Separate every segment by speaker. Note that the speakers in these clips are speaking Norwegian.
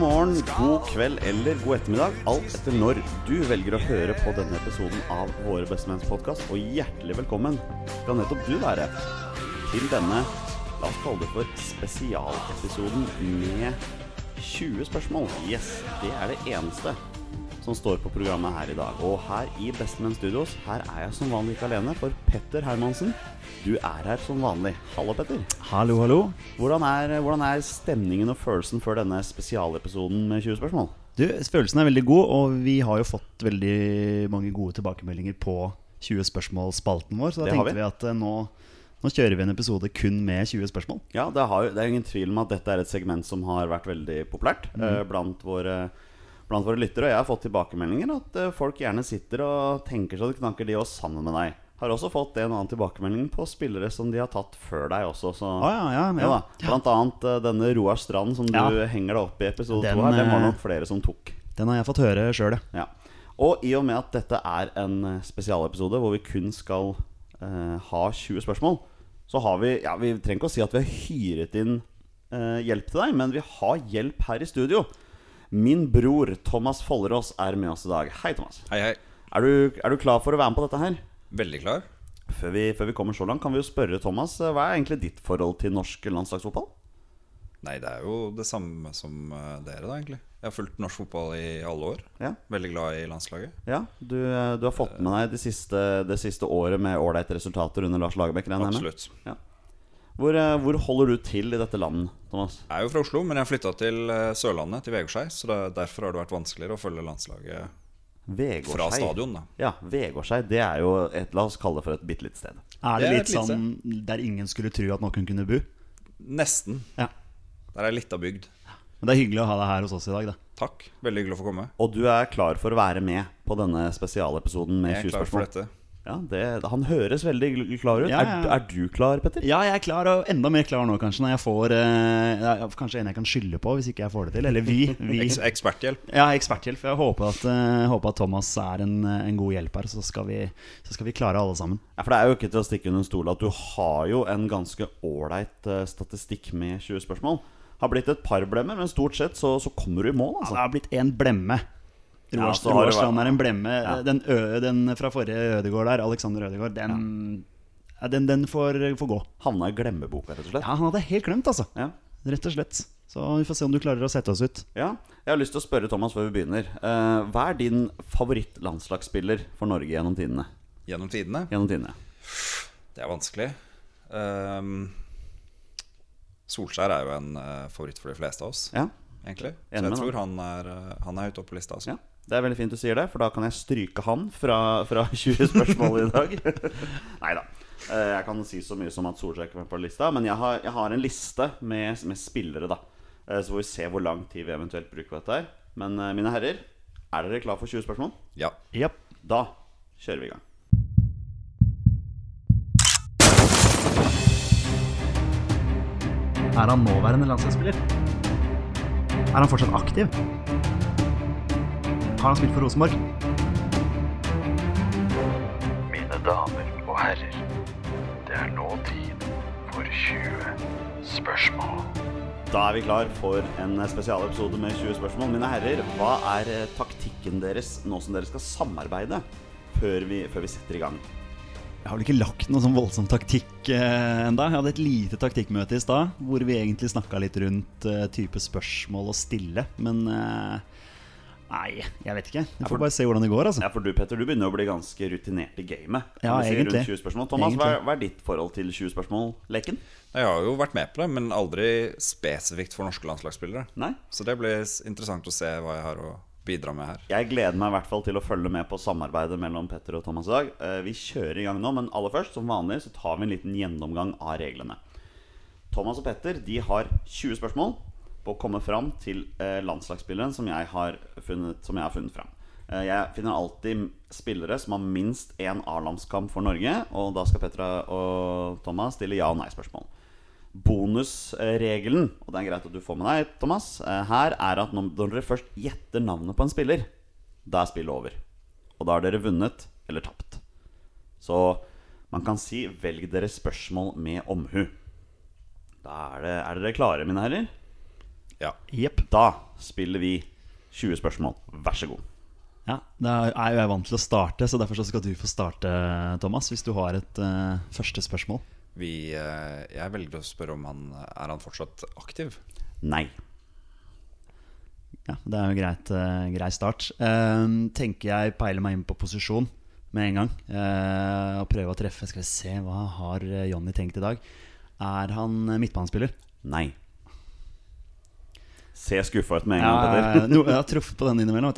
Speaker 1: morgen, god kveld eller god ettermiddag. Alt etter når du velger å høre på denne episoden av Våre bestemenns podkast. Og hjertelig velkommen skal nettopp du være til denne, la oss kalle det for spesialepisoden med 20 spørsmål. Yes, det er det eneste som står på programmet her i dag. Og her i Bestemenn Studios, her er jeg som vanlig ikke alene, for Petter Hermansen, du er her som vanlig. Halla, Petter.
Speaker 2: Hallo, hallo.
Speaker 1: Hvordan er, hvordan er stemningen og følelsen før denne spesialepisoden med 20 spørsmål?
Speaker 2: Du, Følelsen er veldig god, og vi har jo fått veldig mange gode tilbakemeldinger på 20 spørsmål-spalten vår, så da
Speaker 1: Det har
Speaker 2: tenkte
Speaker 1: vi.
Speaker 2: vi, at eh, nå, nå kjører vi en episode kun med 20 spørsmål.
Speaker 1: Ja, det, har, jo- det er ingen tvil om at dette er et segment som har vært veldig populært eh, blant, våre, blant våre lyttere. Og jeg har fått tilbakemeldinger at eh, folk gjerne sitter og tenker så det knaker, de òg, sammen med deg. Har også fått en annen tilbakemelding på spillere som de har tatt før deg også. Så,
Speaker 2: Å, ja, ja, ja.
Speaker 1: Ja da. Blant annet eh, denne Roar Strand som du
Speaker 2: Ja.
Speaker 1: henger deg opp i episode
Speaker 2: Den,
Speaker 1: to her. Den var
Speaker 2: eh,
Speaker 1: nok flere som tok.
Speaker 2: Den har jeg fått høre sjøl, ja.
Speaker 1: Ja. Og i og med at dette er en eh, spesialepisode hvor vi kun skal eh, ha 20 spørsmål, så har vi Ja, vi trenger ikke å si at vi har hyret inn eh, hjelp til deg, men vi har hjelp her i studio. Min bror Thomas Follerås er med oss i dag. Hei, Thomas.
Speaker 3: Hei, hei.
Speaker 1: Er du, er du klar for å være med på dette her?
Speaker 3: Veldig klar.
Speaker 1: Før vi, før vi kommer så langt, kan vi jo spørre Thomas, eh, hva er egentlig ditt forhold til norsk landslagsfotball?
Speaker 3: Nei, det er jo det samme som eh, dere, da, egentlig. Jeg har fulgt norsk fotball i alle år.
Speaker 1: Ja.
Speaker 3: Veldig glad i landslaget.
Speaker 1: Ja, du, eh, du har fått med deg det siste, det siste året med ålreite resultater under Lars Lagerbäck? regner jeg med?
Speaker 3: Absolutt.
Speaker 1: Hvor, eh, hvor holder du til i dette landet, Thomas?
Speaker 3: Jeg er jo fra Oslo, men jeg flytta til eh, Sørlandet, til Vegårshei. Så det, derfor har det vært vanskeligere å følge landslaget
Speaker 1: Vegårshei.
Speaker 3: fra stadion, da.
Speaker 1: Ja, Vegårshei det er jo et La oss kalle det for et bitte lite sted.
Speaker 2: Er det
Speaker 3: Det er
Speaker 2: litt
Speaker 3: et lite.
Speaker 2: sånn der ingen skulle tro at noen kunne bo?
Speaker 3: Nesten.
Speaker 2: Ja.
Speaker 3: Der er lita bygd.
Speaker 2: Men det er hyggelig å ha deg her hos oss i dag, da.
Speaker 3: Takk. Veldig hyggelig å få komme.
Speaker 1: Og du er klar for å være med på denne spesialepisoden med
Speaker 3: Jeg er
Speaker 1: 20
Speaker 3: klar for
Speaker 1: spørsmål?
Speaker 3: dette.
Speaker 1: Ja, det, han høres veldig gl- klar ut.
Speaker 2: Ja,
Speaker 1: Er,
Speaker 2: ja.
Speaker 1: er du klar, Petter?
Speaker 2: Ja, jeg er klar, og enda mer klar nå, kanskje, når jeg får eh, ja, Kanskje en jeg kan skylde på, hvis ikke jeg får det til. Eller vi. vi.
Speaker 3: Eks eksperthjelp.
Speaker 2: Ja, eksperthjelp. Jeg håper at, eh, håper at Thomas er en, en god hjelp her, så skal, vi, så skal vi klare alle sammen.
Speaker 1: Ja, For det er jo ikke til å stikke under en stol at du har jo en ganske ålreit eh, statistikk med 20 spørsmål. Har blitt et par blemmer, men stort sett så, så kommer du i mål,
Speaker 2: Ja,
Speaker 1: altså.
Speaker 2: det har blitt én blemme.
Speaker 1: Ja,
Speaker 2: Roar
Speaker 1: så har det
Speaker 2: Roar Strand er en blemme. Den, ø, den fra forrige Ødegård der, Alexander Ødegård, den, ja. den, den får, får gå.
Speaker 1: Havna i glemmeboka, rett og slett.
Speaker 2: Ja, han hadde helt glemt, altså.
Speaker 1: Ja.
Speaker 2: Rett og slett. Så vi får se om du klarer å sette oss ut.
Speaker 1: Ja, Jeg har lyst til å spørre Thomas før vi begynner. Eh, hva er din favorittlandslagsspiller for Norge gjennom tidene?
Speaker 3: Gjennom tidene.
Speaker 1: Gjennom tidene.
Speaker 3: Det er vanskelig. Ehm, Solskjær er jo en eh, favoritt for de fleste av oss,
Speaker 1: Ja,
Speaker 3: egentlig. Så
Speaker 1: Enig med
Speaker 3: jeg tror han er, eh, han er høyt oppe på lista. Altså.
Speaker 1: ja. Det er veldig fint du sier det, for da kan jeg stryke han fra, fra 20 spørsmål i dag. Nei da. Eh, Jeg kan si så mye som at Solskjær ikke er på lista, men jeg har, jeg har en liste med, med spillere, da. Eh, Så får vi se hvor lang tid vi eventuelt bruker på dette her. Men eh, mine herrer, er dere klar for 20 spørsmål?
Speaker 3: Ja.
Speaker 2: Japp.
Speaker 1: Da kjører vi i gang.
Speaker 2: Er han nåværende landslagsspiller? Er han fortsatt aktiv? Har han spilt for Rosenborg?
Speaker 4: Mine damer og herrer, det er nå tid for 20 spørsmål.
Speaker 1: Da er vi klar for en spesialepisode med 20 spørsmål. Mine herrer, hva er eh, taktikken deres nå som dere skal samarbeide, før vi, før vi setter i gang?
Speaker 2: Jeg har vel ikke lagt noe sånn voldsom taktikk eh, enda. Jeg hadde et lite taktikkmøte i stad hvor vi egentlig snakka litt rundt eh, type spørsmål å stille, men eh, Nei, jeg vet ikke. Vi får bare se hvordan det går, altså.
Speaker 1: Ja, for du Petter, du begynner å bli ganske rutinert i gamet. kan
Speaker 2: Ja,
Speaker 1: vi si,
Speaker 2: egentlig.
Speaker 1: Rundt 20 spørsmål. Thomas, hva er,
Speaker 2: Egentlig.
Speaker 1: hva er ditt forhold til 20 spørsmål-leken?
Speaker 3: Jeg har jo vært med på det, men aldri spesifikt for norske landslagsspillere.
Speaker 1: Nei?
Speaker 3: Så det blir s- interessant å se hva jeg har å bidra med her.
Speaker 1: Jeg gleder meg i hvert fall til å følge med på samarbeidet mellom Petter og Thomas i dag. Eh, Vi kjører i gang nå, men aller først, som vanlig, så tar vi en liten gjennomgang av reglene. Thomas og Petter de har 20 spørsmål på å komme fram til eh, landslagsspilleren som jeg har funnet, som jeg har funnet fram. Eh, Jeg finner alltid spillere som har minst én A-landskamp for Norge, og da skal Petter og Thomas stille ja- og nei-spørsmål. Bonusregelen, og det er greit at du får med deg, Thomas, eh, her er at når når dere først gjetter navnet på en spiller, da er spillet over. Og da har dere vunnet eller tapt. Så man kan si 'velg dere spørsmål med omhu'. Da er, det, er dere klare, mine herrer?
Speaker 3: Ja.
Speaker 2: Jepp.
Speaker 1: Da spiller vi 20 spørsmål. Vær så god.
Speaker 2: Ja, Da er jo jeg vant til å starte, så derfor så skal du få starte, Thomas. Hvis du har et eh, første spørsmål.
Speaker 3: Vi, eh, jeg velger å spørre om han er han fortsatt aktiv.
Speaker 1: Nei.
Speaker 2: Ja, Det er jo greit, eh, grei start. Ehm, tenker jeg peiler meg inn på posisjon med en gang. eh, og prøver å treffe. Skal vi se, hva har eh, Johnny tenkt i dag? Er han eh, midtbanespiller?
Speaker 1: Nei. Se skuffa ut med en gang,
Speaker 2: Ja,
Speaker 1: Peder.
Speaker 2: no, jeg har truffet på den innimellom. Vet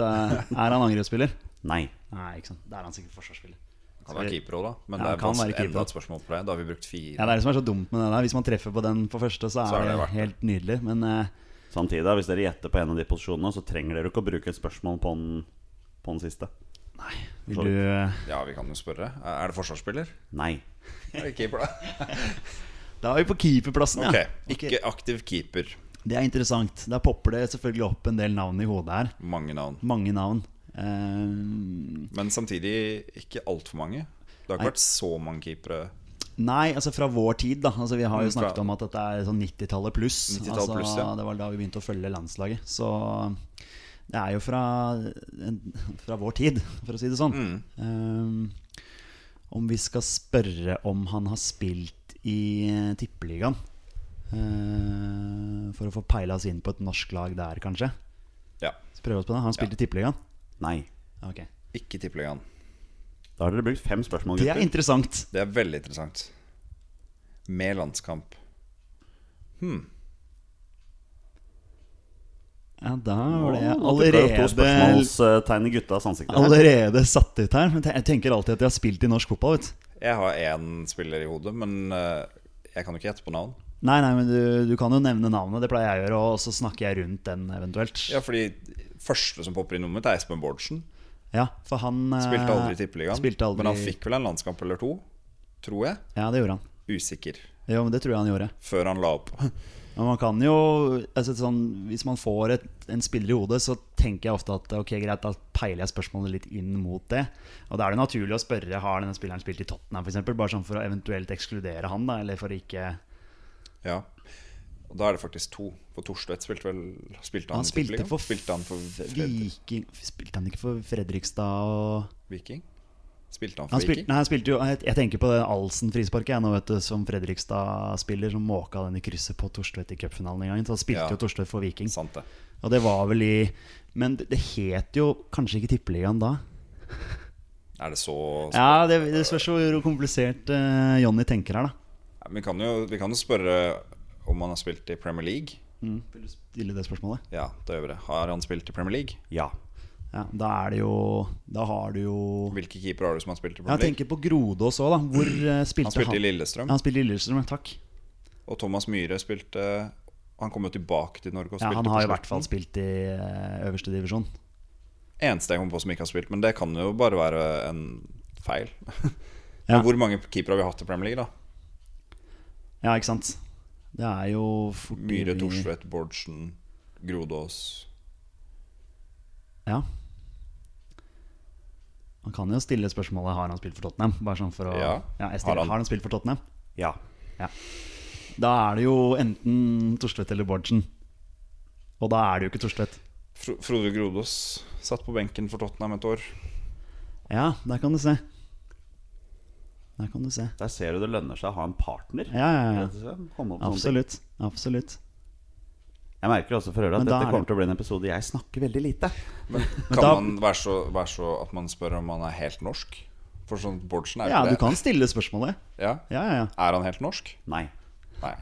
Speaker 2: du. Er han angrepsspiller?
Speaker 1: Nei.
Speaker 2: Nei, ikke sant. Da er han sikkert forsvarsspiller.
Speaker 3: Han er keeper òg, da. Men
Speaker 2: Ja,
Speaker 3: det er
Speaker 2: han kan være
Speaker 3: vans-
Speaker 2: keeper.
Speaker 3: enda et spørsmål på deg. Da har vi brukt
Speaker 2: Ja,
Speaker 3: fire.
Speaker 2: Det er det som er så dumt med det der. Hvis man treffer på den på første, så er,
Speaker 3: Så er det
Speaker 2: det,
Speaker 3: verdt det.
Speaker 2: helt nydelig. Men eh,
Speaker 1: Samtidig, da, hvis dere gjetter på en av de posisjonene, så trenger dere ikke å bruke et spørsmål på den, på den siste.
Speaker 2: vil du eh,
Speaker 3: Ja, vi kan jo spørre. Er er det forsvarsspiller?
Speaker 1: Nei.
Speaker 3: Er det keeper, da?
Speaker 2: Da er vi på keeperplassen,
Speaker 3: Ok,
Speaker 2: ja. Ok.
Speaker 3: Ikke aktiv keeper.
Speaker 2: Det er interessant. Der popper det selvfølgelig opp en del navn i hodet her.
Speaker 3: Mange navn.
Speaker 2: Mange navn. Ehm,
Speaker 3: Men samtidig ikke altfor mange. Det har ikke vært så mange keepere.
Speaker 2: nei, altså fra vår tid, da. Altså, vi har jo
Speaker 3: Mm, fra-
Speaker 2: snakket om at dette er sånn 90-tallet pluss.
Speaker 3: 90-tallet
Speaker 2: altså,
Speaker 3: pluss, ja.
Speaker 2: Det var da vi begynte å følge landslaget. Så det er jo fra, en- fra vår tid, for å si det sånn. Ehm, om vi skal spørre om han har spilt i eh, Tippeligaen. Eh, for å få peila oss inn på et norsk lag der, kanskje.
Speaker 3: Ja.
Speaker 2: Så prøve oss på det. Han spilte i Tippeligaen.
Speaker 1: Nei.
Speaker 2: Ok.
Speaker 3: Ikke tippeligaen.
Speaker 1: Da har dere brukt fem spørsmål,
Speaker 2: Det er
Speaker 1: gutter.
Speaker 2: interessant.
Speaker 3: Det er veldig interessant. Med landskamp.
Speaker 2: Ja, da var det
Speaker 1: Nå dukket det opp To
Speaker 2: allerede,
Speaker 1: spørsmålstegn i guttas ansikter. her.
Speaker 2: allerede satt ut her. Men jeg tenker alltid at de har spilt i norsk fotball. Vet. du.
Speaker 3: Jeg har én spiller i hodet, men eh, jeg kan jo ikke gjette på navn.
Speaker 2: Nei, nei, men du, du kan jo nevne navnet. Det pleier jeg å gjøre. Og så snakker jeg rundt den eventuelt.
Speaker 3: Ja, fordi første som popper inn nummer, er Espen Bårdsen.
Speaker 2: Ja, for han eh,
Speaker 3: Spilte aldri i Tippeligaen.
Speaker 2: Spilte aldri...
Speaker 3: Men han fikk vel en landskamp eller to, tror jeg.
Speaker 2: Ja, det gjorde han.
Speaker 3: Usikker.
Speaker 2: Jo, men det tror jeg han gjorde.
Speaker 3: Før han la opp.
Speaker 2: Men man kan jo altså, sånn, Hvis man får et, en spiller i hodet, så tenker jeg ofte at Ok, greit, da peiler jeg spørsmålet litt inn mot det. Og da er det naturlig å spørre Har denne spilleren spilt i Tottenham, f.eks. Bare sånn for å eventuelt ekskludere han, da, eller for å ikke
Speaker 3: Ja. Og da er det faktisk to. For Torstvedt spilte vel Spilte han,
Speaker 2: Han
Speaker 3: i
Speaker 2: spilte
Speaker 3: Tippeligaen?
Speaker 2: for,
Speaker 3: spilte han for
Speaker 2: F-
Speaker 3: Fred
Speaker 2: Viking Spilte han ikke for Fredrikstad og
Speaker 3: Viking? Spilte han for
Speaker 2: han spilte,
Speaker 3: Viking?
Speaker 2: nei, han spilte jo Jeg jeg tenker på det Alsen frisparket jeg nå, vet du, som Fredrikstad-spiller, som måka den i krysset på Torstvedt i cupfinalen en gang. Så han spilte
Speaker 3: Ja.
Speaker 2: jo Torstvedt for Viking.
Speaker 3: Sant det.
Speaker 2: Og det var vel i Men det, det het jo kanskje ikke Tippeligaen da?
Speaker 3: Er det så
Speaker 2: Ja, det, det spørs jo hvor komplisert eh, Jonny tenker her, da.
Speaker 3: vi, kan jo, vi kan jo spørre om han har spilt i Premier League.
Speaker 2: Vil du stille det spørsmålet?
Speaker 3: Ja, da gjør vi det. Har han spilt i Premier League?
Speaker 1: Ja.
Speaker 2: Ja, da er det jo Da har du jo
Speaker 3: Hvilke keepere har du som har spilt i
Speaker 2: Jeg
Speaker 3: Premier League?
Speaker 2: tenker på Grodås òg, da. Hvor eh, spilte
Speaker 3: Han spilte i Lillestrøm.
Speaker 2: Ja, han spilte i Lillestrøm, ja, takk.
Speaker 3: Og Thomas Myhre spilte Han kom jo tilbake til Norge og
Speaker 2: Ja,
Speaker 3: spilte
Speaker 2: han
Speaker 3: på
Speaker 2: har i
Speaker 3: slutten.
Speaker 2: hvert fall spilt i eh, øverste divisjon.
Speaker 3: Eneste jeg kommer på som ikke har spilt, men det kan jo bare være en feil.
Speaker 2: Ja.
Speaker 3: Men Hvor mange keepere har vi hatt i Premier League, da?
Speaker 2: Ja, ikke sant? Det er jo fort
Speaker 3: Myhre,
Speaker 2: i-
Speaker 3: Thorstvedt, Bårdsen, Grodås
Speaker 2: Ja. Man kan jo stille spørsmålet Har han spilt for Tottenham. Bare sånn for å
Speaker 3: Ja.
Speaker 2: jeg stiller,
Speaker 3: Har han-
Speaker 2: Har han spilt for Tottenham?
Speaker 1: Ja.
Speaker 2: Da er det jo enten Torstvedt eller Bårdsen. Og da er det jo ikke Torstvedt.
Speaker 3: Fro Frode Grodås satt på benken for Tottenham et år.
Speaker 2: Ja, der kan du se. Der kan du se.
Speaker 1: Der ser du det lønner seg å ha en partner.
Speaker 2: Ja, ja, ja.
Speaker 1: Rett og slett. Komme opp med sånne ting.
Speaker 2: Absolutt. Absolutt.
Speaker 1: Jeg merker også for øvrig at
Speaker 2: Men da
Speaker 1: dette
Speaker 2: er
Speaker 1: kommer
Speaker 2: det-
Speaker 1: til å bli en episode jeg snakker veldig lite.
Speaker 3: Men kan
Speaker 2: da-
Speaker 3: man være så, være så at man spør om han er helt norsk? For sånn Bårdsen er jo
Speaker 2: Ja,
Speaker 3: ikke
Speaker 2: du
Speaker 3: det.
Speaker 2: kan stille spørsmålet.
Speaker 3: Ja.
Speaker 2: Ja, ja, ja.
Speaker 3: Er han helt norsk?
Speaker 1: Nei.
Speaker 3: Nei.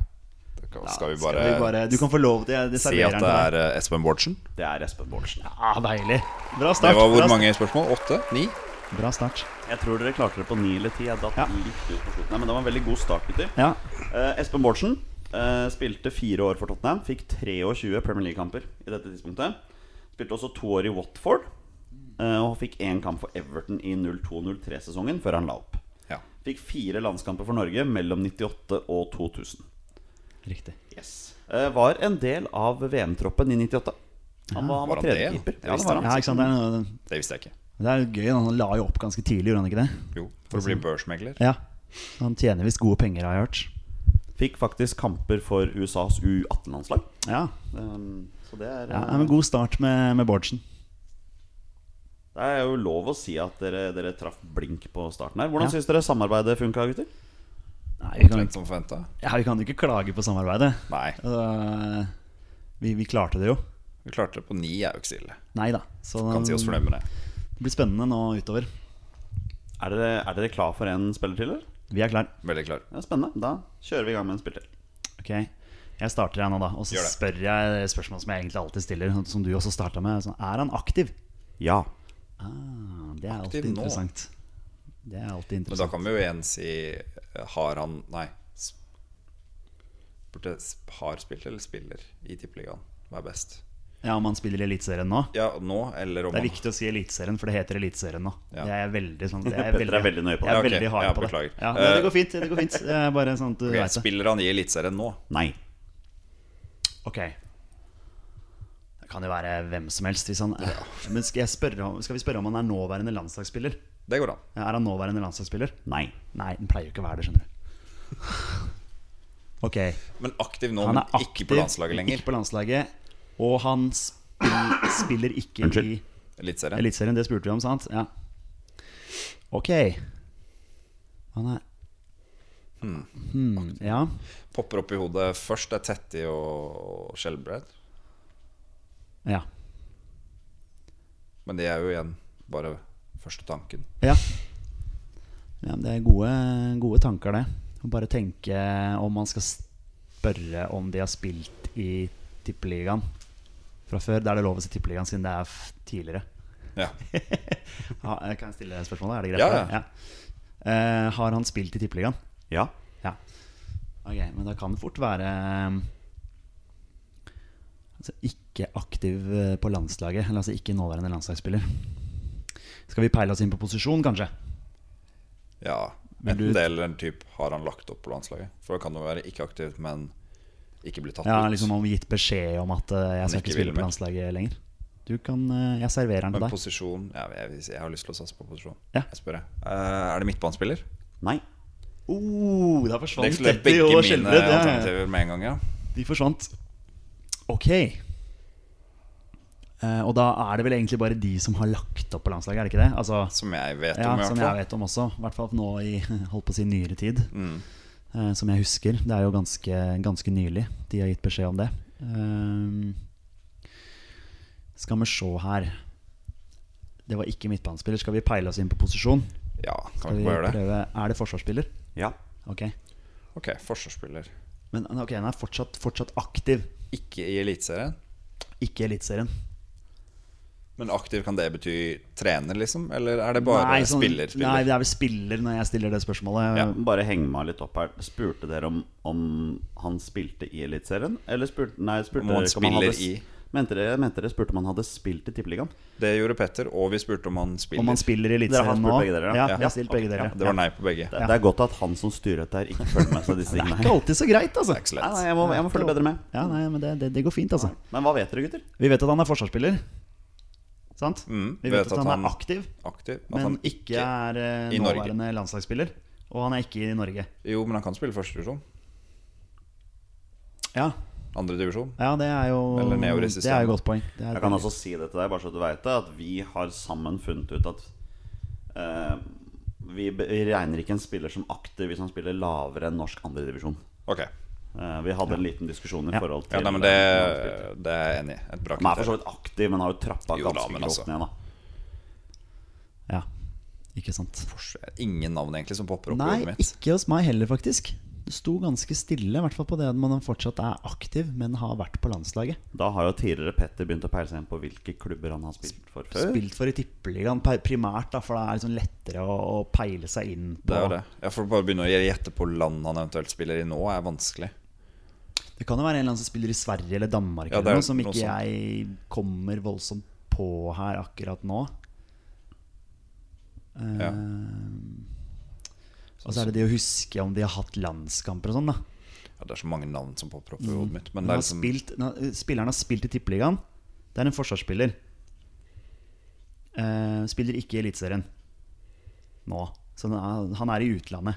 Speaker 3: Det kan, skal vi
Speaker 2: Skal
Speaker 3: bare,
Speaker 2: vi bare Du kan få lov til jeg- det.
Speaker 3: si
Speaker 2: serverer
Speaker 3: at
Speaker 2: den
Speaker 3: det
Speaker 2: til deg.
Speaker 3: er eh, Espen Bårdsen?
Speaker 1: Det er Espen Bårdsen.
Speaker 2: Ja, deilig. Bra start.
Speaker 3: Det var
Speaker 2: bra
Speaker 3: hvor
Speaker 2: start.
Speaker 3: mange spørsmål? Åtte? Ni?
Speaker 2: Bra start.
Speaker 1: Jeg tror dere klarte det på ni eller ti. Jeg datt
Speaker 2: Ja.
Speaker 1: litt ut på slutten her, men det var en veldig god start, gutter.
Speaker 2: Ja.
Speaker 1: Eh, Espen Bårdsen eh, spilte fire år for Tottenham. Fikk 23 Premier League-kamper i dette tidspunktet. Spilte også to år i Watford. eh, og fikk én kamp for Everton i 02-03-sesongen før han la opp.
Speaker 3: Ja.
Speaker 1: Fikk fire landskamper for Norge mellom 98 og 2000.
Speaker 2: Riktig.
Speaker 1: Yes. Eh, var en del av VM-troppen i 98. Han var,
Speaker 3: Var
Speaker 1: han var,
Speaker 3: han
Speaker 1: tredje
Speaker 3: det?
Speaker 1: keeper.
Speaker 3: Det
Speaker 1: Ja, det
Speaker 3: visste
Speaker 1: var
Speaker 3: jeg
Speaker 1: han.
Speaker 2: Ja, ikke sant. Det er, noe,
Speaker 3: Det visste jeg ikke.
Speaker 2: det er jo gøy. da. Han la jo opp ganske tidlig, gjorde han ikke det? sånn.
Speaker 3: Jo, for å bli børsmegler.
Speaker 2: Ja. Han tjener visst gode penger, har jeg hørt.
Speaker 1: Fikk faktisk kamper for USAs U18-landslag.
Speaker 2: Ja,
Speaker 1: Um, så det er,
Speaker 2: ja det er en god start med, med Bårdsen.
Speaker 1: det er jo lov å si at dere, dere traff blink på starten her. Hvordan syns dere samarbeidet funka, gutter?
Speaker 2: Nei, vi kan,
Speaker 3: Omtrent som forventa.
Speaker 2: ja, vi kan jo ikke klage på samarbeidet.
Speaker 3: Nei.
Speaker 2: Altså, vi, vi klarte det jo.
Speaker 3: Vi klarte det på ni, er jo ikke så ille.
Speaker 2: Nei da. Så
Speaker 3: Kan si oss fornøyd med det.
Speaker 2: det blir spennende nå utover.
Speaker 1: Er dere, er dere klar for en spiller til, eller?
Speaker 2: Vi er klar.
Speaker 3: Veldig klar.
Speaker 1: Ja, spennende. Da kjører vi i gang med en spiller til.
Speaker 2: Ok, jeg starter jeg nå da Og så
Speaker 3: Gjør det.
Speaker 2: spør jeg det spørsmålet som jeg egentlig alltid stiller sånn Som du også startet med sånn, Er han aktiv?
Speaker 1: Ja.
Speaker 2: Ah, det er
Speaker 3: Aktiv
Speaker 2: alltid
Speaker 3: nå?
Speaker 2: interessant Det er
Speaker 3: Men
Speaker 2: alltid
Speaker 3: da
Speaker 2: interessant
Speaker 3: kan vi jo igjen si eh, Har han Nei. s- Burde sp- har spilt eller spiller i Tippeligaen. Hva er best?
Speaker 2: Ja, om han spiller i Eliteserien nå
Speaker 3: Ja, nå eller om
Speaker 2: Det
Speaker 3: han-
Speaker 2: er viktig å si Eliteserien For det heter Eliteserien nå
Speaker 3: Ja.
Speaker 2: Det er jeg veldig sånn Det
Speaker 1: Petter er veldig nøye på det.
Speaker 2: Jeg
Speaker 3: Ja,
Speaker 2: er
Speaker 3: ok.
Speaker 2: veldig hard
Speaker 3: Ja,
Speaker 2: på det
Speaker 3: beklager. Eh,
Speaker 2: ja, nei, Det går fint, det går fint Det er Bare sånn at du
Speaker 3: Ok,
Speaker 2: vet det
Speaker 3: Spiller han i Eliteserien nå?
Speaker 1: Nei.
Speaker 2: Ok Det kan jo være hvem som helst hvis han, Men skal, jeg spørre, om- skal vi spørre om han er nåværende landslagsspiller?
Speaker 3: Det går an.
Speaker 2: Ja, Er han nåværende landslagsspiller?
Speaker 1: Nei.
Speaker 2: Nei, den pleier jo ikke å være det, skjønner du. Ok.
Speaker 3: Men aktiv nå,
Speaker 2: Han
Speaker 3: men
Speaker 2: er aktiv.
Speaker 3: ikke på landslaget lenger.
Speaker 2: Ikke på landslaget, og han spill, spiller ikke i
Speaker 1: Unnskyld.
Speaker 3: Eliteserien.
Speaker 2: Eliteserien. Det spurte vi om, sant? Ja. Ok. Han er hmm. Ja.
Speaker 3: Popper opp i hodet først er Tetty og og Skjelbred.
Speaker 2: Ja.
Speaker 3: Men det er jo igjen bare første tanken.
Speaker 2: ja. ja men det er gode, gode tanker, det. Å Bare tenke om man skal spørre om de har spilt i Tippeligaen fra før. Da er det lov å si Tippeligaen, siden det er f tidligere.
Speaker 3: Ja.
Speaker 2: Ja, jeg kan stille spørsmålet? Er det greit?
Speaker 3: Ja,
Speaker 2: for deg? Eh, har han spilt i Tippeligaen?
Speaker 1: Ja.
Speaker 2: Ja. Ok, men da kan det fort være eh, Altså ikke aktiv eh, på landslaget. Eller altså ikke nåværende landslagsspiller. Skal vi peile oss inn på posisjon, kanskje?
Speaker 3: ja.
Speaker 2: Vil du-
Speaker 3: Enten det eller en type har han lagt opp på landslaget. For det kan jo være ikke aktivt, men ikke bli tatt
Speaker 2: Ja,
Speaker 3: ut.
Speaker 2: liksom om gitt beskjed om at eh, jeg
Speaker 3: Han
Speaker 2: skal
Speaker 3: ikke
Speaker 2: ikke spille
Speaker 3: vil
Speaker 2: på
Speaker 3: mer.
Speaker 2: landslaget lenger. Du kan eh, Jeg serverer den
Speaker 3: Men
Speaker 2: til deg.
Speaker 3: posisjon ja, jeg, jeg har lyst til å satse på posisjon.
Speaker 2: Ja.
Speaker 3: Jeg spør, jeg. Eh, er det midtbanespiller?
Speaker 1: Nei.
Speaker 2: Oh, da
Speaker 3: Det
Speaker 2: forsvant
Speaker 3: er
Speaker 2: Tetty
Speaker 3: begge
Speaker 2: og
Speaker 3: mine
Speaker 2: Skjelbred. Ja, ja, ja.
Speaker 3: alternativer med en gang, ja.
Speaker 2: De forsvant. Ok. Eh, og da er det vel egentlig bare de som har lagt opp på landslaget, er det ikke det? Altså,
Speaker 3: Som jeg vet
Speaker 2: ja,
Speaker 3: om, i
Speaker 2: som
Speaker 3: hvert
Speaker 2: jeg
Speaker 3: fall.
Speaker 2: vet om også. I hvert fall nå i holdt på å si nyere tid. Eh, som jeg husker. Det er jo ganske, ganske nylig de har gitt beskjed om det. Ehm, skal vi se her Det var ikke midtbanespiller. Skal vi peile oss inn på posisjon?
Speaker 3: Ja, kan
Speaker 2: Skal
Speaker 3: vi
Speaker 2: vi
Speaker 3: ikke bare gjøre det?
Speaker 2: prøve? Er det forsvarsspiller?
Speaker 1: Ja.
Speaker 2: Ok.
Speaker 3: Ok, forsvarsspiller.
Speaker 2: Men ok, den er fortsatt, fortsatt aktiv.
Speaker 3: Ikke i Eliteserien,
Speaker 2: Ikke Eliteserien.
Speaker 3: men aktiv kan det bety trener, liksom? Eller er det bare
Speaker 2: sånn-
Speaker 3: spiller? spiller?
Speaker 2: Nei, det er vel spiller når jeg stiller det spørsmålet.
Speaker 3: Ja.
Speaker 1: Bare heng meg litt opp her. Spurte dere om, om han spilte i Eliteserien? Eller spurte Nei, spurte
Speaker 3: Om han
Speaker 1: dere ikke om han
Speaker 3: spiller
Speaker 1: hadde,
Speaker 3: i?
Speaker 1: Mente dere, mente dere spurte om han hadde spilt i Tippeligaen?
Speaker 3: Det gjorde Petter, og vi spurte om han spiller.
Speaker 2: Om han spiller
Speaker 1: Dere har
Speaker 2: i Eliteserien
Speaker 1: spurt
Speaker 2: nå.
Speaker 1: begge dere, ja?
Speaker 2: ja,
Speaker 1: Ja,
Speaker 2: jeg har stilt begge dere.
Speaker 3: Det var nei på begge.
Speaker 1: Det, det er godt at han som styrer dette her, ikke følger med seg disse tingene
Speaker 2: Det er
Speaker 1: her.
Speaker 2: ikke alltid så greit, altså.
Speaker 3: Det er ikke så
Speaker 1: Nei, nei,
Speaker 3: lett.
Speaker 1: jeg må, jeg må følge bedre med.
Speaker 2: Ja, nei, men det, det, det går fint, altså.
Speaker 1: Men hva vet dere, gutter?
Speaker 2: Vi vet at han er forsvarsspiller. Sant?
Speaker 3: Mm,
Speaker 2: Vi vet at han er aktiv,
Speaker 3: aktiv. At
Speaker 2: men
Speaker 3: han
Speaker 2: ikke er eh,
Speaker 3: i Norge.
Speaker 2: nåværende landslagsspiller. Og han er ikke i Norge.
Speaker 3: Jo, men han kan spille førstedivisjon.
Speaker 2: Ja,
Speaker 3: Andredivisjon.
Speaker 2: ja det er jo
Speaker 3: Eller nedover i
Speaker 2: Det er jo et godt poeng. Det er et
Speaker 1: Jeg kan
Speaker 2: poeng.
Speaker 1: også si det til deg, bare så du vet det, at vi har sammen funnet ut at eh, vi, be- vi regner ikke en spiller som aktiv hvis han spiller lavere enn norsk andredivisjon.
Speaker 3: Ok.
Speaker 1: Uh, vi hadde en liten diskusjon i
Speaker 2: Ja.
Speaker 1: forhold
Speaker 3: Ja,
Speaker 1: til eh,
Speaker 3: nei, men det, det er jeg enig i. Et bra
Speaker 1: Han er for
Speaker 3: kriterium.
Speaker 1: så vidt aktiv, men har jo trappa
Speaker 3: Jo da,
Speaker 1: ganske
Speaker 3: men
Speaker 1: grovt
Speaker 3: altså.
Speaker 1: ned. da
Speaker 2: Ja, ikke sant.
Speaker 3: Fors- Ingen navn egentlig som popper opp i
Speaker 2: Nei,
Speaker 3: hodet mitt.
Speaker 2: ikke hos meg heller, faktisk. Det sto ganske stille, i hvert fall på det at man fortsatt er aktiv, men har vært på landslaget.
Speaker 1: Da har jo tidligere Petter begynt å peile seg inn på hvilke klubber han har spilt for før.
Speaker 2: Spilt for i Tippeligaen pe- primært, da, for det er liksom lettere å, å peile seg inn på
Speaker 3: Det er jo det. Jeg får bare begynne å gjette på land han eventuelt spiller i nå, er vanskelig.
Speaker 2: Det kan jo være en eller annen som spiller i Sverige eller Danmark
Speaker 3: Ja, det er
Speaker 2: eller noe, som
Speaker 3: noe
Speaker 2: ikke
Speaker 3: sånt.
Speaker 2: jeg kommer voldsomt på her akkurat nå. Eh,
Speaker 3: Ja.
Speaker 2: Og så er det det å huske om de har hatt landskamper og sånn, da.
Speaker 3: Ja, det er så mange navn som popper opp i hodet mitt. Men
Speaker 2: Mm. Han
Speaker 3: det
Speaker 2: har
Speaker 3: er liksom
Speaker 2: spilt, han har- spilleren har spilt i Tippeligaen. Det er en forsvarsspiller. Eh, spiller ikke i Eliteserien nå. Så han er, han er i utlandet.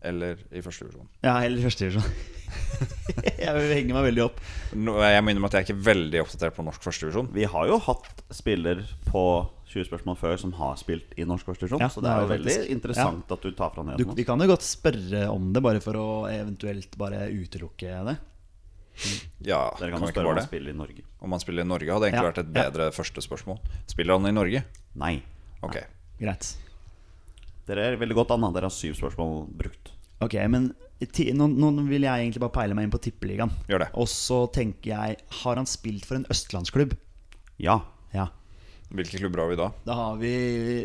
Speaker 3: eller i første divisjon.
Speaker 2: Ja, eller første divisjon. jeg vil henge meg veldig opp.
Speaker 3: Nå- Jeg må innrømme at jeg er ikke veldig oppdatert på norsk første divisjon.
Speaker 1: Vi har jo hatt spiller på 20 spørsmål før som har spilt i norsk konstitusjon,
Speaker 2: Ja,
Speaker 1: så det er jo
Speaker 2: det er
Speaker 1: veldig
Speaker 2: faktisk-
Speaker 1: interessant at du tar fra
Speaker 2: Du,
Speaker 1: nyheten.
Speaker 2: vi kan jo godt spørre om det, bare for å eventuelt bare utelukke det.
Speaker 3: Ja, kan
Speaker 1: Dere kan
Speaker 3: vi
Speaker 1: jo
Speaker 3: ikke
Speaker 1: spørre om
Speaker 3: bare
Speaker 1: han
Speaker 3: det?
Speaker 1: spiller i Norge.
Speaker 3: Om han spiller i Norge, hadde egentlig
Speaker 2: Ja,
Speaker 3: vært et
Speaker 2: ja.
Speaker 3: bedre første spørsmål. Spiller han i Norge?
Speaker 1: Nei.
Speaker 3: Ok.
Speaker 2: Greit.
Speaker 1: Dere er veldig godt an. da. Dere har syv spørsmål brukt.
Speaker 2: Ok, men ti, nå, nå vil jeg egentlig bare peile meg inn på Tippeligaen.
Speaker 3: Gjør det.
Speaker 2: Og så tenker jeg Har han spilt for en østlandsklubb?
Speaker 1: Ja.
Speaker 2: Ja.
Speaker 3: Hvilke klubber har vi da?
Speaker 2: Da har vi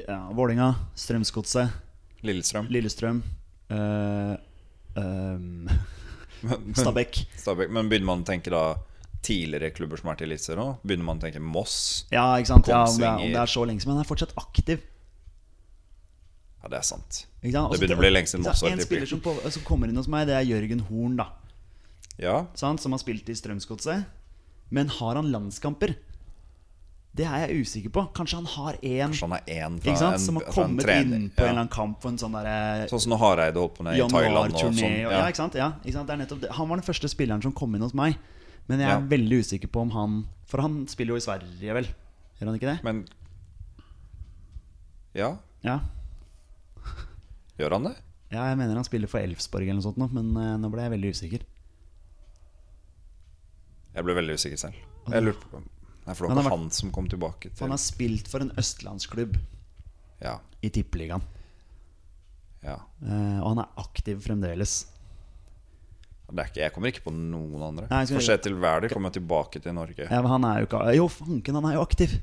Speaker 2: ja, Vålinga, Strømsgodset,
Speaker 3: Lillestrøm?
Speaker 2: Lillestrøm øh, øhm,
Speaker 3: Men-
Speaker 2: Stabæk.
Speaker 3: Stabæk. Men begynner man å tenke da tidligere klubber som er til Eliteserien nå? Begynner man å tenke Moss?
Speaker 2: Ja, ikke sant? Ja, om, det er, om
Speaker 3: Kongsvinger.
Speaker 2: det er så lenge siden. Men han er fortsatt aktiv.
Speaker 3: Ja, det er sant.
Speaker 2: Ikke sant?
Speaker 3: Det
Speaker 2: Altså,
Speaker 3: begynner å bli lenge siden
Speaker 2: ikke
Speaker 3: Moss
Speaker 2: sant?
Speaker 3: har
Speaker 2: En
Speaker 3: tippeliga.
Speaker 2: spiller som, på, som kommer inn hos meg, det er Jørgen Horn, da.
Speaker 3: Ja,
Speaker 2: sant? Som har spilt i Strømsgodset. Men har han landskamper? Det er jeg usikker på. Kanskje han har én
Speaker 3: så han er én fra,
Speaker 2: Ikke sant?
Speaker 3: en-
Speaker 2: Som har
Speaker 3: fra en
Speaker 2: kommet
Speaker 3: trening.
Speaker 2: inn på en
Speaker 3: Ja.
Speaker 2: eller annen kamp på en sånn derre
Speaker 3: Sånn som når Hareide holdt på med i Thailand og sånn.
Speaker 2: januarturné. og- Ja,
Speaker 3: Ja.
Speaker 2: ikke sant? Ja, ikke sant? Det er nettopp det. Han var den første spilleren som kom inn hos meg. Men jeg er
Speaker 3: Ja.
Speaker 2: veldig usikker på om han For han spiller jo i Sverige, vel? Gjør han ikke det?
Speaker 3: Men Ja,
Speaker 2: Ja,
Speaker 3: gjør han det?
Speaker 2: ja jeg mener han spiller for Elfsborg eller noe sånt, nå, men eh, nå ble jeg veldig usikker.
Speaker 3: Jeg ble veldig usikker selv. Jeg lurte på Nei, for det
Speaker 2: Han
Speaker 3: var
Speaker 2: har vært-
Speaker 3: ikke han som kom tilbake
Speaker 2: Han
Speaker 3: til
Speaker 2: har spilt for en østlandsklubb
Speaker 3: Ja,
Speaker 2: i Tippeligaen.
Speaker 3: ja.
Speaker 2: eh, Og han er aktiv fremdeles.
Speaker 3: Det er ikke, jeg kommer ikke på noen andre.
Speaker 2: Nei, jeg skal-
Speaker 3: For se til Wæler kommer jo tilbake til Norge.
Speaker 2: Ja, men han er jo ikke Jo, fanken, han er jo aktiv!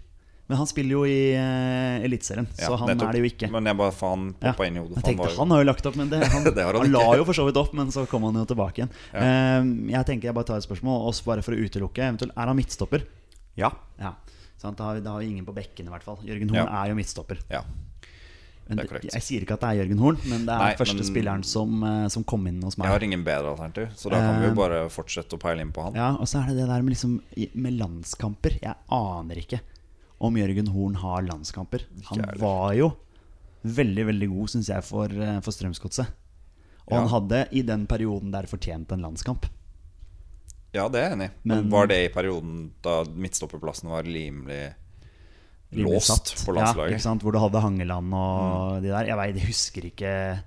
Speaker 2: Men han spiller jo i eh, Eliteserien, så
Speaker 3: Ja,
Speaker 2: han
Speaker 3: nettopp.
Speaker 2: er det jo ikke.
Speaker 3: Men jeg bare faen
Speaker 2: Ja.
Speaker 3: poppa inn i hodet.
Speaker 2: Jeg
Speaker 3: for
Speaker 2: tenkte
Speaker 3: var jo-
Speaker 2: han har jo lagt opp, men det, han,
Speaker 3: Det har
Speaker 2: han,
Speaker 3: han ikke.
Speaker 2: la jo for så vidt opp, men så kom han jo tilbake igjen. Ehm, jeg tenker jeg bare tar et spørsmål, og så bare for å utelukke. Eventuelt, er han midtstopper?
Speaker 1: Ja.
Speaker 2: Ja. sant, da, har vi, da har vi ingen på bekken, i hvert fall. Jørgen Horn
Speaker 3: Ja.
Speaker 2: er jo midtstopper.
Speaker 3: Ja.
Speaker 2: Men
Speaker 3: det er
Speaker 2: det-
Speaker 3: korrekt.
Speaker 2: jeg sier ikke at det er Jørgen Horn, men det er
Speaker 3: Nei,
Speaker 2: første
Speaker 3: men-
Speaker 2: spilleren som, eh, som kom inn hos meg.
Speaker 3: Jeg har ingen bedre alternativ, så da kan vi
Speaker 2: Eh,
Speaker 3: jo bare fortsette å peile inn på han.
Speaker 2: Ja, og så er det det der med, liksom, i- med landskamper. Jeg aner ikke om Jørgen Horn har landskamper. Han
Speaker 3: heller.
Speaker 2: var jo veldig, veldig god, syns jeg, for, eh, for Strømsgodset. Og
Speaker 3: Ja.
Speaker 2: han hadde i den perioden der fortjent en landskamp.
Speaker 3: Ja, det er jeg enig i. Men
Speaker 2: Men-
Speaker 3: var det i perioden da midtstopperplassen var rimelig
Speaker 2: Rimelig
Speaker 3: låst
Speaker 2: satt.
Speaker 3: på
Speaker 2: Ja, ikke
Speaker 3: landslaget? Mm.
Speaker 2: sant? Hvor du hadde Hangeland og de der. Jeg, vet, jeg husker ikke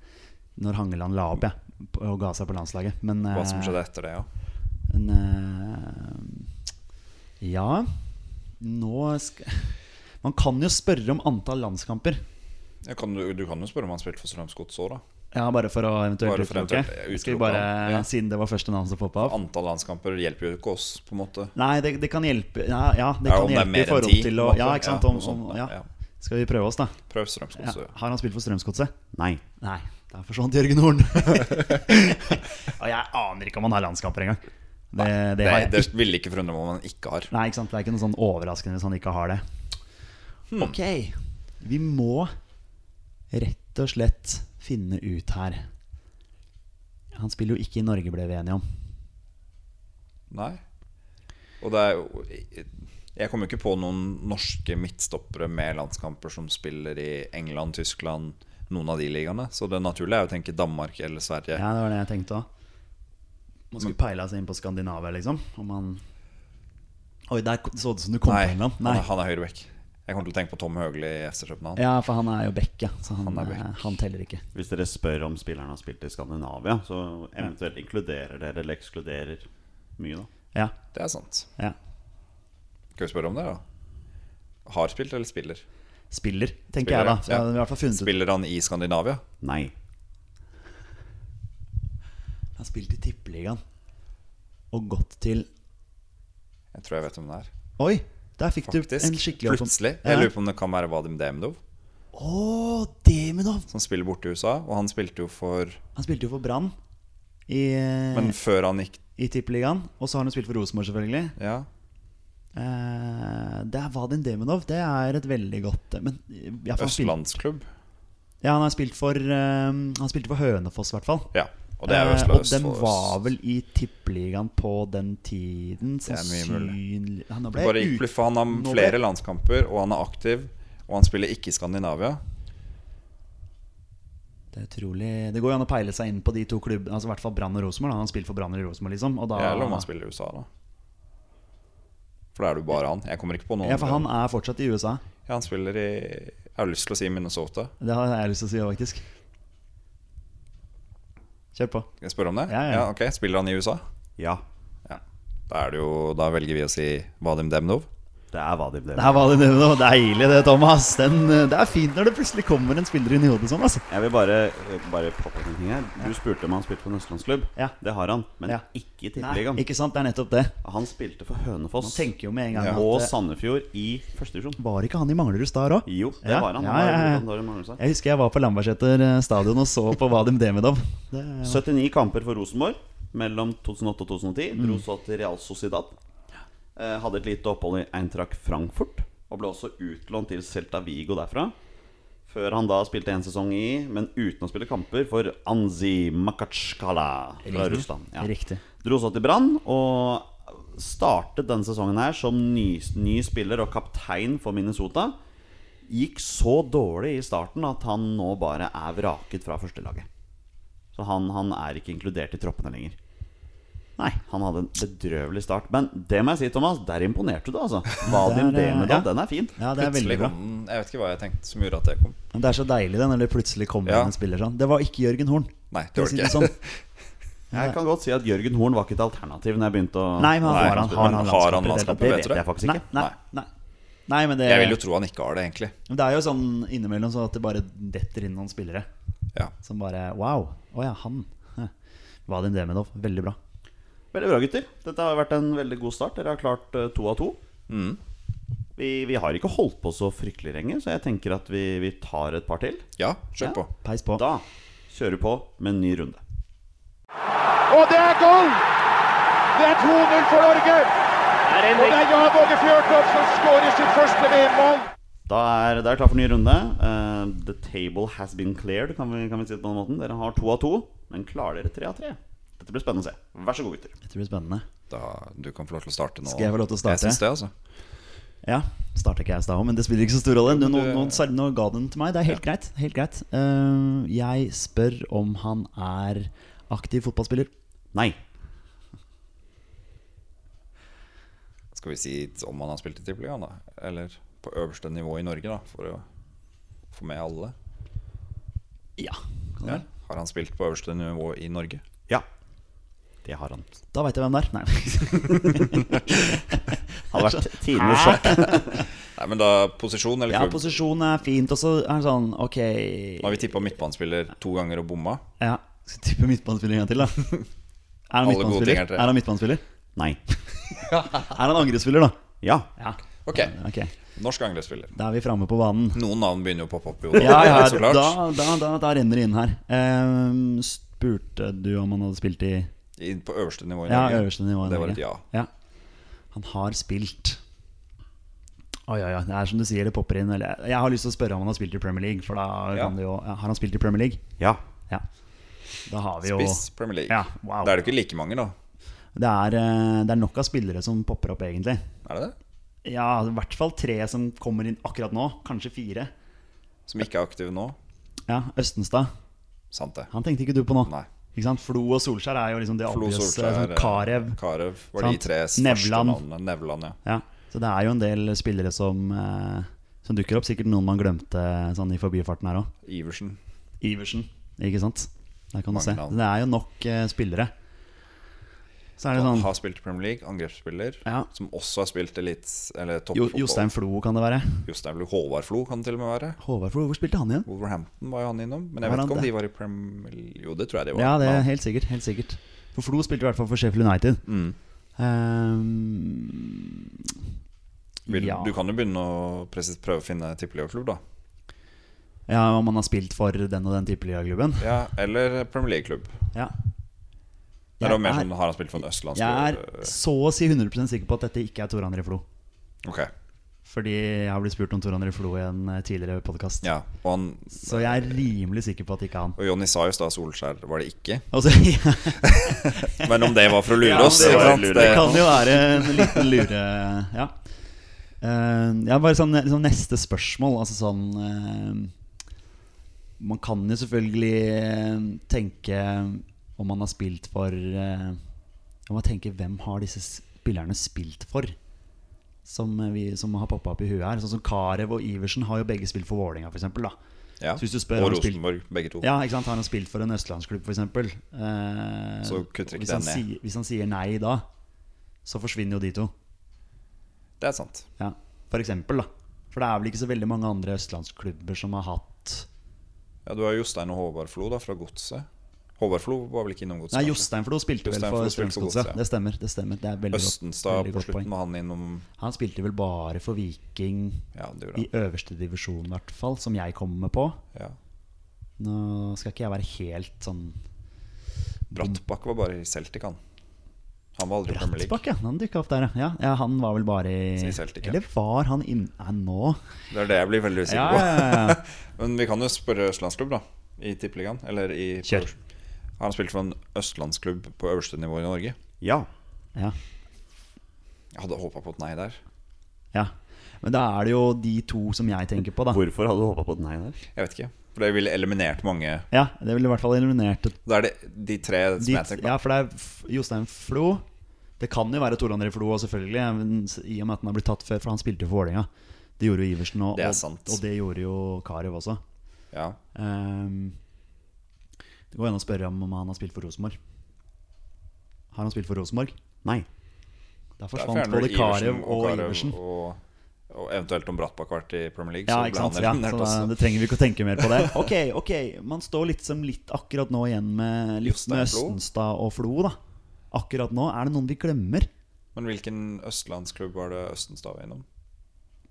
Speaker 2: når Hangeland la opp jeg, p- og ga seg på landslaget. Men,
Speaker 3: Hva som
Speaker 2: eh,
Speaker 3: skjedde etter det, ja.
Speaker 2: men eh, Ja, nå skal Man kan jo spørre om antall landskamper.
Speaker 3: Jeg kan, du, du kan jo spørre om han spilte for Strømsgodt så, da.
Speaker 2: Ja, bare for å eventuelt
Speaker 3: Bare for
Speaker 2: utelukke.
Speaker 3: eventuelt eh,
Speaker 2: Skal vi
Speaker 3: utelukke
Speaker 2: bare,
Speaker 3: han, ja.
Speaker 2: Siden det var første navn som poppa opp.
Speaker 3: Antall landskamper hjelper jo ikke oss, på en måte.
Speaker 2: Nei, det, det kan hjelpe Ja, ja det
Speaker 3: Ja,
Speaker 2: kan
Speaker 3: om det er
Speaker 2: hjelpe
Speaker 3: mer
Speaker 2: i
Speaker 3: enn
Speaker 2: forhold
Speaker 3: ti,
Speaker 2: til å
Speaker 3: i hvert
Speaker 2: Ja,
Speaker 3: fall.
Speaker 2: ikke sant.
Speaker 3: Ja,
Speaker 2: Om,
Speaker 3: noe sånt,
Speaker 2: om,
Speaker 3: ja.
Speaker 2: ja. Skal vi prøve oss, da?
Speaker 3: Prøv Strømsgodt,
Speaker 2: Ja.
Speaker 3: så.
Speaker 2: Har han spilt for Strømsgodset?
Speaker 1: Nei.
Speaker 2: Nei, der forsvant sånn Jørgen Horn. og jeg aner ikke om han har landskamper engang. Det, Eh, det har
Speaker 3: Det,
Speaker 2: jeg
Speaker 3: det
Speaker 2: ikke.
Speaker 3: ville ikke forundre meg om han ikke har.
Speaker 2: Nei, ikke sant? Det er ikke noe sånn overraskende hvis han ikke har det.
Speaker 3: Hmm.
Speaker 2: Ok, vi må rett og slett finne ut her. Han spiller jo ikke i Norge, ble vi enige om.
Speaker 3: Nei. Og det er jo Jeg kommer ikke på noen norske midtstoppere med landskamper som spiller i England, Tyskland, noen av de ligaene. Så det naturlige er jo å tenke Danmark eller Sverige.
Speaker 2: Ja, det var det jeg tenkte òg. Man skulle peila seg inn på Skandinavia, liksom. Om han Oi, der så det ut som du kom
Speaker 3: Nei,
Speaker 2: på
Speaker 3: han
Speaker 2: en eller annen. Nei.
Speaker 3: er, han er høyrebekk. Jeg kommer til å tenke på Tom Høgli i FC København.
Speaker 2: Ja, for han er jo Beck, ja. Så han,
Speaker 3: Han er
Speaker 2: eh,
Speaker 3: Beck.
Speaker 2: han teller ikke.
Speaker 1: Hvis dere spør om spilleren har spilt i Skandinavia, så eventuelt inkluderer dere eller ekskluderer mye, da.
Speaker 2: Ja,
Speaker 3: Det er sant.
Speaker 2: ja.
Speaker 3: Skal vi spørre om det, da? Har spilt eller spiller?
Speaker 2: Spiller, tenker
Speaker 3: Spiller,
Speaker 2: jeg da. Så
Speaker 3: ja.
Speaker 2: jeg hadde i hvert fall funnet ut
Speaker 3: Spiller han i Skandinavia?
Speaker 1: Nei.
Speaker 2: Han spilte i Tippeligaen og gått til
Speaker 3: Jeg tror jeg vet om det er.
Speaker 2: Oi! Der fikk du en
Speaker 3: Faktisk.
Speaker 2: skikkelig
Speaker 3: Plutselig.
Speaker 2: Ja.
Speaker 3: Jeg lurer på om det kan være Vadim Demidov,
Speaker 2: Å, Deminov!
Speaker 3: som spiller borte i USA. Og han spilte jo for
Speaker 2: Han spilte jo for Brann i,
Speaker 3: Men
Speaker 2: Eh.
Speaker 3: før han gikk
Speaker 2: i Tippeligaen. Og så har han jo spilt for Rosenborg, selvfølgelig.
Speaker 3: Ja.
Speaker 2: Eh, det er Vadin Deminov. Det er et veldig godt eh, Men ja, for han spilte-
Speaker 3: Østlandsklubb.
Speaker 2: Ja, han har spilt for eh, Han spilte for Hønefoss, i hvert fall.
Speaker 3: Ja. Og det er jo
Speaker 2: Eh,
Speaker 3: Østland-
Speaker 2: og den
Speaker 3: Østfold-
Speaker 2: var vel i Tippeligaen på den tiden,
Speaker 3: er mye
Speaker 2: sannsynlig Ja, Nå ble
Speaker 3: Bare
Speaker 2: jeg
Speaker 3: gikk
Speaker 2: ut-
Speaker 3: bluff, for han
Speaker 2: Nå
Speaker 3: har
Speaker 2: ble-
Speaker 3: flere landskamper, og han er aktiv, og han spiller ikke i Skandinavia.
Speaker 2: Det er utrolig Det går jo an å peile seg inn på de to klubbene. Altså I hvert fall Brann og Rosenborg. da. Han har spilt for Brann og Rosenborg, liksom. Og da,
Speaker 3: Eller om han spiller i USA, da. For da er det jo bare han. Jeg kommer ikke på noen
Speaker 2: ja, for han
Speaker 3: andre.
Speaker 2: er fortsatt i USA.
Speaker 3: Ja, han spiller i Jeg har lyst til å si Minnesota.
Speaker 2: Det har jeg lyst til å si òg, faktisk. Kjør på.
Speaker 3: Skal jeg spørre om det?
Speaker 2: Ja, ja.
Speaker 3: ok, Spiller han i USA?
Speaker 1: Ja,
Speaker 3: Ja. Da, er det jo, da velger vi å si Vadim Demnov.
Speaker 1: det er Vadim
Speaker 2: Det
Speaker 1: Demidov.
Speaker 2: her var det det var deilig, det, Thomas. Den, eh, det er fint når det plutselig kommer en spiller inn i hodet sånn. Altså.
Speaker 1: Jeg vil bare, bare påpeke en ting her. Du spurte om han spilte for en østlandsklubb.
Speaker 2: Ja.
Speaker 1: Det har han, men
Speaker 2: Ja.
Speaker 1: ikke i
Speaker 2: Nei,
Speaker 1: Tippeligaen.
Speaker 2: ikke sant? Det er nettopp det.
Speaker 1: Han spilte for
Speaker 2: Man
Speaker 1: Hønefoss
Speaker 2: tenker jo med en gang
Speaker 3: Ja.
Speaker 1: og
Speaker 2: at eh,
Speaker 1: Sandefjord i første divisjon.
Speaker 2: Var ikke han i Manglerud Star òg?
Speaker 1: Jo, det
Speaker 2: Ja,
Speaker 1: var han.
Speaker 2: ja,
Speaker 1: han var,
Speaker 2: ja, ja.
Speaker 1: han var i Manglerud Star.
Speaker 2: Jeg husker jeg var på Lambertseter eh, stadion og så på Vadim Demidov. Det,
Speaker 1: 79 kamper for Rosenborg mellom 2008 og 2010.
Speaker 2: Mm.
Speaker 1: Dro så til Real Sociedad. Eh, hadde et lite opphold i Eintracht Frankfurt. Og ble også utlånt til Celta Vigo derfra. Før han da spilte en sesong i, men uten å spille kamper, for Anzi Makatskala fra Russland. Ja.
Speaker 2: Riktig.
Speaker 1: Dro så til Brann og startet denne sesongen her som ny, ny spiller og kaptein for Minnesota. Gikk så dårlig i starten at han nå bare er vraket fra førstelaget. Så han, han er ikke inkludert i troppene lenger. Nei, han hadde en bedrøvelig start. Men det må jeg si, Thomas, der imponerte du, altså. Vadim
Speaker 2: Der, eh,
Speaker 1: Demidov,
Speaker 2: ja.
Speaker 1: den er fin.
Speaker 2: Ja, det er veldig
Speaker 3: Plutselig
Speaker 2: bra.
Speaker 3: kom den- Jeg vet ikke hva jeg tenkte som gjorde at det kom.
Speaker 2: Men Det er så deilig det når det plutselig kommer
Speaker 3: Ja.
Speaker 2: en spiller sånn. Det var ikke Jørgen Horn.
Speaker 3: Nei, det
Speaker 2: for å
Speaker 3: var
Speaker 2: si
Speaker 3: det ikke.
Speaker 2: sånn.
Speaker 1: Jeg kan godt si at Jørgen Horn var ikke et alternativ når jeg begynte å
Speaker 2: Nei,
Speaker 3: Nei,
Speaker 2: men han har han,
Speaker 3: men
Speaker 2: har han
Speaker 3: har han
Speaker 2: landskamper i det hele tatt?
Speaker 3: landskamper,
Speaker 1: Det
Speaker 3: vet
Speaker 1: vet
Speaker 3: du det?
Speaker 1: jeg faktisk
Speaker 2: Nei,
Speaker 1: ikke.
Speaker 2: nei, nei. nei men det,
Speaker 3: Jeg vil jo tro han ikke har det, egentlig.
Speaker 2: Men Det er jo sånn innimellom sånn at det bare detter inn noen spillere
Speaker 3: Ja.
Speaker 2: som bare Wow. Å ja, han. Hæ. Vadim Demidov. Veldig bra.
Speaker 1: Veldig bra, gutter. Dette har vært en veldig god start. Dere har klart eh, to av to. Vi, vi har ikke holdt på så fryktelig lenge, så jeg tenker at vi, vi tar et par til.
Speaker 3: ja, kjør
Speaker 1: Ja.
Speaker 3: på.
Speaker 2: Peis på.
Speaker 1: Da kjører vi på med en ny runde.
Speaker 5: Og det er goal! Det er 2-0 for Norge! Og det er Jan Åge Fjørtoft som skårer sitt første VM-mål!
Speaker 1: Da er det er klart for ny runde. Eh, the table has been cleared, kan vi, kan vi si det på den måten. Dere har to av to, men klarer dere tre av tre? Dette blir spennende å se. Vær så god, gutter.
Speaker 2: Dette blir spennende.
Speaker 3: Da, du kan få lov til å starte nå.
Speaker 2: Skal jeg få lov til å
Speaker 3: Jeg
Speaker 2: starte?
Speaker 3: syns det, altså.
Speaker 2: Ja. Starta ikke jeg i stad òg, men det spiller ikke så stor rolle. Nå, nå,
Speaker 3: det-
Speaker 2: nå, sa- nå ga du den til meg. Det er helt greit. Helt greit. Eh, jeg spør om han er aktiv fotballspiller.
Speaker 1: Nei.
Speaker 3: Skal vi si om han har spilt i Tippeligaen, da? Eller på øverste nivå i Norge, da, for å få med alle?
Speaker 2: Ja. Kan
Speaker 3: Ja.
Speaker 2: det være?
Speaker 3: Har han spilt på øverste nivå i Norge?
Speaker 1: Ja. Det har han.
Speaker 2: Da veit jeg hvem det er. Nei.
Speaker 1: Har vært tidenes sjokk.
Speaker 3: Nei, men da posisjon eller
Speaker 2: Ja,
Speaker 3: klubb?
Speaker 2: posisjon er fint. Og så er det sånn, ok
Speaker 3: Nå har vi tippa midtbanespiller to ganger og bomma.
Speaker 2: Ja, Skal jeg tippe midtbanespiller en gang til, da? Er han
Speaker 3: Alle gode ting
Speaker 2: midtbanespiller?
Speaker 3: er tre.
Speaker 2: Er han midtbanespiller?
Speaker 1: Nei.
Speaker 2: Er han angrespiller, da?
Speaker 1: Ja.
Speaker 2: Ja.
Speaker 3: Ok,
Speaker 2: Ok,
Speaker 3: norsk angrepsspiller.
Speaker 2: Da er vi framme på banen.
Speaker 3: Noen navn begynner jo å poppe opp i hodet.
Speaker 2: Ja, ja,
Speaker 3: så
Speaker 2: da,
Speaker 3: klart.
Speaker 2: da, da, da renner det inn her. Ehm, spurte du om han hadde spilt i
Speaker 3: I- På øverste nivå i
Speaker 2: Ja,
Speaker 3: Norge.
Speaker 2: øverste nivå i
Speaker 3: Det var
Speaker 2: Norge.
Speaker 3: et ja.
Speaker 2: ja. Han har spilt Oi, oi, oi. Det er som du sier, det popper inn. Eller, jeg har lyst til å spørre om han har spilt i Premier League. For da
Speaker 3: Ja.
Speaker 2: kan det jo, ja, har han spilt i Premier League?
Speaker 1: Ja.
Speaker 2: Ja. Da har vi jo
Speaker 3: Spiss Premier League.
Speaker 2: Ja, wow.
Speaker 3: Da er det ikke like mange, da.
Speaker 2: Det er, eh, det er nok av spillere som popper opp, egentlig.
Speaker 3: Er det det?
Speaker 2: Ja, i hvert fall tre som kommer inn akkurat nå. Kanskje fire.
Speaker 3: Som ikke er aktive nå?
Speaker 2: Ja, Østenstad.
Speaker 3: Sant det.
Speaker 2: Han tenkte ikke du på nå.
Speaker 3: Nei.
Speaker 2: Ikke sant? Flo og Solskjær er jo liksom de
Speaker 3: Flo
Speaker 2: obvious. eh,
Speaker 3: Solskjær,
Speaker 2: Sånn Karev.
Speaker 3: Karev var
Speaker 2: Sant.
Speaker 3: de tre
Speaker 2: Nevland.
Speaker 3: første navnene. Nevland, ja.
Speaker 2: Ja. Så det er jo en del spillere som, eh, som dukker opp. Sikkert noen man glemte sånn i forbifarten her òg.
Speaker 3: Iversen.
Speaker 2: Iversen, ikke sant? Der kan du
Speaker 3: Mange
Speaker 2: se.
Speaker 3: navn.
Speaker 2: Det er jo nok eh, spillere. Så er det
Speaker 3: Han
Speaker 2: sånn
Speaker 3: har spilt i Premier League, angrepsspiller.
Speaker 2: Ja.
Speaker 3: Som også har spilt elit, eller
Speaker 2: jo,
Speaker 3: toppfotball.
Speaker 2: Jostein Flo kan det være.
Speaker 3: Jostein Flo. Håvard Flo kan det til og med være.
Speaker 2: Håvard Flo, hvor spilte han igjen?
Speaker 3: Wolverhampton var jo han innom. Men jeg
Speaker 2: Var
Speaker 3: vet
Speaker 2: han
Speaker 3: ikke om
Speaker 2: det?
Speaker 3: de var i Premier Jo, det tror jeg de var.
Speaker 2: Ja, det er
Speaker 3: Men-
Speaker 2: helt sikkert. helt sikkert For Flo spilte i hvert fall for Sheffield United. Ehm,
Speaker 3: Vil,
Speaker 2: ja.
Speaker 3: Du kan jo begynne å presis, prøve å finne tippeligaklubb, da.
Speaker 2: ja, om han har spilt for den og den tippeligaklubben.
Speaker 3: Ja, eller Premier League-klubb.
Speaker 2: Ja.
Speaker 3: Det er
Speaker 2: Jeg
Speaker 3: jo mer
Speaker 2: er-
Speaker 3: sånn, Har han spilt for en østlandsk
Speaker 2: Jeg er
Speaker 3: øh,
Speaker 2: så å si 100 sikker på at dette ikke er Tor André Flo.
Speaker 3: Ok,
Speaker 2: Fordi jeg har blitt spurt om Tor André Flo i en eh, tidligere podkast.
Speaker 3: ja Og, han,
Speaker 2: Så jeg er rimelig sikker på at det ikke er han.
Speaker 3: og Jonny sa jo i stad Solskjær var det ikke.
Speaker 2: Altså, ja,
Speaker 3: Men om det var for å lure
Speaker 2: Ja,
Speaker 3: oss
Speaker 2: det
Speaker 3: ikke
Speaker 2: var
Speaker 3: sant?
Speaker 1: lure.
Speaker 2: det
Speaker 3: Det-
Speaker 2: kan jo være en liten lure Ja. sånn, Eh, ja bare sånn liksom neste spørsmål, altså sånn eh, Man kan jo selvfølgelig eh, tenke om man har spilt for eh, Om man tenker hvem har disse spillerne spilt for? Som, eh, vi, som har poppa opp i huet her. Sånn som Karev og Iversen har jo begge spilt for Vålerenga, f.eks.
Speaker 3: Ja.
Speaker 2: Så hvis du
Speaker 3: og
Speaker 2: spør, har du spilt-
Speaker 3: Rosenborg, begge to.
Speaker 2: Ja, ikke sant? Har han spilt for en østlandsklubb, f.eks.? Eh,
Speaker 3: Så kutter ikke
Speaker 2: hvis han
Speaker 3: den ned.
Speaker 2: sier- Hvis han sier nei da, så forsvinner jo de to.
Speaker 3: Det er sant.
Speaker 2: Ja, for eksempel da For det er vel ikke så veldig mange andre østlandsklubber som har hatt
Speaker 3: Ja, Du har Jostein og Håvard Flo da, fra Godset. Håvard Flo var vel ikke innom Godset?
Speaker 2: Nei,
Speaker 3: kanskje?
Speaker 2: Jostein Flo spilte vel
Speaker 3: Jostein
Speaker 2: for
Speaker 3: Flo spilte for
Speaker 2: Strømsgodset.
Speaker 3: Godset, ja.
Speaker 2: Det stemmer. det stemmer Det er veldig godt-
Speaker 3: Østenstad
Speaker 2: veldig
Speaker 3: på
Speaker 2: godt poeng.
Speaker 3: slutten var han innom
Speaker 2: Han spilte vel bare for Viking
Speaker 3: Ja, det gjorde
Speaker 2: i
Speaker 3: han.
Speaker 2: øverste divisjon, i hvert fall, som jeg kommer på.
Speaker 3: Ja.
Speaker 2: Nå skal ikke jeg være helt sånn
Speaker 3: Brattbakk var bare i Celtic, han. Han var aldri i Premier League.
Speaker 2: Brattbakk, ja. Han dukka opp der, ja. ja. Ja, Han var vel bare i
Speaker 3: Så i Celtic, ja.
Speaker 2: Eller var han inn... Nei, nå
Speaker 3: Det er det jeg blir veldig usikker
Speaker 2: Ja,
Speaker 3: på.
Speaker 2: ja, ja.
Speaker 3: Men vi kan jo spørre Østlandsklubb, da. I Tippeligaen. Eller i
Speaker 2: Kjør.
Speaker 3: Har han spilt for en østlandsklubb på øverste nivå i Norge?
Speaker 1: Ja.
Speaker 2: ja.
Speaker 3: Jeg hadde håpa på et nei der.
Speaker 2: ja. Men da er det jo de to som jeg tenker på, da.
Speaker 1: Hvorfor hadde du håpa på et nei der?
Speaker 3: Jeg vet ikke. For det ville eliminert mange.
Speaker 2: Ja, Det ville i hvert fall eliminert et
Speaker 3: Da er det de tre som
Speaker 2: De,
Speaker 3: jeg tenker på.
Speaker 2: ja, for det er F- Jostein Flo. Det kan jo være Tor André Flo òg, selvfølgelig. Men s- I og med at han har blitt tatt før, for han spilte jo for Vålerenga. Det gjorde jo Iversen, og
Speaker 3: Det er
Speaker 2: og-
Speaker 3: sant.
Speaker 2: og det gjorde jo Karev også.
Speaker 3: Ja.
Speaker 2: Ehm, det går an å spørre om, om han har spilt for Rosenborg. Har han spilt for Rosenborg?
Speaker 1: Nei.
Speaker 2: Da
Speaker 3: Der
Speaker 2: forsvant
Speaker 3: fjerner du
Speaker 2: både Karev og, Iversen.
Speaker 3: Og, og eventuelt om Brattbakk har vært i Premier League,
Speaker 2: Ja,
Speaker 3: så
Speaker 2: ikke
Speaker 3: ble
Speaker 2: sant?
Speaker 3: han
Speaker 2: Ja,
Speaker 3: eliminert
Speaker 2: så da,
Speaker 3: også.
Speaker 2: det trenger vi ikke å tenke mer på det. Ok, ok, man står liksom litt akkurat nå igjen med, litt
Speaker 3: Jostein
Speaker 2: med
Speaker 3: Flo.
Speaker 2: Østenstad og Flo, da. Akkurat nå er det noen vi glemmer.
Speaker 3: Men hvilken østlandsklubb var det Østenstad var innom?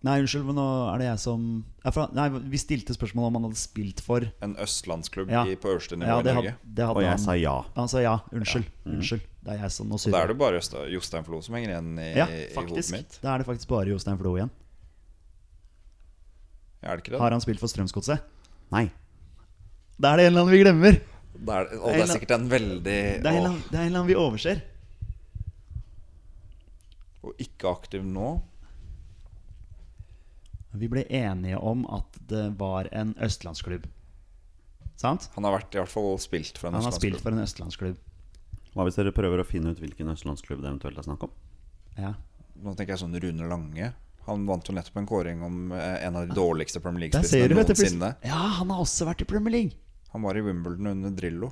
Speaker 2: Nei, unnskyld, men nå er det jeg som Ja, for- Nei, vi stilte spørsmål om han hadde spilt for
Speaker 3: En østlandsklubb
Speaker 2: Ja.
Speaker 3: i, på øverste nivå
Speaker 2: Ja,
Speaker 3: i
Speaker 2: det
Speaker 3: Norge. Mm.
Speaker 2: hadde, det hadde
Speaker 1: Og jeg
Speaker 2: han.
Speaker 1: sa ja.
Speaker 2: Han sa ja. Unnskyld. Unnskyld. Det er jeg som nå
Speaker 3: Da er
Speaker 2: surrer.
Speaker 3: det bare Østa- Jostein Flo som henger igjen i,
Speaker 2: Ja,
Speaker 3: i hodet
Speaker 2: faktisk.
Speaker 3: mitt.
Speaker 2: Da er det faktisk bare Jostein Flo igjen.
Speaker 3: Er det ikke det?
Speaker 2: Har han spilt for Strømsgodset?
Speaker 1: Nei.
Speaker 2: Da er det en eller annen vi glemmer.
Speaker 3: Det er, og det er sikkert en veldig
Speaker 2: Det er en eller annen, det er en eller annen vi overser.
Speaker 3: å- Og ikke aktiv nå.
Speaker 2: Vi ble enige om at det var en østlandsklubb. Sant?
Speaker 3: Han har vært, i hvert fall spilt for en
Speaker 2: Han har spilt
Speaker 3: østlandsklubb.
Speaker 2: for en østlandsklubb.
Speaker 1: Hva hvis dere prøver å finne ut hvilken østlandsklubb det eventuelt er snakk om?
Speaker 2: Ja.
Speaker 3: Nå tenker jeg sånn Rune Lange. Han vant jo nettopp en kåring om eh, en av de dårligste Premier
Speaker 2: Der
Speaker 3: League-spissene
Speaker 2: ser du, vet du. plutselig-
Speaker 3: noensinne.
Speaker 2: Ja, han har også vært i Premier League.
Speaker 3: Han var i Wimbledon under Drillo.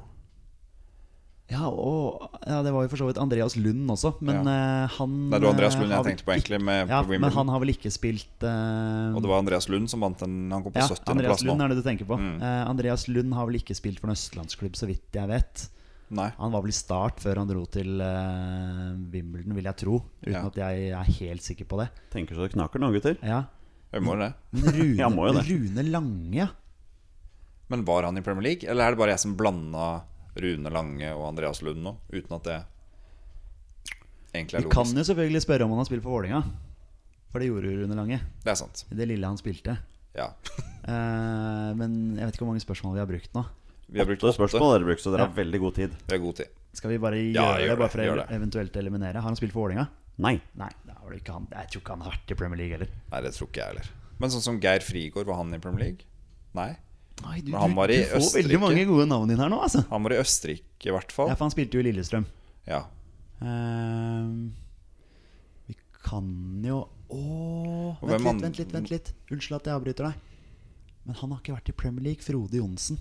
Speaker 2: Ja, og, ja, det var jo for så vidt Andreas Lund også, men eh, han
Speaker 3: Nei, det var Andreas
Speaker 2: eh,
Speaker 3: Lund jeg
Speaker 2: har vel
Speaker 3: tenkte på egentlig, med-
Speaker 2: ja,
Speaker 3: på Wimbledon.
Speaker 2: Men han har vel ikke spilt eh,
Speaker 3: Og det var Andreas Lund som vant den. Han kom på
Speaker 2: ja,
Speaker 3: 70.
Speaker 2: Andreas
Speaker 3: plass nå. Mm.
Speaker 2: Lund er det du tenker på. Eh, Andreas Lund har vel ikke spilt for en østlandsklubb, så vidt jeg vet.
Speaker 3: Nei.
Speaker 2: Han var vel i start før han dro til eh, Wimbledon, vil jeg tro. Uten
Speaker 3: Ja.
Speaker 2: at jeg er helt sikker på det.
Speaker 1: Tenker så det knaker nå, gutter.
Speaker 2: Ja.
Speaker 3: Jeg må jo det.
Speaker 2: Men Rune,
Speaker 1: Jeg må jo det.
Speaker 2: Rune Lange, ja.
Speaker 3: Men var han i Premier League, eller er det bare jeg som blanda Rune Lange og Andreas Lund nå? Uten at det egentlig
Speaker 2: Vi
Speaker 3: er
Speaker 2: kan
Speaker 3: logisk.
Speaker 2: jo selvfølgelig spørre om han har spilt for Vålinga. For det gjorde Rune Lange.
Speaker 3: Det er sant.
Speaker 2: I det lille han spilte.
Speaker 3: Ja.
Speaker 2: Eh, men jeg vet ikke hvor mange spørsmål vi har brukt nå.
Speaker 3: Vi har brukt
Speaker 1: Åtte spørsmål dere brukt, så dere
Speaker 2: Ja.
Speaker 1: har veldig god tid.
Speaker 3: Vi har god tid.
Speaker 2: Skal vi bare gjøre
Speaker 3: Ja, gjør
Speaker 2: det, bare
Speaker 3: det,
Speaker 2: for å
Speaker 3: gjør det.
Speaker 2: eventuelt eliminere? Har han spilt for Vålinga?
Speaker 1: Nei.
Speaker 2: Nei, det var det ikke han. jeg tror ikke han har vært i Premier League heller.
Speaker 3: Nei, det tror ikke jeg heller. Men sånn som Geir Frigård, var han i Premier League? Nei.
Speaker 2: Nei, du,
Speaker 3: Men han var
Speaker 2: du,
Speaker 3: i
Speaker 2: du får
Speaker 3: Østerrike.
Speaker 2: veldig mange gode navn inn her nå, altså.
Speaker 3: Han var i Østerrike, i hvert fall.
Speaker 2: Ja, for han spilte jo i Lillestrøm.
Speaker 3: Ja.
Speaker 2: Ehm, vi kan jo Åh,
Speaker 3: Og
Speaker 2: vent
Speaker 3: hvem
Speaker 2: litt,
Speaker 3: an-
Speaker 2: vent litt, vent litt. Unnskyld at jeg avbryter deg. Men han har ikke vært i Premier League. Frode Johnsen.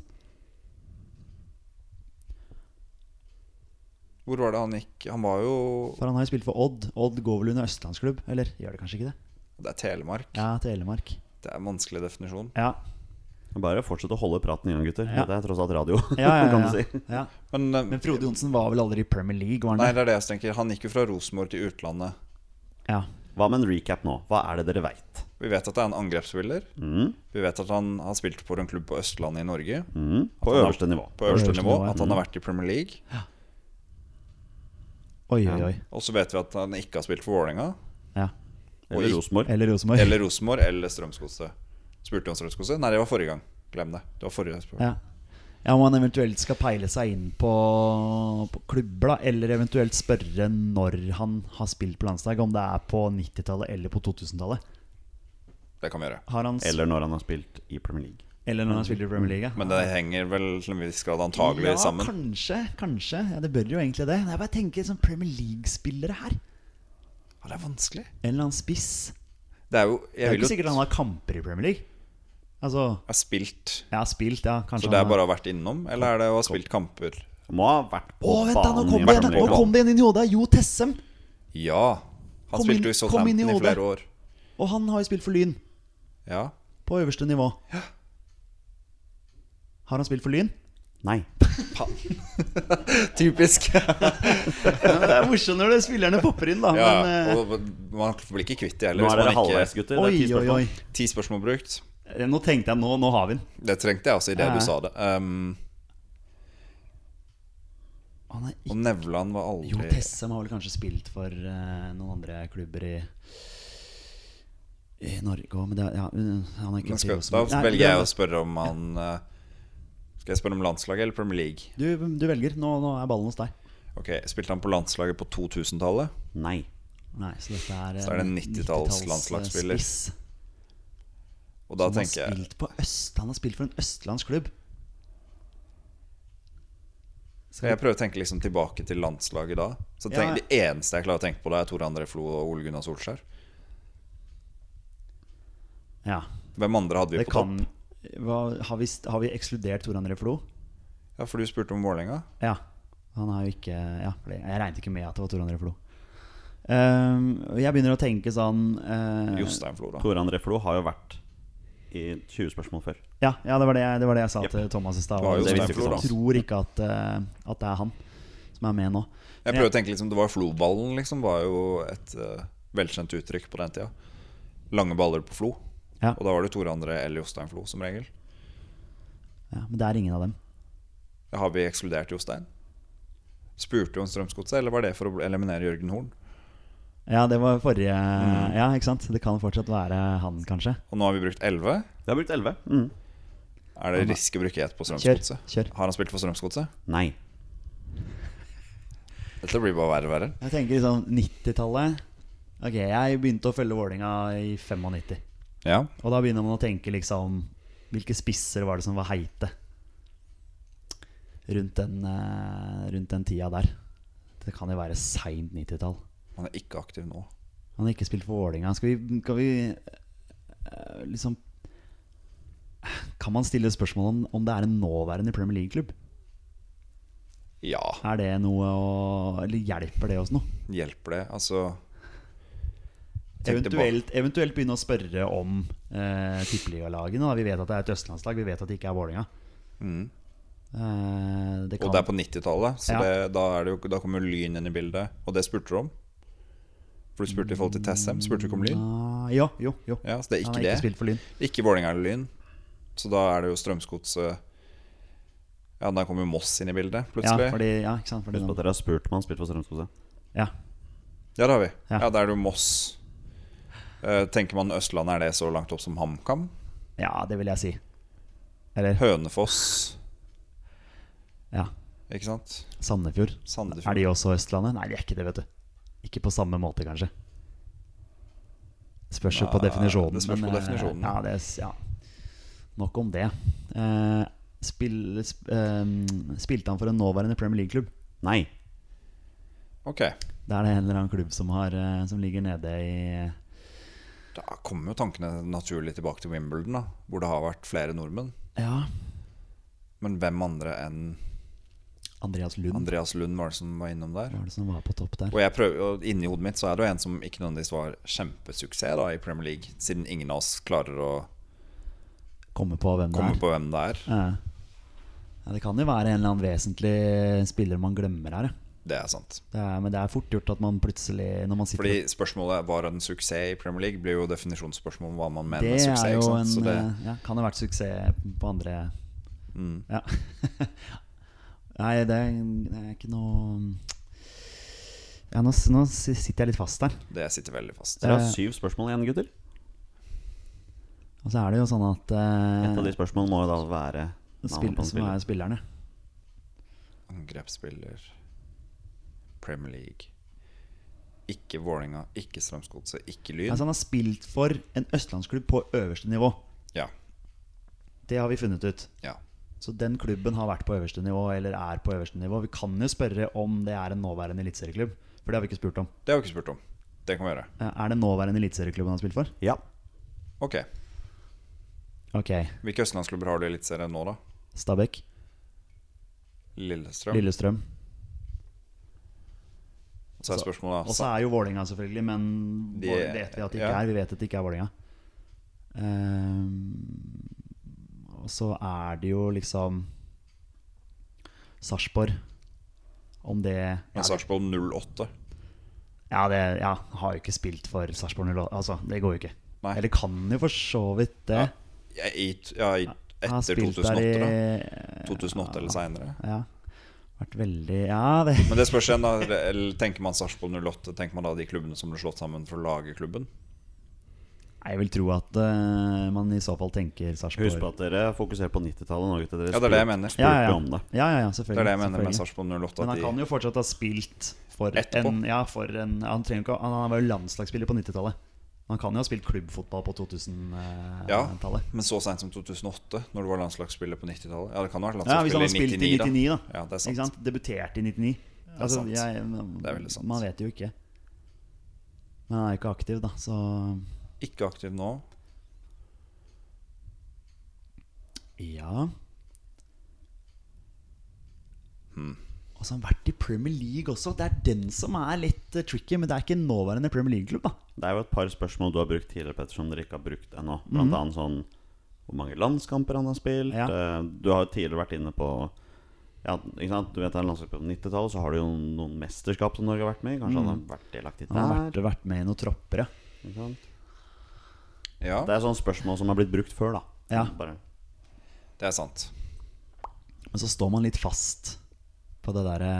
Speaker 3: Hvor var det han gikk? Han var jo
Speaker 2: For han har jo spilt for Odd. Odd går vel under østlandsklubb? Eller gjør det kanskje ikke det?
Speaker 3: Det er Telemark.
Speaker 2: Ja, Telemark.
Speaker 3: Det er en vanskelig definisjon.
Speaker 2: Ja,
Speaker 1: Bare fortsett å holde praten i gang, gutter.
Speaker 2: Ja.
Speaker 1: Det er tross alt radio,
Speaker 2: ja, ja,
Speaker 1: kan
Speaker 2: ja,
Speaker 1: du si.
Speaker 2: ja. ja.
Speaker 3: Men, eh,
Speaker 2: Men Frode Johnsen var vel aldri i Premier League, var han
Speaker 3: Nei,
Speaker 2: det?
Speaker 3: det er det jeg tenker. Han gikk jo fra Rosenborg til utlandet.
Speaker 2: Ja.
Speaker 1: Hva med en recap nå? Hva er det dere Altså, veit?
Speaker 3: Vi vet at det er en angrepsspiller.
Speaker 1: Mm.
Speaker 3: Vi vet at han har spilt for en klubb på Østlandet i Norge. At
Speaker 1: Mm. På
Speaker 3: han har-
Speaker 1: øverste nivå.
Speaker 3: På øverste
Speaker 2: øverste
Speaker 3: nivå.
Speaker 2: nivå, mm. ja.
Speaker 3: At han har vært i Premier League.
Speaker 2: Oi, oi, oi.
Speaker 3: Og så vet vi at han ikke har spilt for Vålerenga.
Speaker 2: Ja.
Speaker 1: Eller Rosenborg.
Speaker 2: Eller Rosenborg.
Speaker 3: Eller Rosenborg eller Strømsgodset. Spurte du om Strømsgodset? Nei, det var forrige gang. Glem det. Det var forrige spørsmål.
Speaker 2: Ja. ja, Om han eventuelt skal peile seg inn på, på klubber, da, eller eventuelt spørre når han har spilt på landslag, om det er på 90-tallet eller på 2000-tallet.
Speaker 3: Det kan vi gjøre.
Speaker 2: Har han s-
Speaker 1: Eller når han har spilt i Premier League.
Speaker 2: Eller når han spiller i Premier League.
Speaker 3: Men det henger vel til en viss grad antagelig
Speaker 2: ja,
Speaker 3: sammen.
Speaker 2: Kanskje, kanskje. Ja, det bør jo egentlig det. Men Jeg bare tenker sånn Premier League-spillere her.
Speaker 3: Ja, det er vanskelig.
Speaker 2: En eller annen spiss.
Speaker 3: Det er jo
Speaker 2: Det
Speaker 3: Jeg
Speaker 2: er jo
Speaker 3: vil
Speaker 2: ikke sikkert
Speaker 3: jo
Speaker 2: han har kamper i Premier League. Altså,
Speaker 3: ha spilt.
Speaker 2: jeg har spilt, ja. Kanskje
Speaker 3: Så det er
Speaker 2: han har-
Speaker 3: bare å ha vært innom, eller er det å ha spilt kamper?
Speaker 1: Han må ha vært
Speaker 2: Å,
Speaker 1: på
Speaker 2: vent, da!
Speaker 1: banen
Speaker 2: Nå kom
Speaker 1: i
Speaker 2: det igjen!
Speaker 1: Premier
Speaker 2: Nå
Speaker 1: League.
Speaker 2: kom det igjen inn i hodet! Jo Tessem!
Speaker 3: Ja. Han
Speaker 2: Kom inn-
Speaker 3: spilte jo i
Speaker 2: kom inn
Speaker 3: Southampton i
Speaker 2: i hodet.
Speaker 3: flere år.
Speaker 2: Og han har jo spilt for Lyn.
Speaker 3: Ja.
Speaker 2: På øverste nivå. Har han spilt for Lyn?
Speaker 1: Nei.
Speaker 3: Typisk.
Speaker 2: Det er morsomt når det spillerne popper inn, da.
Speaker 3: ja,
Speaker 2: men, eh,
Speaker 3: og man blir ikke kvitt det heller. hvis
Speaker 1: Nå er dere
Speaker 3: man ikke-
Speaker 1: halvveis, gutter.
Speaker 2: Oi,
Speaker 1: Det er ti
Speaker 2: oi,
Speaker 1: spørsmål.
Speaker 2: oi.
Speaker 3: Ti spørsmål brukt.
Speaker 2: Nå tenkte jeg nå, nå har vi den.
Speaker 3: Det trengte jeg også idet
Speaker 2: Ja.
Speaker 3: du sa det. Um,
Speaker 2: Han er
Speaker 3: og
Speaker 2: ikke
Speaker 3: Nevland var aldri
Speaker 2: Jo Tessem har vel kanskje spilt for eh, noen andre klubber i i Norge òg, men det er, ja, mm, han er ikke
Speaker 3: Men
Speaker 2: til
Speaker 3: skal, da
Speaker 2: Rosenborg. Nei,
Speaker 3: velger jeg
Speaker 2: du-
Speaker 3: å spørre om han eh, Skal jeg spørre om landslaget eller Premier League?
Speaker 2: Du, du velger. Nå, nå er ballen hos deg.
Speaker 3: Ok, Spilte han på landslaget på 2000-tallet?
Speaker 1: Nei.
Speaker 2: Nei, så dette er eh,
Speaker 3: Så er det en 90-talls landslagsspiller.
Speaker 2: spiss
Speaker 3: Og da
Speaker 2: som har
Speaker 3: tenker jeg
Speaker 2: spilt på Øst. Han har spilt for en østlandsklubb.
Speaker 3: Skal jeg prøve å tenke liksom tilbake til landslaget da? Så tenk,
Speaker 2: Ja.
Speaker 3: Det eneste jeg klarer å tenke på, da er Tore André Flo og Ole Gunnar Solskjær.
Speaker 2: Ja,
Speaker 3: Hvem andre hadde vi
Speaker 2: det
Speaker 3: på
Speaker 2: kan
Speaker 3: topp?
Speaker 2: hva, har, vi, st- har vi ekskludert Tor André Flo?
Speaker 3: Ja, For du spurte om Vålerenga.
Speaker 2: Ja. Han er jo ikke Ja, for det- jeg regnet ikke med at det var Tor André Flo. Ehm, og jeg begynner å tenke sånn eh,
Speaker 3: Jostein Flo, da.
Speaker 1: Tore André Flo har jo vært i 20 spørsmål før.
Speaker 2: Ja, ja det, var det, jeg- det var det jeg sa til Thomas i stad.
Speaker 3: Det var jo
Speaker 2: og Jeg
Speaker 1: Stein Flo, da.
Speaker 2: tror ikke at, eh, at det er han som er med nå.
Speaker 3: Jeg prøver å tenke liksom, Det var Flo-ballen, liksom. Var jo et eh, velkjent uttrykk på den tida. Lange baller på Flo.
Speaker 2: Ja.
Speaker 3: Og da var det Tore André eller Jostein Flo, som regel.
Speaker 2: Ja, men det er ingen av dem.
Speaker 3: Har vi ekskludert Jostein? Spurte du om Strømsgodset, eller var det for å eliminere Jørgen Horn?
Speaker 2: Ja, det var forrige
Speaker 3: Mm.
Speaker 2: Ja, ikke sant? Det kan fortsatt være han, kanskje.
Speaker 3: Og nå har vi brukt 11.
Speaker 1: Vi har brukt 11. Mm.
Speaker 3: Er det risk å bruke ett på
Speaker 2: Kjør.
Speaker 3: Strømsgodset?
Speaker 2: kjør
Speaker 3: Har han spilt for Strømsgodset?
Speaker 1: Nei.
Speaker 3: Dette blir bare verre og verre.
Speaker 2: Jeg tenker liksom 90-tallet. Ok, jeg begynte å følge Vålinga i 95.
Speaker 3: Ja.
Speaker 2: Og da begynner man å tenke liksom Hvilke spisser var det som var heite? Rundt den, eh, rundt den tida der. Det kan jo være seint 90-tall.
Speaker 3: Han er ikke aktiv nå.
Speaker 2: Han har ikke spilt for Vålinga. Skal vi, skal vi eh, liksom Kan man stille spørsmål om, om det er en nåværende Premier League-klubb?
Speaker 3: Ja,
Speaker 2: Er det noe å Eller hjelper det oss noe?
Speaker 3: hjelper det? Altså Tenk tilbake.
Speaker 2: Eventuelt, eventuelt begynne å spørre om eh, tippeligalagene. da. Vi vet at det er et østlandslag, vi vet at det ikke er Vålerenga. Eh, det
Speaker 3: Mm. Og
Speaker 2: kan
Speaker 3: det er på 90-tallet, så
Speaker 2: Ja.
Speaker 3: det, da, er det jo, da kommer Lyn inn i bildet. Og det spurte du om? For du spurte i forhold til Tessem. Spurte du ikke om Lyn?
Speaker 2: Ah, ja, jo, jo.
Speaker 3: Ja, så det er
Speaker 2: Han
Speaker 3: ikke
Speaker 2: har
Speaker 3: det.
Speaker 2: ikke spilt for Lyn.
Speaker 3: Ikke Vålerenga eller Lyn. Så da er det jo Strømsgodset Ja, da kommer Moss inn i bildet,
Speaker 2: Ja,
Speaker 3: plutselig. Ja,
Speaker 2: fordi, ja, ikke sant? Fordi
Speaker 1: Husk på at
Speaker 2: de,
Speaker 1: dere har spurt om han spilte for Strømsgodset.
Speaker 2: ja.
Speaker 3: det har vi.
Speaker 2: Ja.
Speaker 3: Ja, da er det jo Moss. Eh, tenker man Østlandet er det så langt opp som HamKam?
Speaker 2: ja, det vil jeg si. Eller
Speaker 3: Hønefoss,
Speaker 2: ja,
Speaker 3: ikke sant?
Speaker 2: Sandefjord.
Speaker 3: Sandefjord.
Speaker 2: Er de også Østlandet? Nei, de er ikke det, vet du. Ikke på samme måte, kanskje. Spørs jo på
Speaker 3: Nei,
Speaker 2: definisjonen.
Speaker 3: det spørs på
Speaker 2: men, eh,
Speaker 3: definisjonen.
Speaker 2: Ja, det, er s- ja. Nok om det. Eh, spill, sp, eh, spilte han for en nåværende Premier League-klubb?
Speaker 1: Nei.
Speaker 3: Ok.
Speaker 2: Det er det en eller annen klubb som, har, eh, som ligger nede i
Speaker 3: Da kommer jo tankene naturlig tilbake til Wimbledon, da, hvor det har vært flere nordmenn.
Speaker 2: Ja,
Speaker 3: Men hvem andre enn
Speaker 2: Andreas Lund
Speaker 3: Andreas Lund var det som var innom der?
Speaker 2: var det som var på topp der.
Speaker 3: Og jeg prøver, og inni hodet mitt så er det jo en som ikke nødvendigvis var kjempesuksess da, i Premier League, siden ingen av oss klarer å
Speaker 2: Komme på hvem det
Speaker 3: komme
Speaker 2: er.
Speaker 3: på hvem det er.
Speaker 2: Ja. Ja, det kan jo være en eller annen vesentlig spiller man glemmer her. ja.
Speaker 3: Det er sant.
Speaker 2: Det er, men det er fort gjort at man plutselig Når man sitter
Speaker 3: Fordi spørsmålet var en suksess i Premier League blir jo definisjonsspørsmål om hva man mener med
Speaker 2: Det er
Speaker 3: suksess.
Speaker 2: jo
Speaker 3: Ikke
Speaker 2: en
Speaker 3: sant? Så det,
Speaker 2: eh, ja, Kan ha vært suksess på andre
Speaker 3: Mm.
Speaker 2: Ja. Nei, det er, det er ikke noe ja, nå, s- nå s- sitter jeg litt fast der.
Speaker 3: det sitter veldig fast.
Speaker 1: Dere
Speaker 2: Eh,
Speaker 1: har syv spørsmål igjen, gutter.
Speaker 2: Og så er det jo sånn at
Speaker 1: Et av
Speaker 2: eh,
Speaker 1: de spørsmålene må jo da være
Speaker 2: spill,
Speaker 1: navnet på en
Speaker 2: Som
Speaker 1: spiller.
Speaker 2: er spillerne.
Speaker 3: Angrepsspiller, Premier League Ikke Vålerenga, ikke Strømsgodset, ikke Lyn.
Speaker 2: Altså, han har spilt for en østlandsklubb på øverste nivå.
Speaker 3: Ja.
Speaker 2: Det har vi funnet ut.
Speaker 3: Ja.
Speaker 2: Så den klubben har vært på øverste nivå, eller er på øverste nivå. Vi kan jo spørre om det er en nåværende eliteserieklubb, for det har vi ikke spurt om.
Speaker 3: Det har vi ikke spurt om. Det kan vi gjøre.
Speaker 2: Eh, Er det nåværende eliteserieklubb han har spilt for?
Speaker 1: Ja.
Speaker 3: Ok.
Speaker 2: Ok.
Speaker 3: Hvilke østlandsklubber har du i Eliteserien nå, da?
Speaker 2: Stabæk,
Speaker 3: Lillestrøm.
Speaker 2: Lillestrøm.
Speaker 3: Så er spørsmålet
Speaker 2: Og så
Speaker 3: da
Speaker 2: er jo Vålinga selvfølgelig, men
Speaker 3: Altså. De-
Speaker 2: det vet vi at det ikke
Speaker 3: ja.
Speaker 2: er. Vi vet at det ikke er Vålinga. Ehm, og så er det jo liksom Sarpsborg. Om det
Speaker 3: Men Sarpsborg 08.
Speaker 2: Ja, det ja, har jo ikke spilt for Sarpsborg 08. Altså, det går jo ikke.
Speaker 3: Nei.
Speaker 2: Eller kan jo for så vidt det.
Speaker 3: Ja. Ja, i, ja, i,
Speaker 2: Han har
Speaker 3: etter
Speaker 2: spilt
Speaker 3: 2008, da.
Speaker 2: der i-
Speaker 3: 2008 eller seinere.
Speaker 2: Ja. Vært veldig Ja, det
Speaker 3: Men det spørs igjen, da. Eller tenker man Sarpsborg 08? Tenker man da de klubbene som ble slått sammen for å lage klubben?
Speaker 2: Jeg vil tro at eh, man i så fall tenker Sarpsborg.
Speaker 1: Husk på at dere fokuserer på 90-tallet nå. gutter. Dere
Speaker 3: Ja, det er det jeg
Speaker 1: spurte-
Speaker 3: mener.
Speaker 1: spurte
Speaker 2: ja, ja, ja.
Speaker 1: om det.
Speaker 2: Ja, ja, ja,
Speaker 3: Det
Speaker 2: selvfølgelig.
Speaker 3: er det jeg mener med
Speaker 2: selvfølgelig.
Speaker 3: Sarpsborg 08.
Speaker 2: Men han
Speaker 3: At
Speaker 2: kan
Speaker 3: de,
Speaker 2: jo fortsatt ha spilt for
Speaker 3: Etterpå.
Speaker 2: en, ja, for en han, trenger jo ikke, han han var jo landslagsspiller på 90-tallet. Han kan jo ha spilt klubbfotball på eh, 2000-tallet.
Speaker 3: men så seint som 2008, når du var landslagsspiller på 90-tallet? Ja, det kan ha vært
Speaker 2: Ja, Hvis han har
Speaker 3: landslagsspiller
Speaker 2: spilt i 99, da.
Speaker 3: Ja, det er
Speaker 2: Ikke
Speaker 3: sant.
Speaker 2: sant? Debuterte i 99.
Speaker 3: er
Speaker 2: Altså,
Speaker 3: sant.
Speaker 2: jeg,
Speaker 3: Det er veldig sant.
Speaker 2: Man vet jo ikke. Men han er jo ikke aktiv, da, så
Speaker 3: Ikke aktiv nå.
Speaker 2: ja.
Speaker 3: Hmm.
Speaker 2: Og så har han vært i Premier League også. Det er den som er litt eh, tricky, men det er ikke en nåværende Premier League-klubb, da.
Speaker 1: Det er jo et par spørsmål du har brukt tidligere, Petter, som dere ikke har brukt ennå. Blant annet sånn hvor mange landskamper han har spilt.
Speaker 2: Mhm. Ja.
Speaker 1: Eh, Du har jo tidligere vært inne på ja, ikke sant? Du vet, det er en landskap på 90-tallet, så har du jo noen mesterskap som Norge har vært med i. Kanskje han har vært delaktig
Speaker 2: Mhm. Han har
Speaker 1: der.
Speaker 2: vært, vært med i noen tropper, ja.
Speaker 1: Ikke sant?
Speaker 3: Ja,
Speaker 1: Det er sånne spørsmål som har blitt brukt før, da.
Speaker 2: Ja.
Speaker 1: Bare,
Speaker 3: det er sant.
Speaker 2: Men så står man litt fast på det derre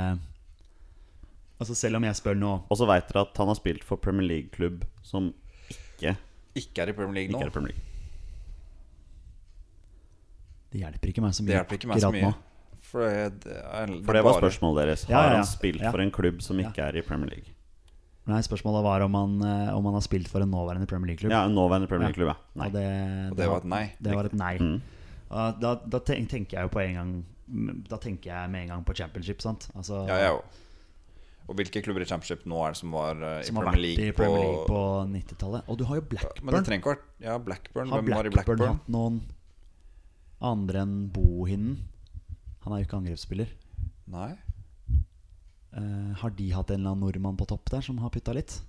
Speaker 2: Altså selv om jeg spør nå
Speaker 1: Og så veit dere at han har spilt for Premier League-klubb som ikke,
Speaker 3: Ikke er i Premier League
Speaker 1: ikke
Speaker 3: nå.
Speaker 1: er Premier League.
Speaker 2: Det hjelper ikke meg så mye.
Speaker 3: Det hjelper ikke meg så
Speaker 2: akkurat
Speaker 3: mye.
Speaker 2: nå.
Speaker 3: For det, det er,
Speaker 1: For det var
Speaker 3: bare-
Speaker 1: spørsmålet deres. Har
Speaker 2: Ja, ja, ja.
Speaker 1: han spilt
Speaker 2: Ja.
Speaker 1: for en klubb som ikke er i Premier League?
Speaker 2: Nei, Spørsmålet var om han, eh, om han har spilt for en nåværende Premier League-klubb.
Speaker 1: Ja, en nåværende Premier
Speaker 2: Ja.
Speaker 1: League-klubb, ja. Nei.
Speaker 2: Og det,
Speaker 3: Og det var et nei.
Speaker 2: Det var et nei. Og Da, da ten- tenker jeg jo på en gang mm, Da tenker jeg med en gang på championship, sant? Altså,
Speaker 3: Ja, jeg òg. Og hvilke klubber i Championship nå er det som var eh, i
Speaker 2: som har
Speaker 3: Premier
Speaker 2: vært
Speaker 3: League
Speaker 2: i Premier League på 90-tallet. Og du har jo
Speaker 3: Men det
Speaker 2: Blackburn.
Speaker 3: trenger ikke vært Ja, Blackburn.
Speaker 2: Har
Speaker 3: Hvem var i
Speaker 2: Blackburn
Speaker 3: Blackburn?
Speaker 2: hatt noen andre enn Bohinen? Han er jo ikke angrepsspiller.
Speaker 3: Nei.
Speaker 2: Eh, har de hatt en eller annen nordmann på topp der som har putta litt?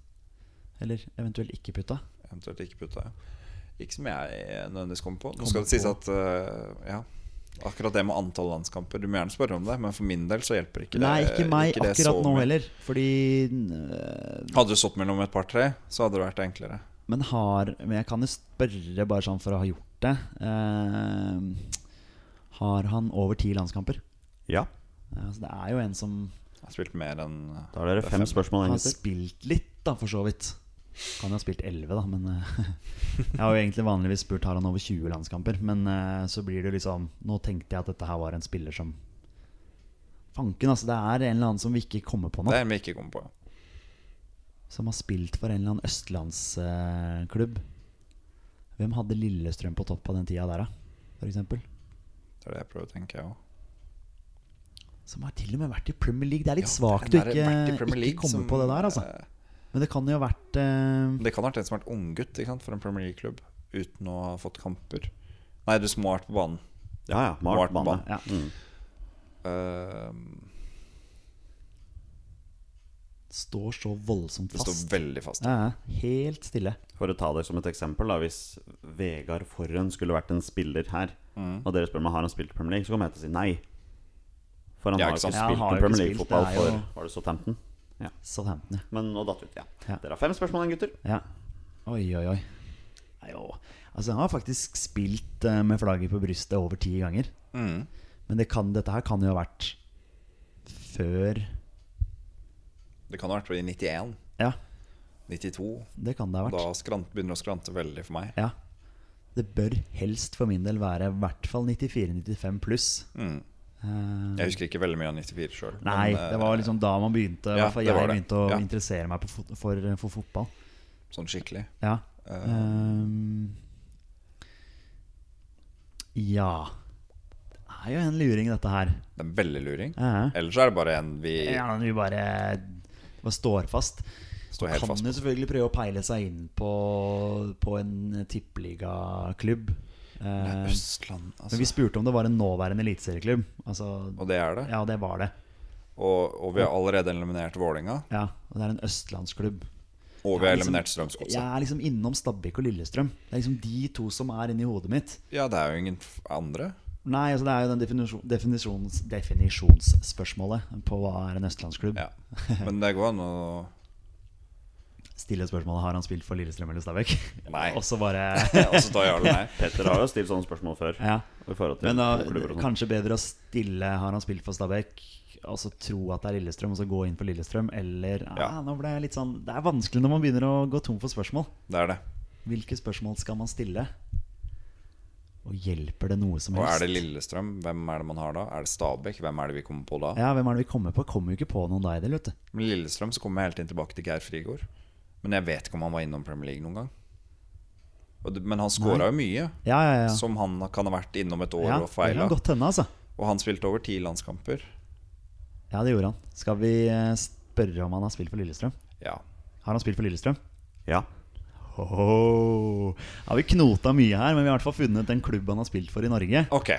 Speaker 2: Eller eventuelt ikke putta?
Speaker 3: Eventuelt ikke putta. Ikke som jeg eh, nødvendigvis kommer på. Nå skal det sies
Speaker 2: på.
Speaker 3: at eh, Ja. Akkurat det med antall landskamper Du må gjerne spørre om det, men for min del så hjelper ikke det.
Speaker 2: Nei, ikke meg
Speaker 3: ikke det
Speaker 2: akkurat
Speaker 3: så
Speaker 2: nå
Speaker 3: mye.
Speaker 2: heller. Fordi eh,
Speaker 3: Hadde du stått mellom et par-tre, så hadde det vært enklere.
Speaker 2: Men har Men jeg kan jo spørre bare sånn for å ha gjort det. Eh, har han over ti landskamper?
Speaker 1: Ja.
Speaker 2: Ja, så det er jo en som
Speaker 3: Jeg har spilt mer enn eh,
Speaker 1: Da er dere fem spørsmål igjen,
Speaker 2: har
Speaker 1: gutter.
Speaker 2: spilt litt, da, for så vidt. Kan jo ha spilt 11, da, men eh, Jeg har jo egentlig vanligvis spurt har han over 20 landskamper, men eh, så blir det jo liksom Nå tenkte jeg at dette her var en spiller som Fanken, altså. Det er en eller annen som vi ikke kommer på nå,
Speaker 3: Det er en vi ikke kommer på.
Speaker 2: som har spilt for en eller annen østlandsklubb. Hvem hadde Lillestrøm på topp på den tida der, da? For eksempel.
Speaker 3: Det er det jeg prøver å tenke, jeg òg.
Speaker 2: Som har til og med vært i Premier League. Det er litt
Speaker 3: Ja,
Speaker 2: svakt å
Speaker 3: den der
Speaker 2: ikke,
Speaker 3: vært i Premier
Speaker 2: ikke
Speaker 3: League
Speaker 2: komme
Speaker 3: som, Mm.
Speaker 2: på det der, altså.
Speaker 3: eh,
Speaker 2: Men det kan jo ha vært eh,
Speaker 3: Det kan ha vært en som har vært unggutt ikke sant, for en Premier League-klubb uten å ha fått kamper. Nei, du må ha vært på banen.
Speaker 1: Ja, ja.
Speaker 3: Mart
Speaker 1: Mart Bane.
Speaker 3: Bane.
Speaker 2: ja.
Speaker 3: Eh,
Speaker 2: Står så voldsomt
Speaker 3: det står
Speaker 2: fast.
Speaker 3: veldig fast.
Speaker 2: Ja, ja. helt stille.
Speaker 1: For å ta det som et eksempel, da hvis Vegard Forhen skulle vært en spiller her,
Speaker 2: Mm.
Speaker 1: og dere spør meg har han spilt i Premier League, så kommer jeg til å si nei. For han
Speaker 3: Ja,
Speaker 1: har
Speaker 3: ikke
Speaker 1: jo
Speaker 3: sant.
Speaker 1: ikke
Speaker 2: Ja, han
Speaker 1: spilt
Speaker 2: har jo
Speaker 1: noe
Speaker 2: ikke
Speaker 1: Premier
Speaker 2: spilt,
Speaker 1: League-fotball
Speaker 2: det er jo-
Speaker 1: for Var det Southampton? Ja.
Speaker 2: Southampton, ja.
Speaker 1: Men nå datt vi ut, ja.
Speaker 2: Ja.
Speaker 1: Dere har fem spørsmål igjen, gutter.
Speaker 2: ja. Oi, oi, oi. Nei, å. Altså, han har faktisk spilt eh, med flagget på brystet over ti ganger.
Speaker 3: Mm.
Speaker 2: Men det kan, dette her kan jo ha vært før
Speaker 3: Det kan ha vært i 91,
Speaker 2: Ja,
Speaker 3: 92.
Speaker 2: det kan det ha
Speaker 3: Da
Speaker 2: vært.
Speaker 3: skrant, begynner det å skrante veldig for meg.
Speaker 2: Ja. Det bør helst for min del være i hvert fall 94-95 pluss.
Speaker 3: Mm,
Speaker 2: Eh,
Speaker 3: Jeg husker ikke veldig mye av 94 sjøl.
Speaker 2: Nei, det var liksom da man begynte i
Speaker 3: ja,
Speaker 2: hvert fall
Speaker 3: det
Speaker 2: jeg
Speaker 3: var det.
Speaker 2: begynte å
Speaker 3: Ja.
Speaker 2: interessere meg på fot for, for fotball.
Speaker 3: Ehm.
Speaker 2: Ehm,
Speaker 3: sånn skikkelig.
Speaker 2: Ja.
Speaker 3: Eh.
Speaker 2: Ehm, Ja. Det er jo en luring, dette her.
Speaker 3: Det er en veldig luring.
Speaker 2: Ja.
Speaker 3: Ellers er det bare en vi
Speaker 2: Ja, men vi bare, bare står fast.
Speaker 3: står helt
Speaker 2: kan
Speaker 3: fast på.
Speaker 2: jo selvfølgelig prøve å peile seg inn på, på en tippeligaklubb. Eh,
Speaker 3: Østland, altså.
Speaker 2: men vi spurte om det var en nåværende eliteserieklubb. Altså,
Speaker 3: Og det er det.
Speaker 2: ja, det var det.
Speaker 3: Og, og vi har allerede eliminert Vålinga
Speaker 2: Ja, og det er en østlandsklubb.
Speaker 3: Og vi har
Speaker 2: Ja, liksom-
Speaker 3: eliminert Strømsgodset.
Speaker 2: Jeg
Speaker 3: Ja.
Speaker 2: er liksom innom Stabæk og Lillestrøm. Det er liksom de to som er inni hodet mitt.
Speaker 3: det er jo ingen f- andre.
Speaker 2: Nei, altså det er jo den definisjon, definisjons, definisjonsspørsmålet på hva er en østlandsklubb.
Speaker 3: Ja. Men det går an å
Speaker 2: Stille spørsmålet har han spilt for Lillestrøm eller Stabæk.
Speaker 3: Nei.
Speaker 2: Og så bare
Speaker 3: Og så tar Jarle nei.
Speaker 1: Petter har jo stilt sånne spørsmål før.
Speaker 2: Ja.
Speaker 1: i forhold til
Speaker 2: Men da,
Speaker 1: klubber og sånt.
Speaker 2: kanskje bedre å stille Har han spilt for Stabæk? Og så tro at det er Lillestrøm, og så gå inn på Lillestrøm? Eller ah,
Speaker 3: Ja.
Speaker 2: nå ble jeg litt sånn Det er vanskelig når man begynner å gå tom for spørsmål.
Speaker 3: Det er det.
Speaker 2: Hvilke spørsmål skal man stille? Og hjelper det noe som
Speaker 3: Og
Speaker 2: helst?
Speaker 3: er det Lillestrøm? Hvem er det man har da? Er det Stabæk? Hvem er det vi kommer på da?
Speaker 2: Ja, Hvem er det vi kommer på? Kommer jo ikke på noen da i det, vet du.
Speaker 3: Med Lillestrøm så kommer jeg helt inn tilbake til Geir Frigård. Men jeg vet ikke om han var innom Premier League noen gang. Og det, men han scora jo mye,
Speaker 2: Ja, ja, ja.
Speaker 3: som han kan ha vært innom et år
Speaker 2: ja
Speaker 3: og
Speaker 2: det
Speaker 3: feila.
Speaker 2: kan godt hende, altså.
Speaker 3: Og han spilte over ti landskamper.
Speaker 2: Ja, det gjorde han. Skal vi eh, spørre om han har spilt for Lillestrøm?
Speaker 3: Ja.
Speaker 2: Har han spilt for Lillestrøm?
Speaker 1: Ja.
Speaker 2: Ho-ho. Ja, vi knota mye her, men vi har i hvert fall funnet den klubb han har spilt for i Norge.
Speaker 3: Ok,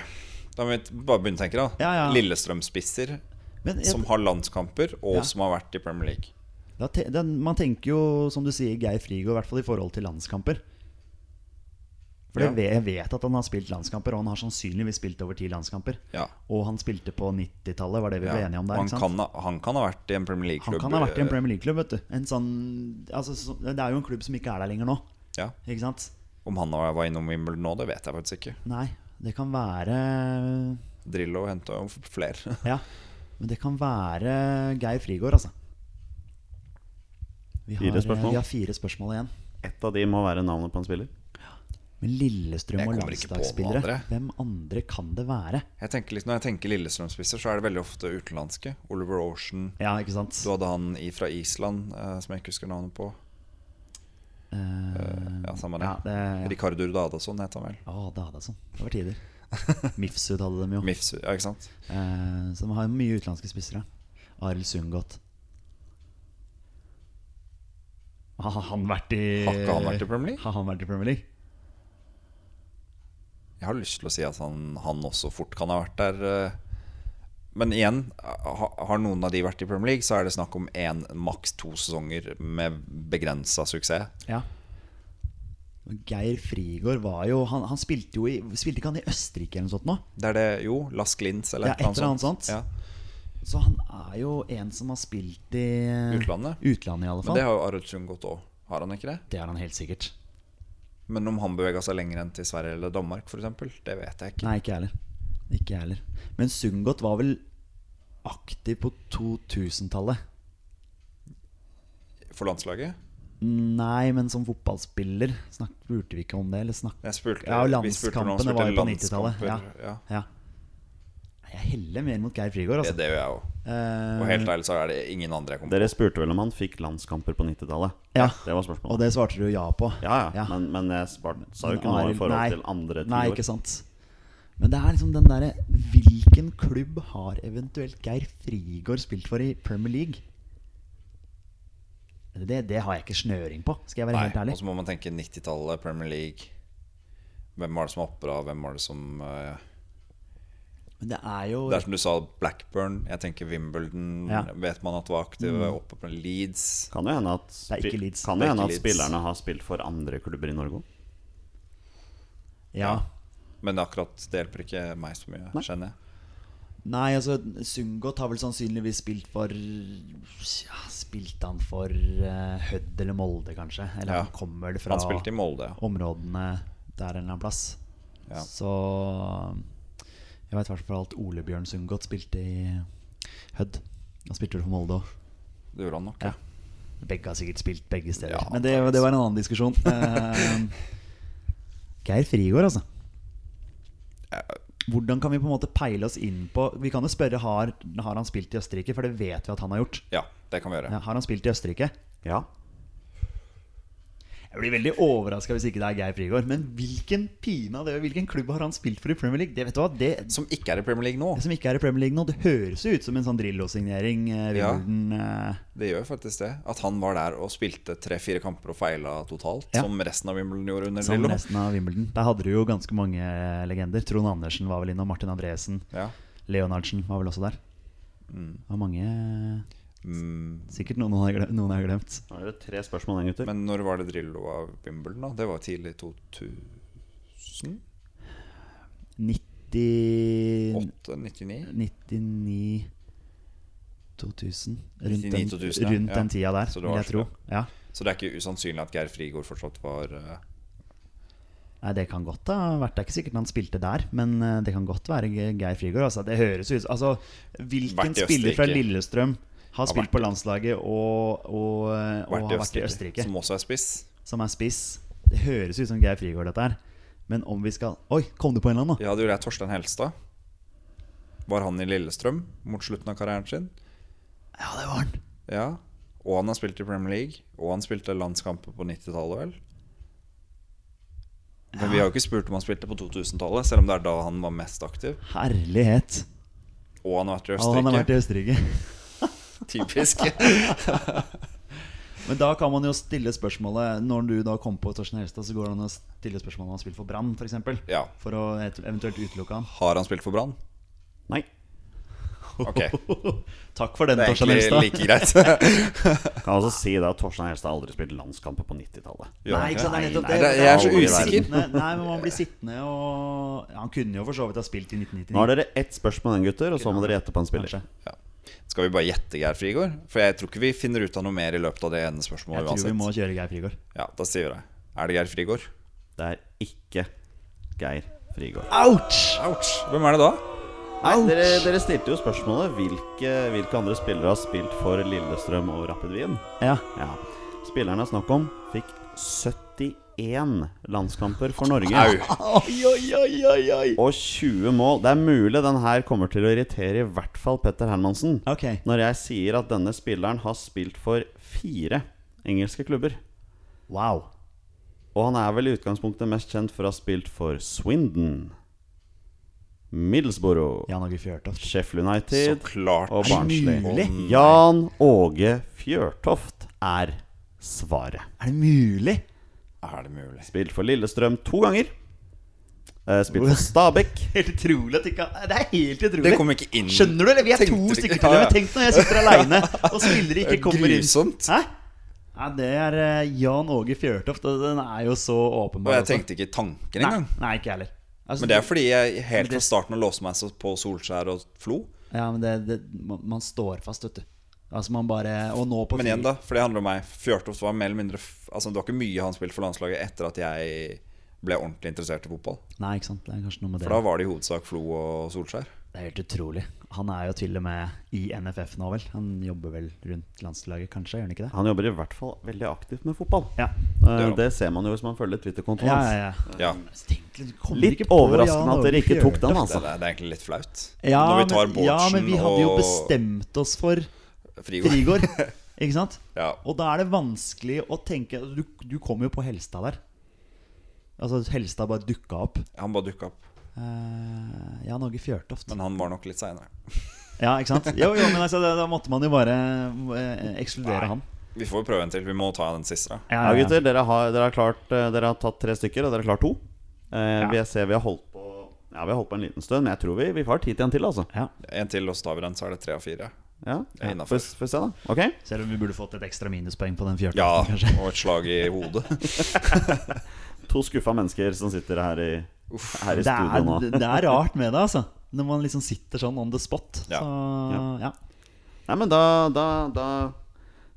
Speaker 3: da må vi bare begynne å tenke, da.
Speaker 2: Ja, ja.
Speaker 3: Lillestrøm-spisser
Speaker 2: Men jeg-
Speaker 3: som har landskamper, og
Speaker 2: Ja.
Speaker 3: som har vært i Premier League.
Speaker 2: Da te den, man tenker jo, som du sier, Geir Frigo, i hvert fall i forhold til landskamper. For
Speaker 3: Ja.
Speaker 2: det ve- jeg vet at han har spilt landskamper, og han har sannsynligvis spilt over ti landskamper.
Speaker 3: Ja.
Speaker 2: Og han spilte på 90-tallet, var det vi ble
Speaker 3: Ja.
Speaker 2: enige om der?
Speaker 3: han,
Speaker 2: ikke sant?
Speaker 3: kan, ha- han kan ha vært i en Premier
Speaker 2: han
Speaker 3: League-klubb.
Speaker 2: kan ha vært i en
Speaker 3: eh,
Speaker 2: Premier League-klubb, vet du. En sånn, altså, så, det er jo en klubb som ikke er der lenger nå,
Speaker 3: eh, Ja.
Speaker 2: ikke sant?
Speaker 3: Om han var innom Wimbledon nå, det vet jeg faktisk ikke.
Speaker 2: Nei, det kan være
Speaker 3: Drillo henta jo flere.
Speaker 2: Ja, men det kan være Geir Frigård, altså. Vi har, eh,
Speaker 1: Fire spørsmål.
Speaker 2: vi har fire spørsmål igjen.
Speaker 1: Ett av de må være navnet på en spiller.
Speaker 2: Men Lillestrøm
Speaker 3: Jeg
Speaker 2: og
Speaker 3: kommer ikke på noen
Speaker 2: landslagsspillere,
Speaker 3: andre.
Speaker 2: hvem andre kan det være?
Speaker 3: Jeg tenker litt, når jeg tenker Lillestrøm-spisser, så er det veldig ofte utenlandske. Oliver Ocean.
Speaker 2: Ja, ikke sant?
Speaker 3: Du hadde han i, fra Island, eh, som jeg ikke husker navnet på. Eh, ja, samme det.
Speaker 2: ja, det- ja.
Speaker 3: Ricardo Rudadason het han vel.
Speaker 2: Å, det hadde jeg sånn. Det var tider. Mifsud hadde dem jo.
Speaker 3: Mifsu, ja, ikke sant?
Speaker 2: Eh, så de har mye utenlandske spissere. Arild Sundgodt. Har han vært i
Speaker 3: Har ikke han vært i Premier League?
Speaker 2: Har han vært i Premier League?
Speaker 3: Jeg har lyst til å si at han, han også fort kan ha vært der. eh. Men igjen, ha, har noen av de vært i Premier League, så er det snakk om én, maks to sesonger med begrensa suksess.
Speaker 2: Ja. Geir Frigård var jo Han, han spilte jo i Spilte ikke han i Østerrike eller noe sånt nå?
Speaker 3: Det er det jo. Lask Linz eller
Speaker 2: Ja,
Speaker 3: et
Speaker 2: et eller annet sånt.
Speaker 3: Ja.
Speaker 2: Så han er jo en som har spilt i eh,
Speaker 3: Utlandet.
Speaker 2: Utlandet, i alle
Speaker 3: Men
Speaker 2: fall.
Speaker 3: det har jo Arutsun gått òg. Har han ikke det?
Speaker 2: det har han helt sikkert.
Speaker 3: Men om han bevega seg lenger enn til Sverige eller Danmark, for eksempel, det vet jeg ikke.
Speaker 2: Nei, ikke jeg heller. Ikke jeg heller. Men Sundgodt var vel aktiv på 2000-tallet.
Speaker 3: For landslaget?
Speaker 2: Nei, men som fotballspiller snak, spurte vi ikke om det? Eller snak,
Speaker 3: Jeg spurte,
Speaker 2: ja,
Speaker 3: vi spurte når han
Speaker 2: landskampene
Speaker 3: spilte
Speaker 2: var jo på
Speaker 3: landskamper,
Speaker 2: 90-tallet. Ja.
Speaker 3: ja.
Speaker 2: Ja. Jeg heller mer mot Geir Frigård,
Speaker 3: Det,
Speaker 2: altså.
Speaker 3: det gjør jeg òg. Og
Speaker 2: Eh,
Speaker 3: helt ærlig så er det ingen andre jeg kommer
Speaker 1: Dere spurte vel om han fikk landskamper på 90-tallet?
Speaker 2: Ja.
Speaker 1: Det var
Speaker 2: og
Speaker 1: spørsmålet.
Speaker 2: det svarte du ja på.
Speaker 1: Ja, ja, Men, men jeg spar, sa jo ikke noe i
Speaker 2: Arild-
Speaker 1: forhold
Speaker 2: nei.
Speaker 1: til andre
Speaker 2: Nei,
Speaker 1: tiår.
Speaker 2: ikke sant. Men det er liksom den derre Hvilken klubb har eventuelt Geir Frigård spilt for i Premier League? Det, det har jeg ikke snøring på, skal jeg være helt
Speaker 3: Nei,
Speaker 2: ærlig.
Speaker 3: Og så må man tenke 90-tallet, Premier League. Hvem var det som var oppe da? Hvem var det som eh,
Speaker 2: Men det er jo
Speaker 3: altså, Det er som du sa, Blackburn. Jeg tenker Wimbledon.
Speaker 2: Ja. Mm.
Speaker 3: Vet man at var aktive oppe på Leeds?
Speaker 1: Kan jo hende at,
Speaker 2: Det er ikke
Speaker 1: spi-
Speaker 2: Leeds.
Speaker 1: Kan
Speaker 3: Det
Speaker 1: jo
Speaker 3: er
Speaker 1: hende at
Speaker 3: ikke Leeds.
Speaker 1: spillerne har spilt for andre klubber i Norge òg.
Speaker 2: ja.
Speaker 3: Men akkurat det hjelper ikke meg så mye, skjønner jeg.
Speaker 2: Nei, altså Sundgodt har vel sannsynligvis spilt for ja, Spilte han for eh, Hødd eller Molde, kanskje? Eller
Speaker 3: Ja.
Speaker 2: han kommer vel fra
Speaker 3: Han spilte i Molde, ja.
Speaker 2: områdene der en eller annen plass.
Speaker 3: Ja.
Speaker 2: Så jeg veit i hvert fall at Ole Bjørn Sundgodt spilte i Hødd. Han spilte vel for Molde òg.
Speaker 3: Det gjorde han nok.
Speaker 2: Ja. Begge har sikkert spilt begge
Speaker 3: Ja,
Speaker 2: steder. Men det, det var en annen diskusjon. Eh, Geir Frigård, altså. Hvordan kan vi på en måte peile oss inn på Vi kan jo spørre har, har han spilt i Østerrike, for det vet vi at han har gjort.
Speaker 3: Ja, det kan vi gjøre.
Speaker 2: Ja, har han spilt i Østerrike?
Speaker 1: Ja.
Speaker 2: Jeg blir veldig overraska hvis ikke det er Geir Frigård. Men hvilken pinadø, hvilken klubb har han spilt for i Premier League? Det vet du hva, det,
Speaker 3: Som ikke er i Premier League nå.
Speaker 2: det som ikke er i Premier League nå, det høres jo ut som en sånn Drillo-signering. eh,
Speaker 3: Ja.
Speaker 2: Wimbledon, eh,
Speaker 3: Det gjør faktisk det. At han var der og spilte tre-fire kamper og feila totalt,
Speaker 2: Ja.
Speaker 3: som resten av Wimbledon gjorde under
Speaker 2: Som
Speaker 3: Lillo.
Speaker 2: resten av Wimbledon. Der hadde du jo ganske mange eh, legender. Trond Andersen var vel innom. Martin Andresen.
Speaker 3: Ja.
Speaker 2: Leonardsen var vel også der. Det var mange eh,
Speaker 3: Mm,
Speaker 2: Sikkert noen har glemt. Noen har glemt.
Speaker 1: Da er det tre spørsmål igjen, gutter.
Speaker 3: Men når var det Drillo av Wimbledon, da? Det var tidlig 2000?
Speaker 2: 90
Speaker 3: 99?
Speaker 2: 99 2000. Rundt,
Speaker 3: 99
Speaker 2: den,
Speaker 3: 2000, ja.
Speaker 2: rundt
Speaker 3: Ja.
Speaker 2: den tida der,
Speaker 3: Så det
Speaker 2: vil
Speaker 3: var
Speaker 2: jeg tro.
Speaker 3: så-
Speaker 2: Ja.
Speaker 3: Så det er ikke usannsynlig at Geir Frigård fortsatt var eh,
Speaker 2: Nei, Det kan godt ha vært. Det er ikke sikkert han spilte der, men eh, det kan godt være Ge- Geir Frigård. Altså, det høres ut Altså, hvilken
Speaker 3: Vært i
Speaker 2: spiller fra
Speaker 3: Østerrike.
Speaker 2: Lillestrøm har spilt
Speaker 3: vært-
Speaker 2: på landslaget og, og, eh, og har vært i Østerrike,
Speaker 3: Som også er spiss.
Speaker 2: som er spiss? Det høres ut som Geir Frigård, dette her. Men om vi skal Oi, kom du på en eller annen, da?
Speaker 3: Ja, det gjorde jeg Torstein Helstad. Var han i Lillestrøm mot slutten av karrieren sin?
Speaker 2: Ja, det var han.
Speaker 3: Ja. Og han har spilt i Premier League. Og han spilte landskamper på 90-tallet, vel? Men vi har jo ikke spurt om han spilte på 2000-tallet, selv om det er da han var mest aktiv.
Speaker 2: Herlighet.
Speaker 3: Og han har vært i
Speaker 2: Ja, han har vært
Speaker 3: Østerrike.
Speaker 2: i Østerrike.
Speaker 3: Typisk.
Speaker 2: Men da kan man jo stille spørsmålet Når du da kom på Torstein Helstad, så går det an å stille spørsmålet om han har spilt for Brann, f.eks.
Speaker 3: Ja.
Speaker 2: For å et- eventuelt utelukke han.
Speaker 3: Har han spilt for Brann?
Speaker 1: Nei.
Speaker 3: Ok.
Speaker 2: Takk for den,
Speaker 3: Det er
Speaker 2: Torstein
Speaker 3: egentlig
Speaker 2: Helstad.
Speaker 3: like greit.
Speaker 1: Kan altså si det at Torstein Helstad har aldri spilt landskamper på 90-tallet.
Speaker 3: Gjør han
Speaker 2: Nei, ikke sant, det er nettopp
Speaker 1: Nei,
Speaker 2: det.
Speaker 1: nei,
Speaker 3: jeg er så
Speaker 2: Aldri
Speaker 3: usikker.
Speaker 2: sittende. Nei, men man blir sittende og ja, Han kunne jo for så vidt ha spilt i
Speaker 1: Nå har
Speaker 2: 1999.
Speaker 1: dere ett spørsmål igjen, gutter, og så må dere gjette på en spiller.
Speaker 2: Kanskje.
Speaker 3: Ja. Skal vi bare gjette Geir Frigård? For jeg tror ikke vi finner ut av noe mer i løpet av det ene
Speaker 2: Jeg
Speaker 3: spørsmålet
Speaker 2: tror vi må
Speaker 3: uansett.
Speaker 2: kjøre Geir Frigård.
Speaker 3: Ja, da sier vi det. Er det Geir Frigård?
Speaker 1: Det er ikke Geir Frigård.
Speaker 2: Ouch!
Speaker 3: Ouch! Hvem er det da?
Speaker 1: Nei, dere, dere stilte jo spørsmålet hvilke, hvilke andre spillere har spilt for Lillestrøm og Rapid Wien.
Speaker 2: Ja,
Speaker 1: Ja. Spilleren det er snakk om, fikk 71 landskamper for Norge.
Speaker 3: Au!
Speaker 1: Og 20 mål. Det er mulig den her kommer til å irritere i hvert fall Petter Hermansen.
Speaker 2: ok.
Speaker 1: Når jeg sier at denne spilleren har spilt for fire engelske klubber.
Speaker 2: Wow.
Speaker 1: Og han er vel i utgangspunktet mest kjent for å ha spilt for Swindon, Middlesbrough,
Speaker 2: Jan Åge Fjørtoft.
Speaker 1: Sheffield
Speaker 3: Så
Speaker 1: United
Speaker 3: klart.
Speaker 1: og
Speaker 2: Er det
Speaker 1: Barnsley.
Speaker 2: mulig?
Speaker 1: Jan Åge Fjørtoft er svaret.
Speaker 2: Er det mulig?
Speaker 3: Er det mulig?
Speaker 1: Spilt for Lillestrøm to ganger. Eh, Spilt for Stabæk.
Speaker 2: Helt utrolig at ikke Det er helt utrolig.
Speaker 3: Det kom ikke inn.
Speaker 2: Skjønner du, eller? Vi er
Speaker 3: Tenkte
Speaker 2: to
Speaker 3: du ikke-
Speaker 2: stykker
Speaker 3: Ja,
Speaker 2: til.
Speaker 3: ja.
Speaker 2: Men tenk når jeg sitter aleine og spillere ikke
Speaker 3: Det er
Speaker 2: kommer inn.
Speaker 3: grusomt.
Speaker 2: Hæ? Ja, det er eh, Jan Åge Fjørtoft. og Den er jo så
Speaker 3: Og
Speaker 2: åpenbar.
Speaker 3: jeg tenkte ikke tanken
Speaker 2: Nei,
Speaker 3: engang.
Speaker 2: nei, ikke jeg heller. Altså,
Speaker 3: Men det er fordi jeg helt
Speaker 2: Men det-
Speaker 3: fra starten av låste meg så på Solskjær og Flo.
Speaker 2: Ja, men det, det, man, man står fast, vet du. Altså man bare Og nå på
Speaker 3: Men igjen,
Speaker 2: fri-
Speaker 3: da. For det handler om meg. Fjørtoft var mer eller mindre f- Altså, det var ikke mye han spilte for landslaget etter at jeg ble ordentlig interessert i fotball.
Speaker 2: Nei, ikke sant. Det er kanskje noe med det.
Speaker 3: For da var det i hovedsak Flo og Solskjær.
Speaker 2: Det er helt utrolig. Han er jo til og med i NFF nå, vel. Han jobber vel rundt landslaget, kanskje? Gjør han ikke det?
Speaker 1: Han jobber i hvert fall veldig aktivt med fotball.
Speaker 2: Ja.
Speaker 1: Eh,
Speaker 3: Ja.
Speaker 1: Det ser man jo hvis man følger Twitter-kontoen
Speaker 2: Ja,
Speaker 1: hans.
Speaker 2: ja, ja.
Speaker 3: Ja.
Speaker 2: Tenk, du kommer
Speaker 1: Litt
Speaker 2: ikke på
Speaker 1: overraskende
Speaker 2: Jan
Speaker 1: at dere
Speaker 2: Åge
Speaker 1: ikke tok
Speaker 2: Fjørtoft.
Speaker 1: den,
Speaker 3: Det,
Speaker 1: altså.
Speaker 3: er- det er egentlig litt flaut.
Speaker 2: Ja,
Speaker 3: Når vi tar
Speaker 2: men,
Speaker 3: Bårdsen
Speaker 2: ja, men vi hadde jo
Speaker 3: og
Speaker 2: bestemt oss for
Speaker 3: Frigård.
Speaker 2: Frigård. Ikke sant?
Speaker 3: Ja.
Speaker 2: Og da er det vanskelig å tenke Du, du kom jo på Helstad der. Altså, Helstad bare dukka opp.
Speaker 3: Han bare dukka opp.
Speaker 2: Eh, Jan Åge Fjørtoft.
Speaker 3: Men han var nok litt seinere.
Speaker 2: Ja, ikke sant? Jo, jo, men altså, da, da måtte man jo bare eh, ekskludere han.
Speaker 3: Vi får prøve en til. Vi må ta den siste. da
Speaker 1: Ja, gutter, dere har, dere, har klart, eh, dere har tatt tre stykker, og dere har klart to. Eh, Vi ser vi har holdt på Ja, vi har holdt på en liten stund, men jeg tror vi, vi har tid til en til, altså.
Speaker 2: Ja,
Speaker 3: En til, og så tar vi den. Så er det tre av fire.
Speaker 1: Ja,
Speaker 3: er
Speaker 1: ja.
Speaker 3: innenfor.
Speaker 1: Får får se, da. Ok?
Speaker 2: Selv om vi burde fått et ekstra minuspoeng på den
Speaker 3: Ja,
Speaker 2: fjørtoften, kanskje.
Speaker 3: og et slag i hodet.
Speaker 1: To skuffa mennesker som sitter her i, her i
Speaker 2: Det
Speaker 1: studio nå.
Speaker 2: er, det er rart med det, altså. Når man liksom sitter sånn on the spot.
Speaker 3: Ja.
Speaker 2: Så, ja.
Speaker 1: Nei, men da, da, da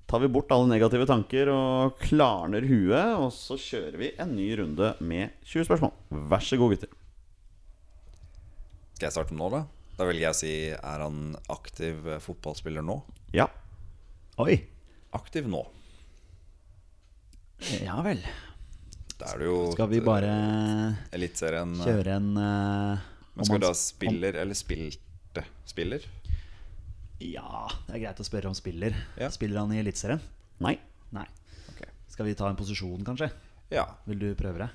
Speaker 1: tar vi bort alle negative tanker og klarner huet, og så kjører vi en ny runde med 20 spørsmål. Vær så god, gutter.
Speaker 3: Skal jeg starte nå, da? Da velger jeg å si er han aktiv eh, fotballspiller nå?
Speaker 1: Ja.
Speaker 2: Oi.
Speaker 3: Aktiv nå.
Speaker 2: Ja vel.
Speaker 3: Da er det jo
Speaker 2: Skal vi bare
Speaker 3: Eliteserien eh,
Speaker 2: kjøre en eh,
Speaker 3: Men
Speaker 2: om
Speaker 3: skal
Speaker 2: han-
Speaker 3: vi da spiller eller spilte spiller?
Speaker 2: Ja, det er greit å spørre om spiller.
Speaker 3: Ja.
Speaker 2: Spiller han i Eliteserien?
Speaker 1: Nei.
Speaker 2: Nei.
Speaker 3: Ok.
Speaker 2: Skal vi ta en posisjon, kanskje?
Speaker 3: Ja,
Speaker 2: Vil du prøve det?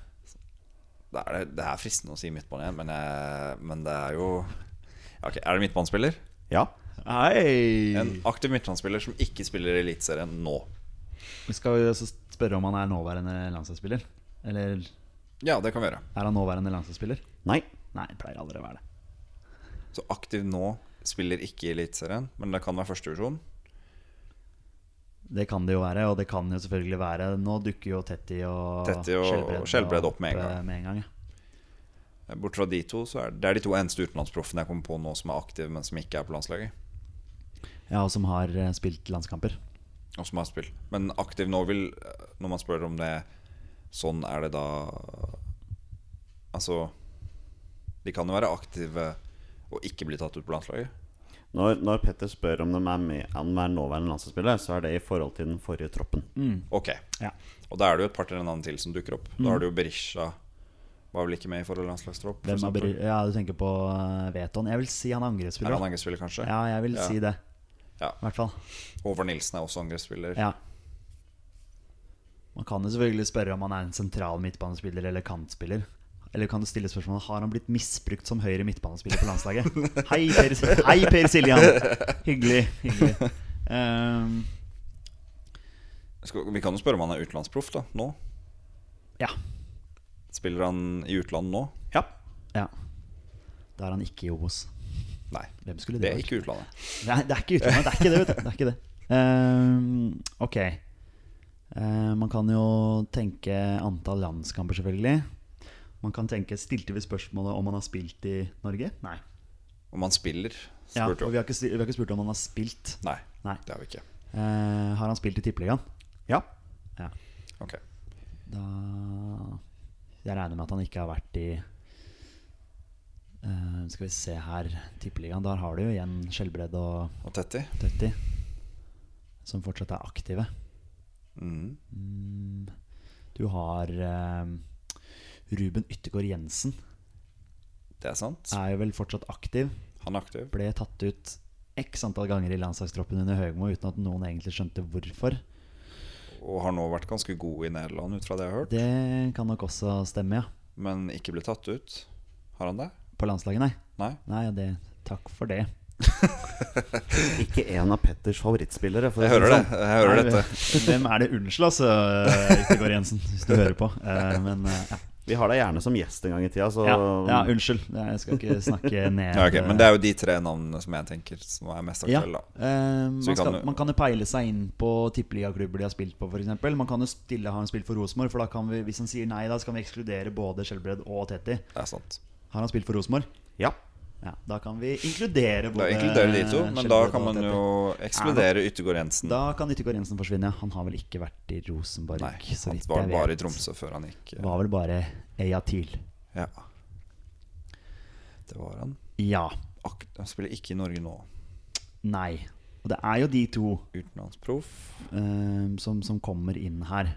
Speaker 3: det er, det er fristende å si midtbane igjen, men, jeg, men det er jo Ja, ok, Er det midtbanespiller?
Speaker 1: Ja.
Speaker 2: Hei!
Speaker 3: En aktiv midtbanespiller som ikke spiller i Eliteserien nå.
Speaker 2: Skal vi også spørre om han er nåværende landslagsspiller? Eller er
Speaker 3: Ja, det kan vi gjøre.
Speaker 2: han nåværende landslagsspiller?
Speaker 1: Nei.
Speaker 2: Nei, det pleier aldri å være det.
Speaker 3: Så aktiv nå spiller ikke i Eliteserien, men det kan være førstevisjon.
Speaker 2: Det kan det jo være, og det kan jo selvfølgelig være Nå dukker jo Tetty og
Speaker 3: Tetty og
Speaker 2: Skjelbred
Speaker 3: Skjelbred opp med en gang.
Speaker 2: eh, Med en gang ja.
Speaker 3: Bort fra de to, så er det, det er de to eneste utenlandsproffene jeg kommer på nå som er aktive, men som ikke er på landslaget.
Speaker 2: ja, og som har eh, spilt landskamper.
Speaker 3: Og som har spilt. Men aktiv nå vil Når man spør om det Sånn er det da Altså De kan jo være aktive og ikke bli tatt ut på landslaget.
Speaker 1: Når, når Petter spør om de er, med, om de er nåværende landslagsspiller, så er det i forhold til den forrige troppen.
Speaker 2: Mm.
Speaker 3: Ok.
Speaker 2: Ja. Mm.
Speaker 3: Og da er det jo et par til en annen til som dukker opp. Da har du jo Berisha Var vel ikke med i forhold til landslagstropp? for
Speaker 2: Hvem er,
Speaker 3: eksempel.
Speaker 2: Bry- ja, du tenker på eh, Veton. Jeg vil si han er
Speaker 3: Er
Speaker 2: angrepsspiller.
Speaker 3: han
Speaker 2: da.
Speaker 3: angrepsspiller, kanskje?
Speaker 2: Ja, jeg vil
Speaker 3: Ja.
Speaker 2: si det.
Speaker 3: Ja.
Speaker 2: I hvert fall.
Speaker 3: Håvard Nilsen er også angrepsspiller.
Speaker 2: Ja. Man kan jo selvfølgelig spørre om han er en sentral midtbanespiller eller kantspiller. Eller kan du stille spørsmålet Har han blitt misbrukt som høyre midtbanespiller på landslaget? Hei, Per, Sil- Hei, per Siljan! Hyggelig. hyggelig. Ehm,
Speaker 3: Skal, vi kan jo spørre om han er utenlandsproff da, nå.
Speaker 2: ja.
Speaker 3: Spiller han i utlandet nå?
Speaker 1: Ja.
Speaker 2: ja. Da er han ikke i Obos.
Speaker 3: Nei.
Speaker 2: Hvem skulle det
Speaker 3: Det er
Speaker 2: vært?
Speaker 3: ikke utlandet.
Speaker 2: Nei, det er ikke utlandet. Det er ikke det, vet du. Det er ikke det. Ehm, ok. Eh, man kan jo tenke antall landskamper, selvfølgelig. Man kan tenke Stilte vi spørsmålet om han har spilt i Norge? Nei.
Speaker 3: Om han spiller,
Speaker 2: Ja,
Speaker 3: spurte
Speaker 2: og vi
Speaker 3: du om.
Speaker 2: har, ikke, sti- vi har ikke spurt om han har spilt.
Speaker 3: Nei,
Speaker 2: Nei.
Speaker 3: det har vi ikke.
Speaker 2: Eh, har han spilt i Tippeligaen?
Speaker 1: Ja.
Speaker 2: Ja.
Speaker 3: Ok.
Speaker 2: Da Jeg regner med at han ikke har vært i eh, Skal vi se her Tippeligaen. Der har du jo igjen Skjelbred og
Speaker 3: Og Tetti?
Speaker 2: Tetti, som fortsatt er aktive. Mm.
Speaker 3: Mhm.
Speaker 2: Du har eh, Ruben Yttergård Jensen.
Speaker 3: Det er sant.
Speaker 2: Er jo vel fortsatt aktiv.
Speaker 3: Han er aktiv.
Speaker 2: Ble tatt ut x antall ganger i landslagstroppen under Høgmo uten at noen egentlig skjønte hvorfor.
Speaker 3: Og har nå vært ganske god i Nederland, ut fra det jeg har hørt.
Speaker 2: Det kan nok også stemme, ja.
Speaker 3: Men ikke ble tatt ut. Har han det?
Speaker 2: På landslaget, nei.
Speaker 3: Nei.
Speaker 2: Nei, ja, det, takk for det.
Speaker 1: Ikke en av Petters favorittspillere. For å
Speaker 3: Jeg
Speaker 1: si
Speaker 3: hører det.
Speaker 1: sånn.
Speaker 3: Jeg hører
Speaker 2: Nei,
Speaker 3: dette.
Speaker 2: Hvem er det? Unnskyld, altså, Yttergård Jensen, hvis du hører på. Eh, Men eh, ja.
Speaker 1: Vi har deg gjerne som gjest en gang i tida, så
Speaker 2: Ja, ja, unnskyld. Jeg skal ikke snakke ned
Speaker 3: Ja, ok, men det er jo de tre navnene som jeg tenker som er mest
Speaker 2: Ja.
Speaker 3: aktuelle. da.
Speaker 2: eh,
Speaker 3: Så vi kan
Speaker 2: man, skal,
Speaker 3: jo-
Speaker 2: man kan jo peile seg inn på tippeligaklubber de har spilt på, f.eks. Man kan jo stille ha en spill for Rosenborg, for da kan vi, hvis han sier nei, da så kan vi ekskludere både Skjelbred og Tetti.
Speaker 3: Det er sant.
Speaker 2: Har han spilt for Rosenborg?
Speaker 1: ja.
Speaker 2: Ja, da kan vi
Speaker 3: Da
Speaker 2: inkludere både
Speaker 3: inkluderer de to, men da
Speaker 2: Skjelbred
Speaker 3: kan
Speaker 2: eh, og
Speaker 3: man
Speaker 2: Tetti.
Speaker 3: jo ekskludere Yttergård Jensen.
Speaker 2: Da kan Yttergård Jensen forsvinne. ja. Han har vel ikke vært i Rosenborg,
Speaker 3: Nei,
Speaker 2: så
Speaker 3: han
Speaker 2: vidt
Speaker 3: var
Speaker 2: jeg vet.
Speaker 3: bare i Tromsø før han gikk. eh,
Speaker 2: Var vel bare Eyatil.
Speaker 3: Ja. Det var han.
Speaker 2: Ja.
Speaker 3: Ak han spiller ikke i Norge nå.
Speaker 2: Nei. Og det er jo de to
Speaker 3: Utenlandsproff.
Speaker 2: eh, som, som kommer inn her.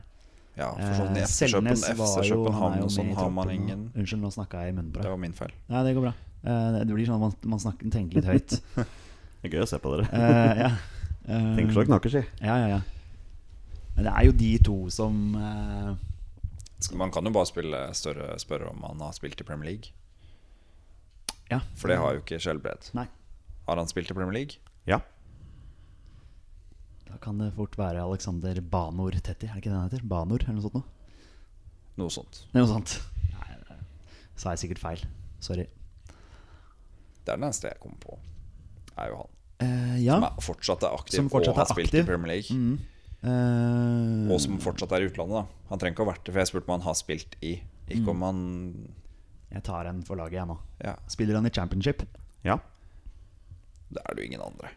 Speaker 3: Ja, for sånn i
Speaker 2: Eh,
Speaker 3: FC Køben- FC
Speaker 2: er
Speaker 3: København og sånn
Speaker 2: med i
Speaker 3: har man
Speaker 2: troppen, og-
Speaker 3: ingen.
Speaker 2: Unnskyld, nå snakka jeg i munnen på
Speaker 3: Det
Speaker 2: deg.
Speaker 3: var min feil.
Speaker 2: Nei, det går bra. Eh, det blir sånn at man, man snakker, tenker litt høyt.
Speaker 1: Det er gøy å se på dere.
Speaker 2: Eh, ja. Eh,
Speaker 1: Tenker så det knaker, si.
Speaker 2: Ja, ja, ja. Men det er jo de to som eh,
Speaker 3: Man kan jo bare spille større spørre om han har spilt i Premier League.
Speaker 2: Ja.
Speaker 3: For det har jo ikke Skjelbred.
Speaker 2: Nei.
Speaker 3: Har han spilt i Premier League?
Speaker 1: Ja.
Speaker 2: Da kan det fort være Alexander Banor Tetti. Er det ikke det han heter? Banor, eller noe sånt noe?
Speaker 3: Noe sånt.
Speaker 2: Noe sånt. Nei, det sa jeg sikkert feil. Sorry.
Speaker 3: Det er den eneste jeg kommer på. Er jo han.
Speaker 2: Eh, ja.
Speaker 3: Som er fortsatt er aktiv
Speaker 2: Som fortsatt
Speaker 3: og har
Speaker 2: er
Speaker 3: spilt
Speaker 2: aktiv.
Speaker 3: i
Speaker 2: Mm.
Speaker 3: Premier League.
Speaker 2: Eh,
Speaker 3: Og som fortsatt er i utlandet, da. Han trenger ikke å ha vært det, for jeg spurte om han har spilt i. Ikke
Speaker 2: Mm.
Speaker 3: om han
Speaker 2: jeg tar en for laget, jeg nå.
Speaker 3: Ja,
Speaker 2: Spiller han i championship?
Speaker 1: Ja.
Speaker 3: det er det jo ingen andre.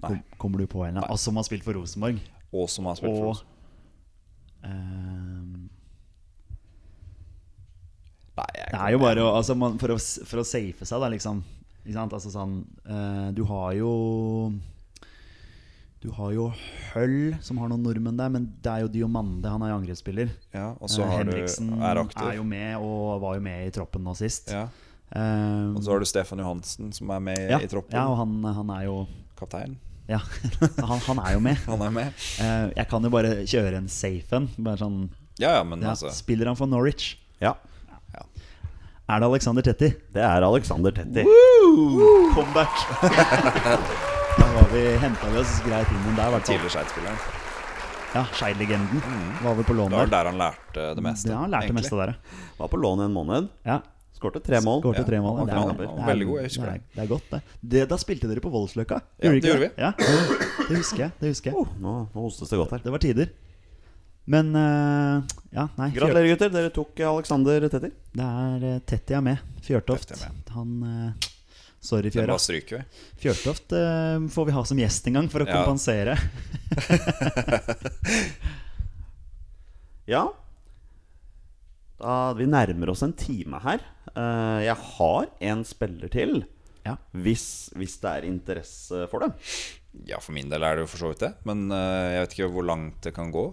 Speaker 2: Kom, kommer du på en eller annen? Altså, som har spilt for Rosenborg?
Speaker 3: Og som har spilt for
Speaker 2: Og
Speaker 3: oss.
Speaker 2: eh,
Speaker 3: Nei, jeg
Speaker 2: Det er jo bare å, altså man, for, å, s- for å safe seg, da, liksom. Ikke sant? Altså sånn eh, Du har jo Du har jo Høll, som har noen nordmenn der, men det er jo Diomande. Han er jo angrepsspiller.
Speaker 3: ja, Og så
Speaker 2: Eh,
Speaker 3: har du
Speaker 2: Henriksen
Speaker 3: er aktiv.
Speaker 2: jo med, og var jo med i troppen nå sist.
Speaker 3: ja.
Speaker 2: Eh,
Speaker 3: Og så har du Stefan Johansen, som er med
Speaker 2: ja,
Speaker 3: i troppen.
Speaker 2: ja, og han, han er jo
Speaker 3: Kaptein.
Speaker 2: Ja, han, han er jo med.
Speaker 3: Han er med.
Speaker 2: Eh, jeg kan jo bare kjøre en safe en. Bare sånn,
Speaker 3: Ja, ja, men
Speaker 2: ja,
Speaker 3: altså
Speaker 2: spiller han for Norwich?
Speaker 1: Ja,
Speaker 2: Er det Alexander Tetti?
Speaker 1: det er Alexander Tetti.
Speaker 2: Comeback! da var vi henta vi oss greit inn der, i hvert fall.
Speaker 3: Tidligere Skeid-spilleren.
Speaker 2: Ja, Skeid-legenden var vel på lån
Speaker 3: Mm. Det var
Speaker 2: der.
Speaker 3: der han lærte det meste.
Speaker 2: Ja, han lærte det meste der,
Speaker 1: Var på lån i en måned.
Speaker 2: ja.
Speaker 1: Skårte tre mål.
Speaker 2: Skårte
Speaker 3: Ja,
Speaker 2: tre mål.
Speaker 3: han
Speaker 2: Det
Speaker 3: var
Speaker 2: er-
Speaker 3: bra. Han var
Speaker 2: det er-
Speaker 3: veldig god, jeg husker
Speaker 2: det. Er, det er godt, det. det. Da spilte dere på Voldsløkka.
Speaker 3: Ja, det
Speaker 2: dere
Speaker 3: gjorde vi. Uh.
Speaker 2: Ja, det husker jeg. Det husker jeg.
Speaker 1: Oh, nå, nå hostes det godt her.
Speaker 2: Det var tider. Men eh, ja, nei. Fjør-
Speaker 1: Gratulerer, gutter. Dere tok eh, Alexander Tetti.
Speaker 2: Det er eh, Tetti er med. Fjørtoft.
Speaker 3: Tetti er
Speaker 2: Han eh, Sorry,
Speaker 3: Den
Speaker 2: Fjøra.
Speaker 3: bare stryker vi.
Speaker 2: Fjørtoft eh, får vi ha som gjest en gang for å
Speaker 3: Ja.
Speaker 2: kompensere.
Speaker 1: Ja. Da, vi nærmer oss en time her. Eh, jeg har en spiller til,
Speaker 2: Ja.
Speaker 1: hvis, hvis det er interesse for det.
Speaker 3: Ja, for min del er det jo for så vidt det. Men eh, jeg vet ikke hvor langt det kan gå.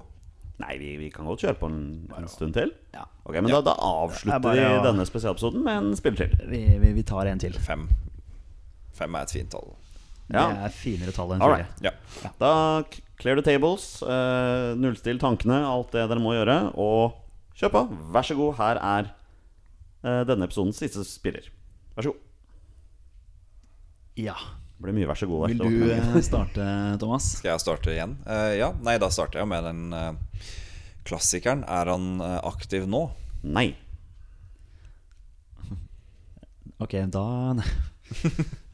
Speaker 1: Nei, vi, vi kan godt kjøre på en, en stund til.
Speaker 2: Ja.
Speaker 1: Ok, Men da, da avslutter
Speaker 2: Det er bare
Speaker 1: vi
Speaker 2: å-
Speaker 1: denne spesialepisoden med en spiller til.
Speaker 2: Vi, vi, vi tar en til.
Speaker 3: Fem. Fem er et fint tall.
Speaker 1: Ja.
Speaker 2: Det er finere tall enn
Speaker 1: All
Speaker 2: fire.
Speaker 1: right.
Speaker 3: Ja.
Speaker 1: Da k- clear the tables, eh, nullstill tankene, alt det dere må gjøre, og kjør på. Vær så god, her er eh, denne episodens siste spiller. Vær så god.
Speaker 2: Ja.
Speaker 1: Det blir mye vær så god der.
Speaker 2: Vil
Speaker 1: Det var ikke
Speaker 2: du
Speaker 1: meningen.
Speaker 2: eh, starte, Thomas?
Speaker 3: Skal jeg starte igjen? Eh, ja, nei, da starter jeg med den eh, klassikeren. Er han eh, aktiv nå?
Speaker 1: Nei.
Speaker 2: Ok, da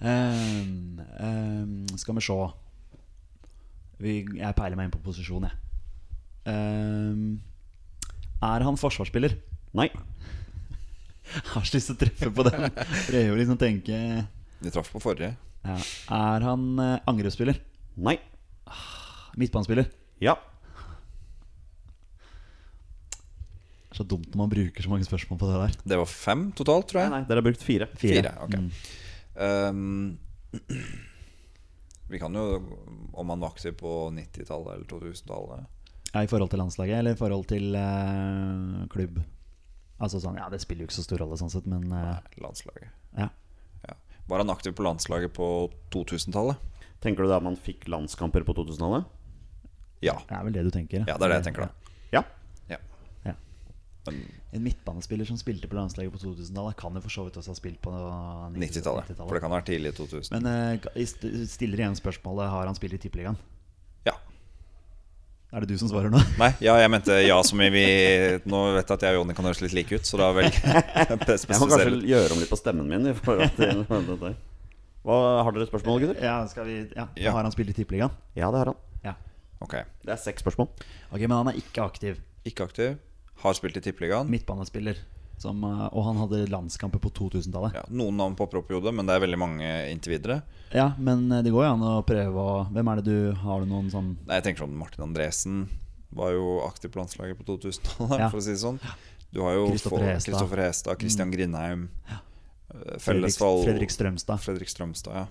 Speaker 2: Ehm, ehm, Skal vi se. Vi, jeg peiler meg inn på posisjon, jeg. Ehm, er han forsvarsspiller?
Speaker 1: Nei.
Speaker 2: har så lyst til å treffe på den. Prøver å liksom tenke ja.
Speaker 3: Vi traff på forrige.
Speaker 2: Er han eh, angrepsspiller?
Speaker 1: Nei.
Speaker 2: Midtbanespiller?
Speaker 1: Ja.
Speaker 2: Det er så dumt når man bruker så mange spørsmål på det der.
Speaker 3: Det var fem totalt, tror jeg.
Speaker 1: Nei, dere har brukt fire.
Speaker 3: Fire, ok um, Vi kan jo Om han var aktiv på 90-tallet eller 2000-tallet
Speaker 2: Ja, I forhold til landslaget, eller i forhold til eh, klubb? Altså sånn, ja Det spiller jo ikke så stor rolle, sånn sett, men eh,
Speaker 3: Landslaget
Speaker 2: ja.
Speaker 3: ja. Var han aktiv på landslaget på 2000-tallet?
Speaker 1: Tenker du da man fikk landskamper på 2000-tallet?
Speaker 3: Ja.
Speaker 2: det er vel det du tenker?
Speaker 3: ja, det er det jeg tenker da
Speaker 1: Ja.
Speaker 3: ja.
Speaker 2: Ja. En midtbanespiller som spilte på landslaget på 2000-tallet, kan jo for så vidt også ha spilt på
Speaker 3: 90-tallet,
Speaker 2: 90-tallet.
Speaker 3: for det kan være tidlig i 2000
Speaker 2: Men eh, i st- stiller igjen spørsmålet Har han spilt i Tippeligaen.
Speaker 3: Ja
Speaker 2: Er det du som svarer nå?
Speaker 3: Nei, ja, jeg mente ja som i vi Nå vet jeg at jeg og Jonny kan høres litt like ut Så da velger jeg
Speaker 1: Jeg må kanskje
Speaker 3: spesifisere.
Speaker 1: gjøre om litt på stemmen min. I forhold til dette. Hva, har dere spørsmål, gutter?
Speaker 2: Ja, skal vi, ja.
Speaker 3: Ja.
Speaker 2: Har han spilt i Tippeligaen?
Speaker 1: Ja, det har han.
Speaker 2: Ja.
Speaker 3: Ok,
Speaker 1: Det er seks spørsmål.
Speaker 2: Ok, Men han er ikke aktiv.
Speaker 3: ikke aktiv Har spilt i tippeligaen
Speaker 2: Midtbanespiller. Som, eh, og han hadde landskamper på 2000-tallet. Ja.
Speaker 3: ja, Noen navn popper opp i hodet, men det er veldig mange inntil videre
Speaker 2: Men eh, det går jo an å prøve å Hvem er det du Har du noen sånn
Speaker 3: Nei, jeg tenker sånn Martin Andresen var jo aktiv på landslaget på 2000-tallet,
Speaker 2: Ja.
Speaker 3: for å si det sånn. Du har jo
Speaker 2: Kristoffer
Speaker 3: folk-
Speaker 2: Hestad. Mm.
Speaker 3: Kristoffer Hestad, Christian Grindheim, eh,
Speaker 2: Fredrik,
Speaker 3: Fellesvold
Speaker 2: Fredrik Strømstad?
Speaker 3: Fredrik Strømstad, ja.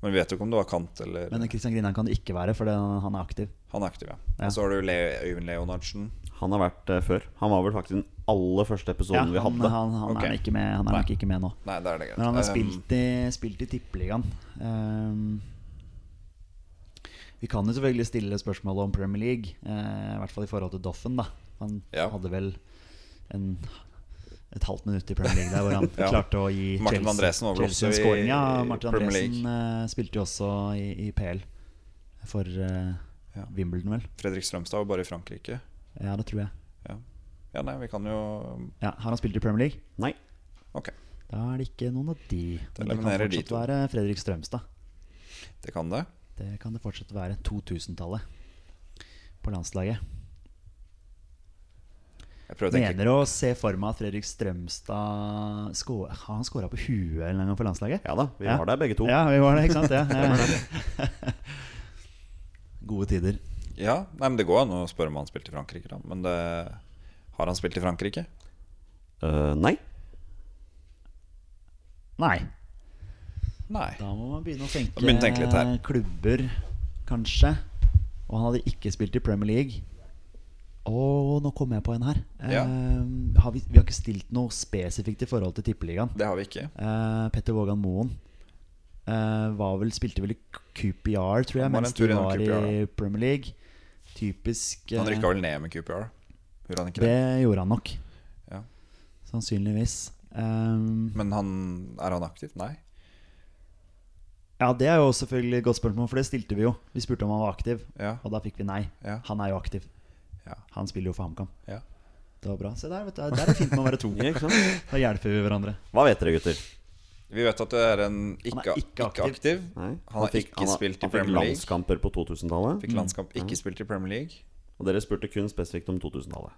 Speaker 3: Men vi vet jo ikke om det var Kant eller
Speaker 2: Men Kristian Grindheim kan det ikke være, for det, han er aktiv.
Speaker 3: Han er aktiv, ja.
Speaker 2: Ja.
Speaker 3: Og så har du Le Øyvind Leonardsen.
Speaker 1: Han har vært eh, før. Han var vel faktisk den aller første
Speaker 2: Ja,
Speaker 1: episoden
Speaker 2: han
Speaker 1: vi
Speaker 2: han,
Speaker 1: hadde.
Speaker 2: han,
Speaker 3: Ok.
Speaker 2: er, ikke med, han er
Speaker 3: Nei.
Speaker 2: nok ikke med nå.
Speaker 3: Nei, det er det greit.
Speaker 2: Men han har
Speaker 3: Um,
Speaker 2: spilt i, spilt i Tippeligaen. Ehm, vi kan jo selvfølgelig stille spørsmål om Premier League, eh, i hvert fall i forhold til Doffen. da Han
Speaker 3: Ja.
Speaker 2: hadde vel en, et halvt minutt i Premier League der hvor han
Speaker 3: Ja.
Speaker 2: klarte å gi
Speaker 3: Martin
Speaker 2: Chelsea-
Speaker 3: Andresen var vel også
Speaker 2: Chelsea en
Speaker 3: i-
Speaker 2: scoring. Ja,
Speaker 3: i
Speaker 2: Martin
Speaker 3: Premier
Speaker 2: Andresen eh, spilte jo også i, i PL for eh,
Speaker 3: Ja.
Speaker 2: Wimbledon, vel.
Speaker 3: Fredrik Strømstad var bare i Frankrike.
Speaker 2: Ja, det tror jeg.
Speaker 3: Ja. ja, nei, vi kan jo
Speaker 2: Ja, har han spilt i Premier League?
Speaker 1: Nei.
Speaker 3: Ok,
Speaker 2: Da er det ikke noen av de. Men det kan
Speaker 3: eliminerer de
Speaker 2: fortsatt
Speaker 3: to.
Speaker 2: være Fredrik Strømstad.
Speaker 3: det kan det.
Speaker 2: Det kan det fortsatt være. 2000-tallet på landslaget.
Speaker 3: Jeg prøver å tenke
Speaker 2: Mener å se for meg at Fredrik Strømstad sko- Har han skåra på huet en gang for landslaget?
Speaker 1: Ja da, vi var der begge to.
Speaker 2: Ja, vi var det, ikke sant? Ja, ja. Gode tider.
Speaker 3: Ja, nei, men det går an å spørre om han spilte i Frankrike, da. Men det har han spilt i Frankrike?
Speaker 1: Eh, nei.
Speaker 2: Nei.
Speaker 3: Nei.
Speaker 2: Da må man begynne å tenke,
Speaker 3: Da begynner jeg å tenke litt her.
Speaker 2: klubber, kanskje. Og han hadde ikke spilt i Premier League. Og nå kom jeg på en her.
Speaker 3: Ja.
Speaker 2: Eh, har vi, vi har ikke stilt noe spesifikt i forhold til Tippeligaen.
Speaker 3: Det har vi ikke.
Speaker 2: Eh, Petter Vågan Moen. Eh, Eh, var vel, spilte vel i QPR, tror jeg,
Speaker 3: Han var
Speaker 2: mens
Speaker 3: en tur
Speaker 2: de
Speaker 3: innom
Speaker 2: var
Speaker 3: QPR,
Speaker 2: i Premier League. Typisk
Speaker 3: Han
Speaker 2: eh,
Speaker 3: rykka vel ned med QPR? Gjorde han ikke det?
Speaker 2: Det gjorde han nok.
Speaker 3: Ja.
Speaker 2: Sannsynligvis. Ehm,
Speaker 3: Men han, er han aktiv? Nei.
Speaker 2: ja, det er jo selvfølgelig et godt spørsmål, for det stilte vi jo. Vi spurte om han var aktiv,
Speaker 3: Ja.
Speaker 2: og da fikk vi nei.
Speaker 3: Ja.
Speaker 2: Han er jo aktiv.
Speaker 3: Ja.
Speaker 2: Han spiller jo for HamKam.
Speaker 3: Ja.
Speaker 2: Det var bra. Se der, vet du. Der er det fint med å være to.
Speaker 1: Ja, ikke sant?
Speaker 2: Da hjelper vi hverandre.
Speaker 1: Hva vet dere, gutter?
Speaker 3: Vi vet at det er en ikke,
Speaker 2: Han er
Speaker 3: ikke
Speaker 2: ikke
Speaker 3: aktiv.
Speaker 1: Nei.
Speaker 3: Han, har
Speaker 1: fikk-
Speaker 3: ikke
Speaker 1: har-
Speaker 3: spilt i
Speaker 1: han fikk
Speaker 3: Premier League.
Speaker 1: landskamper på 2000-tallet.
Speaker 3: Fikk landskamp, ikke spilt i Premier League.
Speaker 1: Og dere spurte kun spesifikt om 2000-tallet.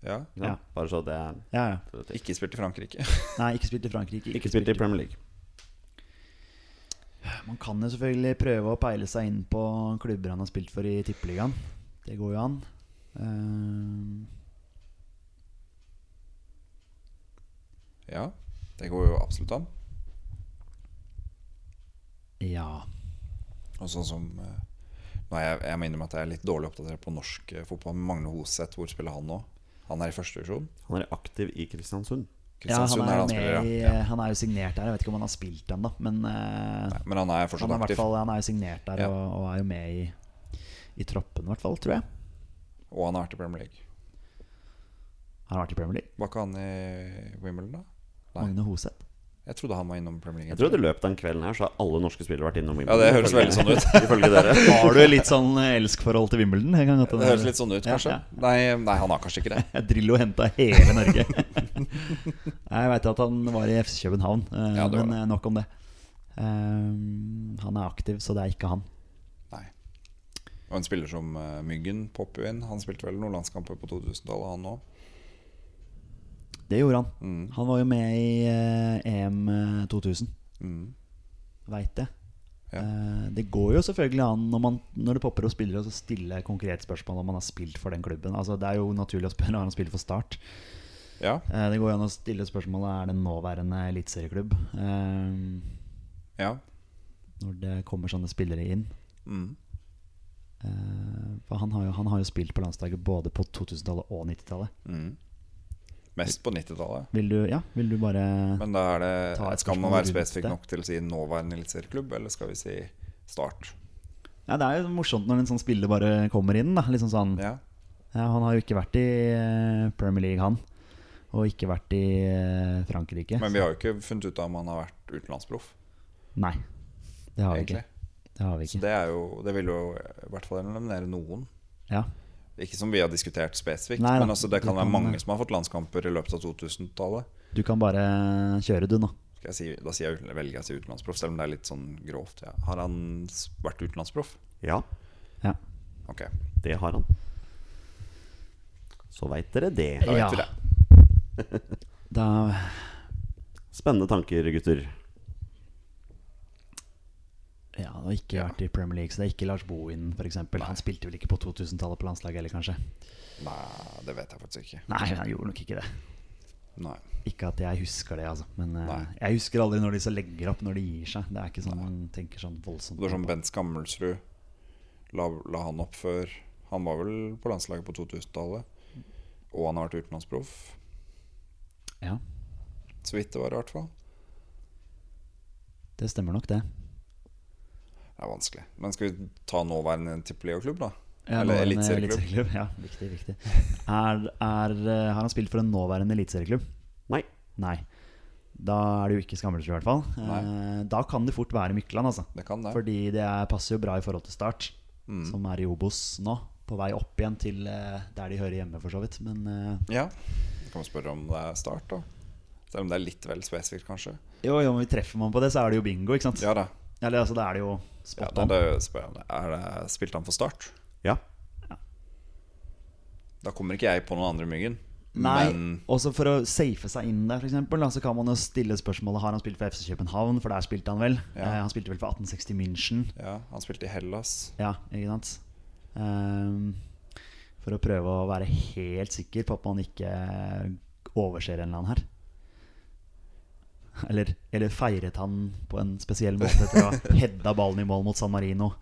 Speaker 3: Ja.
Speaker 1: Ja.
Speaker 2: Ja.
Speaker 1: Bare så det er
Speaker 2: Ja, ja.
Speaker 3: Ikke spilt i Frankrike.
Speaker 2: Nei, ikke spilt i Frankrike.
Speaker 1: Ikke spilt i Premier League.
Speaker 2: Man kan jo selvfølgelig prøve å peile seg inn på klubber han har spilt for i Tippeligaen. Det går jo an. Ehm,
Speaker 3: Ja, det går jo absolutt an.
Speaker 2: ja.
Speaker 3: Og sånn som eh, nå er jeg, jeg må innrømme at jeg er litt dårlig oppdatert på norsk eh, fotball. Men Magne Hoseth, hvor spiller han nå? Han er i første divisjon.
Speaker 1: Han er aktiv i Kristiansund.
Speaker 2: ja han,
Speaker 3: Kristiansund
Speaker 2: er
Speaker 3: er
Speaker 2: jo
Speaker 3: han spiller,
Speaker 2: med, i- eh,
Speaker 3: ja. ja.
Speaker 2: han er jo signert der. Jeg vet ikke om han har spilt ennå, men eh,
Speaker 3: Nei, Men han er
Speaker 2: han,
Speaker 3: fortsatt
Speaker 2: er i hvert
Speaker 3: aktiv.
Speaker 2: fall, han er jo signert der
Speaker 3: Ja.
Speaker 2: og, og er jo med i, i troppen, i hvert fall, tror jeg.
Speaker 3: Og han har vært i Premier League.
Speaker 2: Har han vært i Premier League?
Speaker 3: Var ikke han i Wimbledon, da? Nei.
Speaker 2: Magne Hoseth.
Speaker 3: Jeg trodde han var innom Premier League.
Speaker 1: Jeg tror at i løpet av den kvelden her så har alle norske spillere vært innom
Speaker 3: Ja,
Speaker 1: Wimbledon.
Speaker 3: det høres veldig sånn ut.
Speaker 1: Ifølge dere.
Speaker 2: Har du litt sånn elsk-forhold til Wimbledon? Jeg kan godt-
Speaker 3: Det høres litt sånn ut,
Speaker 2: Ja,
Speaker 3: kanskje.
Speaker 2: ja.
Speaker 3: Nei, nei, han har kanskje ikke det.
Speaker 2: Drillo henta hele Norge. jeg veit at han var i FC København, eh,
Speaker 3: Ja, det var
Speaker 2: men
Speaker 3: det.
Speaker 2: eh, nok om det. Eh, han er aktiv, så det er ikke han.
Speaker 3: Nei. Og en spiller som eh, Myggen popper jo inn. Han spilte vel noen landskamper på 2000-tallet, han òg.
Speaker 2: Det gjorde han.
Speaker 3: Mm.
Speaker 2: Han var jo med i eh, EM eh, 2000.
Speaker 3: Mm.
Speaker 2: Veit det.
Speaker 3: Ja.
Speaker 2: Eh, det går jo selvfølgelig an når, man, når det popper opp spillere, å stille konkret spørsmål om man har spilt for den klubben. Altså, det er jo naturlig å spørre om han spiller for Start.
Speaker 3: Ja,
Speaker 2: Eh, det går jo an å stille spørsmålet er det en nåværende eliteserieklubb. Eh,
Speaker 3: ja.
Speaker 2: når det kommer sånne spillere inn.
Speaker 3: Mm.
Speaker 2: Eh, for han har, jo, han har jo spilt på landslaget både på 2000-tallet og 90-tallet.
Speaker 3: Mm. Mest på 90-tallet.
Speaker 2: Vil, du- ja, vil du bare
Speaker 3: Men da er
Speaker 2: Ta
Speaker 3: det
Speaker 2: et
Speaker 3: Skal man
Speaker 2: spørsmål
Speaker 3: være
Speaker 2: rundt
Speaker 3: spesifikk
Speaker 2: det.
Speaker 3: nok til å si nåværende eliteserieklubb, eller skal vi si Start?
Speaker 2: Nei, Det er jo morsomt når en sånn spiller bare kommer inn. da Liksom sånn
Speaker 3: Ja.
Speaker 2: Ja, han har jo ikke vært i eh, Premier League, han. Og ikke vært i eh, Frankrike.
Speaker 3: Men vi har jo ikke funnet ut av om han har vært utenlandsproff,
Speaker 2: Nei, det har vi
Speaker 3: egentlig.
Speaker 2: ikke. Det har vi
Speaker 3: Så
Speaker 2: ikke.
Speaker 3: det, er jo, det vil jo i hvert fall eliminere noen.
Speaker 2: Ja.
Speaker 3: Ikke som vi har diskutert spesifikt,
Speaker 2: Nei da,
Speaker 3: men altså, det
Speaker 2: du
Speaker 3: kan være
Speaker 2: kan- eh,
Speaker 3: mange som har fått landskamper i løpet av 2000-tallet.
Speaker 2: Du kan bare kjøre, du, nå.
Speaker 3: Skal jeg Si, da sier jeg, uten- velger jeg å si utenlandsproff, selv om det er litt sånn grovt. Ja. Har han s- vært utenlandsproff?
Speaker 1: Ja,
Speaker 2: Ja.
Speaker 3: Ok,
Speaker 1: det har han. Så veit dere det.
Speaker 3: da vet
Speaker 2: Ja.
Speaker 3: vi det.
Speaker 2: Da
Speaker 1: Spennende tanker, gutter.
Speaker 2: Ja, det har ikke vært i Premier League, så det er ikke Lars Bohin, f.eks. Han spilte vel ikke på 2000-tallet på landslaget heller, kanskje?
Speaker 3: Nei, det vet jeg faktisk ikke.
Speaker 2: Nei, han gjorde nok ikke det.
Speaker 3: Nei.
Speaker 2: Ikke at jeg husker det, altså. Men eh,
Speaker 3: Nei.
Speaker 2: jeg husker aldri når de så legger opp når de gir seg. Det er ikke sånn man tenker sånn voldsomt.
Speaker 3: Det var sånn
Speaker 2: på.
Speaker 3: Bent Skammelsrud la, la han opp før Han var vel på landslaget på 2000-tallet. Og han har vært utenlandsproff.
Speaker 2: Ja,
Speaker 3: Så vidt det var, i hvert fall.
Speaker 2: det stemmer nok, det.
Speaker 3: Det er vanskelig. Men skal vi ta nåværende Tippeliga-klubb, da?
Speaker 2: Ja,
Speaker 3: Eller
Speaker 2: nåværende
Speaker 3: eliteserieklubb?
Speaker 2: eh, eliteserieklubb, Ja, viktig, viktig. Er, er, eh, har han spilt for en nåværende eliteserieklubb?
Speaker 1: Nei.
Speaker 2: Nei. Da er det jo ikke Skammelsrud, i hvert fall. Eh, Da kan det fort være Mykland, altså.
Speaker 3: Det kan det. Mm.
Speaker 2: Fordi det er, passer jo bra i forhold til Start, som er i Obos nå. På vei opp igjen til eh, der de hører hjemme, for så vidt. Men eh,
Speaker 3: Ja. Du kan jo spørre om det er start, da. Selv om det er litt vel spesifikt, kanskje.
Speaker 2: jo, jo, men treffer man på det, så er det jo bingo, ikke sant?
Speaker 3: Ja da.
Speaker 2: Eller altså, da er det jo
Speaker 3: Ja,
Speaker 2: spot
Speaker 3: da,
Speaker 2: on.
Speaker 3: da spør jeg om det. Er det spilte han for Start?
Speaker 1: Ja.
Speaker 3: Da kommer ikke jeg på noen andre Myggen.
Speaker 2: Nei,
Speaker 3: Men
Speaker 2: også for å safe seg inn der, for eksempel, da, så kan man jo stille spørsmålet Har han spilt for FC København, for der spilte han vel.
Speaker 3: Ja.
Speaker 2: Eh, han spilte vel for 1860 München.
Speaker 3: ja, han spilte i Hellas.
Speaker 2: Ja, ikke sant? Ehm, for å prøve å være helt sikker på at man ikke overser en eller annen her. Eller, eller feiret han på en spesiell måte etter å ha hedda ballen i mål mot San Marino?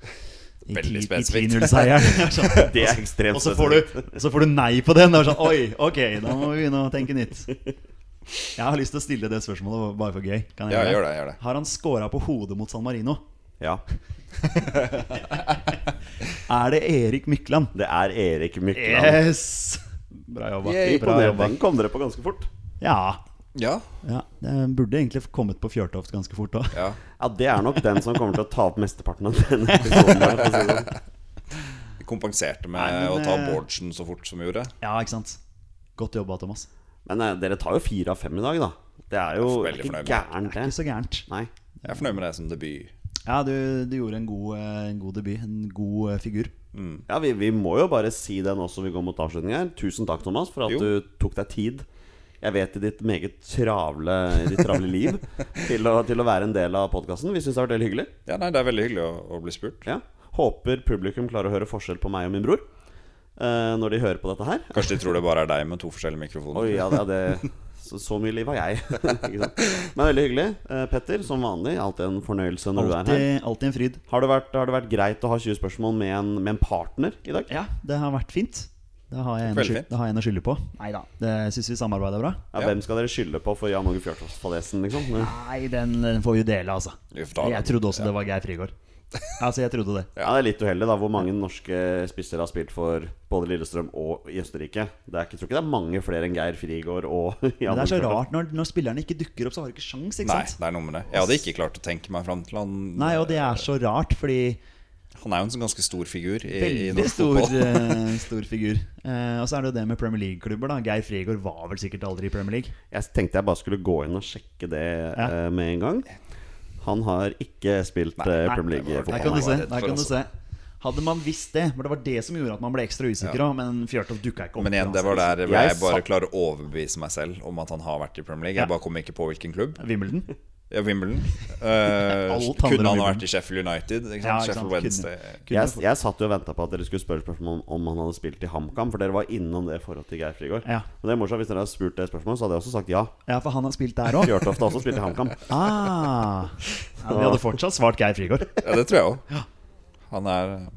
Speaker 2: I
Speaker 3: Veldig
Speaker 2: ti-
Speaker 3: spesifikt.
Speaker 2: I 10-0-seieren.
Speaker 1: Det er ekstremt
Speaker 2: sånn, Og så får, du, så får du nei på den. Og sånn, Oi, ok, da må vi begynne å tenke nytt. Jeg har lyst til å stille det spørsmålet bare for gøy. Kan jeg
Speaker 3: Ja,
Speaker 2: gjøre
Speaker 3: gjør det, gjør det.
Speaker 2: Har han scora på hodet mot San Marino?
Speaker 1: Ja.
Speaker 2: Er det Erik Mykland?
Speaker 1: Det er Erik Mykland.
Speaker 2: Yes! Bra jobba.
Speaker 3: Yay,
Speaker 2: Bra
Speaker 1: Imponerende.
Speaker 2: jobba.
Speaker 1: Den kom dere på ganske fort.
Speaker 2: Ja.
Speaker 3: Ja,
Speaker 2: ja. Det burde egentlig kommet på Fjørtoft ganske fort òg.
Speaker 3: ja.
Speaker 1: Ja, Det er nok den som kommer til å ta opp mesteparten av denne episoden. her, for å si det sånn.
Speaker 3: Vi kompenserte med
Speaker 2: Nei, men,
Speaker 3: å ta
Speaker 2: eh,
Speaker 3: Bårdsen så fort som vi gjorde.
Speaker 2: Ja, ikke sant? Godt jobba, Thomas.
Speaker 1: Men eh, dere tar jo fire av fem i dag, da. Det er jo
Speaker 3: Jeg er veldig
Speaker 1: ikke
Speaker 3: fornøyd
Speaker 1: gærent,
Speaker 2: Ikke
Speaker 1: det.
Speaker 2: så gærent.
Speaker 1: Nei.
Speaker 3: Jeg er fornøyd med det som debut.
Speaker 2: Ja, du, du gjorde en god, eh, en god debut. En god eh, figur.
Speaker 1: Ja, vi, vi må jo bare si det nå som vi går mot avslutning her. Tusen takk, Thomas, for at
Speaker 3: Jo.
Speaker 1: du tok deg tid. Jeg vet i ditt meget travle, i ditt travle liv til å, til å være en del av podkasten. Vi syns det har vært veldig hyggelig.
Speaker 3: Ja, nei, Det er veldig hyggelig å, å bli spurt.
Speaker 1: Ja. Håper publikum klarer å høre forskjell på meg og min bror eh, når de hører på dette her.
Speaker 3: Kanskje de tror det bare er deg med to forskjellige mikrofoner.
Speaker 1: Oi, ja, det, ja, det, så, så mye liv har jeg. Ikke sant? Men veldig hyggelig. Eh, Petter, som vanlig, alltid en fornøyelse når du er her.
Speaker 2: Alltid alltid en fryd.
Speaker 1: Har det, vært, har det vært greit å ha 20 spørsmål med en, med en partner i dag?
Speaker 2: Ja, det har vært fint. Det har jeg en, å
Speaker 3: Veldig
Speaker 2: skyld-
Speaker 3: fint.
Speaker 2: det har jeg en å skylde på. Nei da. Det syns vi samarbeider bra.
Speaker 1: Ja,
Speaker 3: Ja.
Speaker 1: Hvem skal dere skylde på for Jan Åge Fjørtoft-fadesen, liksom? Ja,
Speaker 2: Nei, den, den får vi dele, altså.
Speaker 3: Vi får ta den.
Speaker 2: Jeg trodde også det var Geir Frigård. Altså, jeg trodde det.
Speaker 1: det er litt uheldig, da, hvor mange norske spisser har spilt for både Lillestrøm og i Østerrike. Det er ikke, jeg tror ikke det er mange flere enn Geir Frigård og Jan
Speaker 2: Men det er
Speaker 1: Åge
Speaker 2: så
Speaker 1: Fjørtoft.
Speaker 2: rart når, når spillerne ikke dukker opp, så har du ikke sjans, ikke
Speaker 3: Nei,
Speaker 2: sant?
Speaker 3: det er noe med det. Jeg hadde ikke klart å tenke meg fram til han.
Speaker 2: Nei, og det er så rart, fordi
Speaker 3: Han er jo en sånn ganske stor figur i, i
Speaker 2: Veldig
Speaker 3: norsk
Speaker 2: stor,
Speaker 3: fotball.
Speaker 2: eh, stor figur. Eh, og så er det jo det med Premier League-klubber, da. Geir Frigård var vel sikkert aldri i Premier League.
Speaker 1: Jeg tenkte jeg bare skulle gå inn og sjekke det
Speaker 2: Ja.
Speaker 1: eh, med en gang. Han har ikke spilt eh,
Speaker 2: nei,
Speaker 1: Premier
Speaker 3: det var-
Speaker 2: Der
Speaker 1: League-fotball.
Speaker 2: kan
Speaker 3: jeg
Speaker 2: du
Speaker 3: var
Speaker 2: se.
Speaker 3: redd
Speaker 2: Der
Speaker 3: for,
Speaker 2: kan du
Speaker 3: altså.
Speaker 2: se. Hadde man visst det, for det var det som gjorde at man ble ekstra usikker òg, men Fjørtoft dukka ikke opp.
Speaker 3: Men igjen, det var der hvor
Speaker 1: Jeg
Speaker 3: jeg bare
Speaker 1: satt-
Speaker 3: klarer å overbevise meg selv om at han har vært i Premier League.
Speaker 2: Ja.
Speaker 3: Jeg bare kom ikke på hvilken klubb.
Speaker 2: Wimbledon.
Speaker 3: Ja, Wimbledon. Eh,
Speaker 2: Alt handler om
Speaker 3: kunne han ha
Speaker 2: Wimbledon.
Speaker 3: vært i Sheffield United? Ikke sant?
Speaker 2: Ja, ikke sant?
Speaker 3: Sheffield
Speaker 2: Kunne-
Speaker 3: Wednesday.
Speaker 2: kunne
Speaker 1: Jeg,
Speaker 2: fått-
Speaker 1: jeg satt jo og venta på at dere skulle spørre spørsmål om, om han hadde spilt i HamKam, for dere var innom det i forhold til Geir Frigård.
Speaker 2: Ja.
Speaker 1: Men det er morsomt, hvis dere hadde spurt det spørsmålet, så hadde jeg også sagt ja.
Speaker 2: Ja, for han har spilt der òg.
Speaker 1: Fjørtoft har også spilt i HamKam.
Speaker 2: Ah. Ja, vi hadde fortsatt svart Geir Frigård.
Speaker 3: Ja, det tror jeg òg. Han er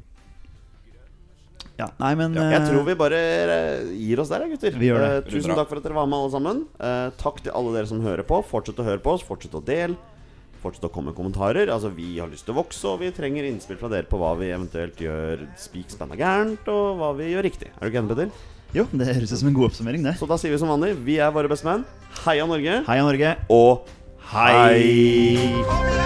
Speaker 2: Ja, nei, men
Speaker 1: Jeg
Speaker 2: eh,
Speaker 1: tror vi bare eh, gir oss der, ja, gutter.
Speaker 2: Vi gjør det.
Speaker 1: Eh, Tusen takk for at dere var med, alle sammen. Eh, takk til alle dere som hører på. Fortsett å høre på oss. Fortsett å dele. Fortsett å komme med kommentarer. Altså, vi har lyst til å vokse, og vi trenger innspill fra dere på hva vi eventuelt gjør spik spanna gærent, og hva vi gjør riktig. Er du ikke enig, Petter?
Speaker 2: eh, Jo, det høres ut som en god oppsummering, det.
Speaker 1: Så da sier vi som vanlig, vi er våre bestemenn. Heia Norge.
Speaker 2: Heia Norge.
Speaker 1: Og hei.
Speaker 2: Hei.
Speaker 6: Hei!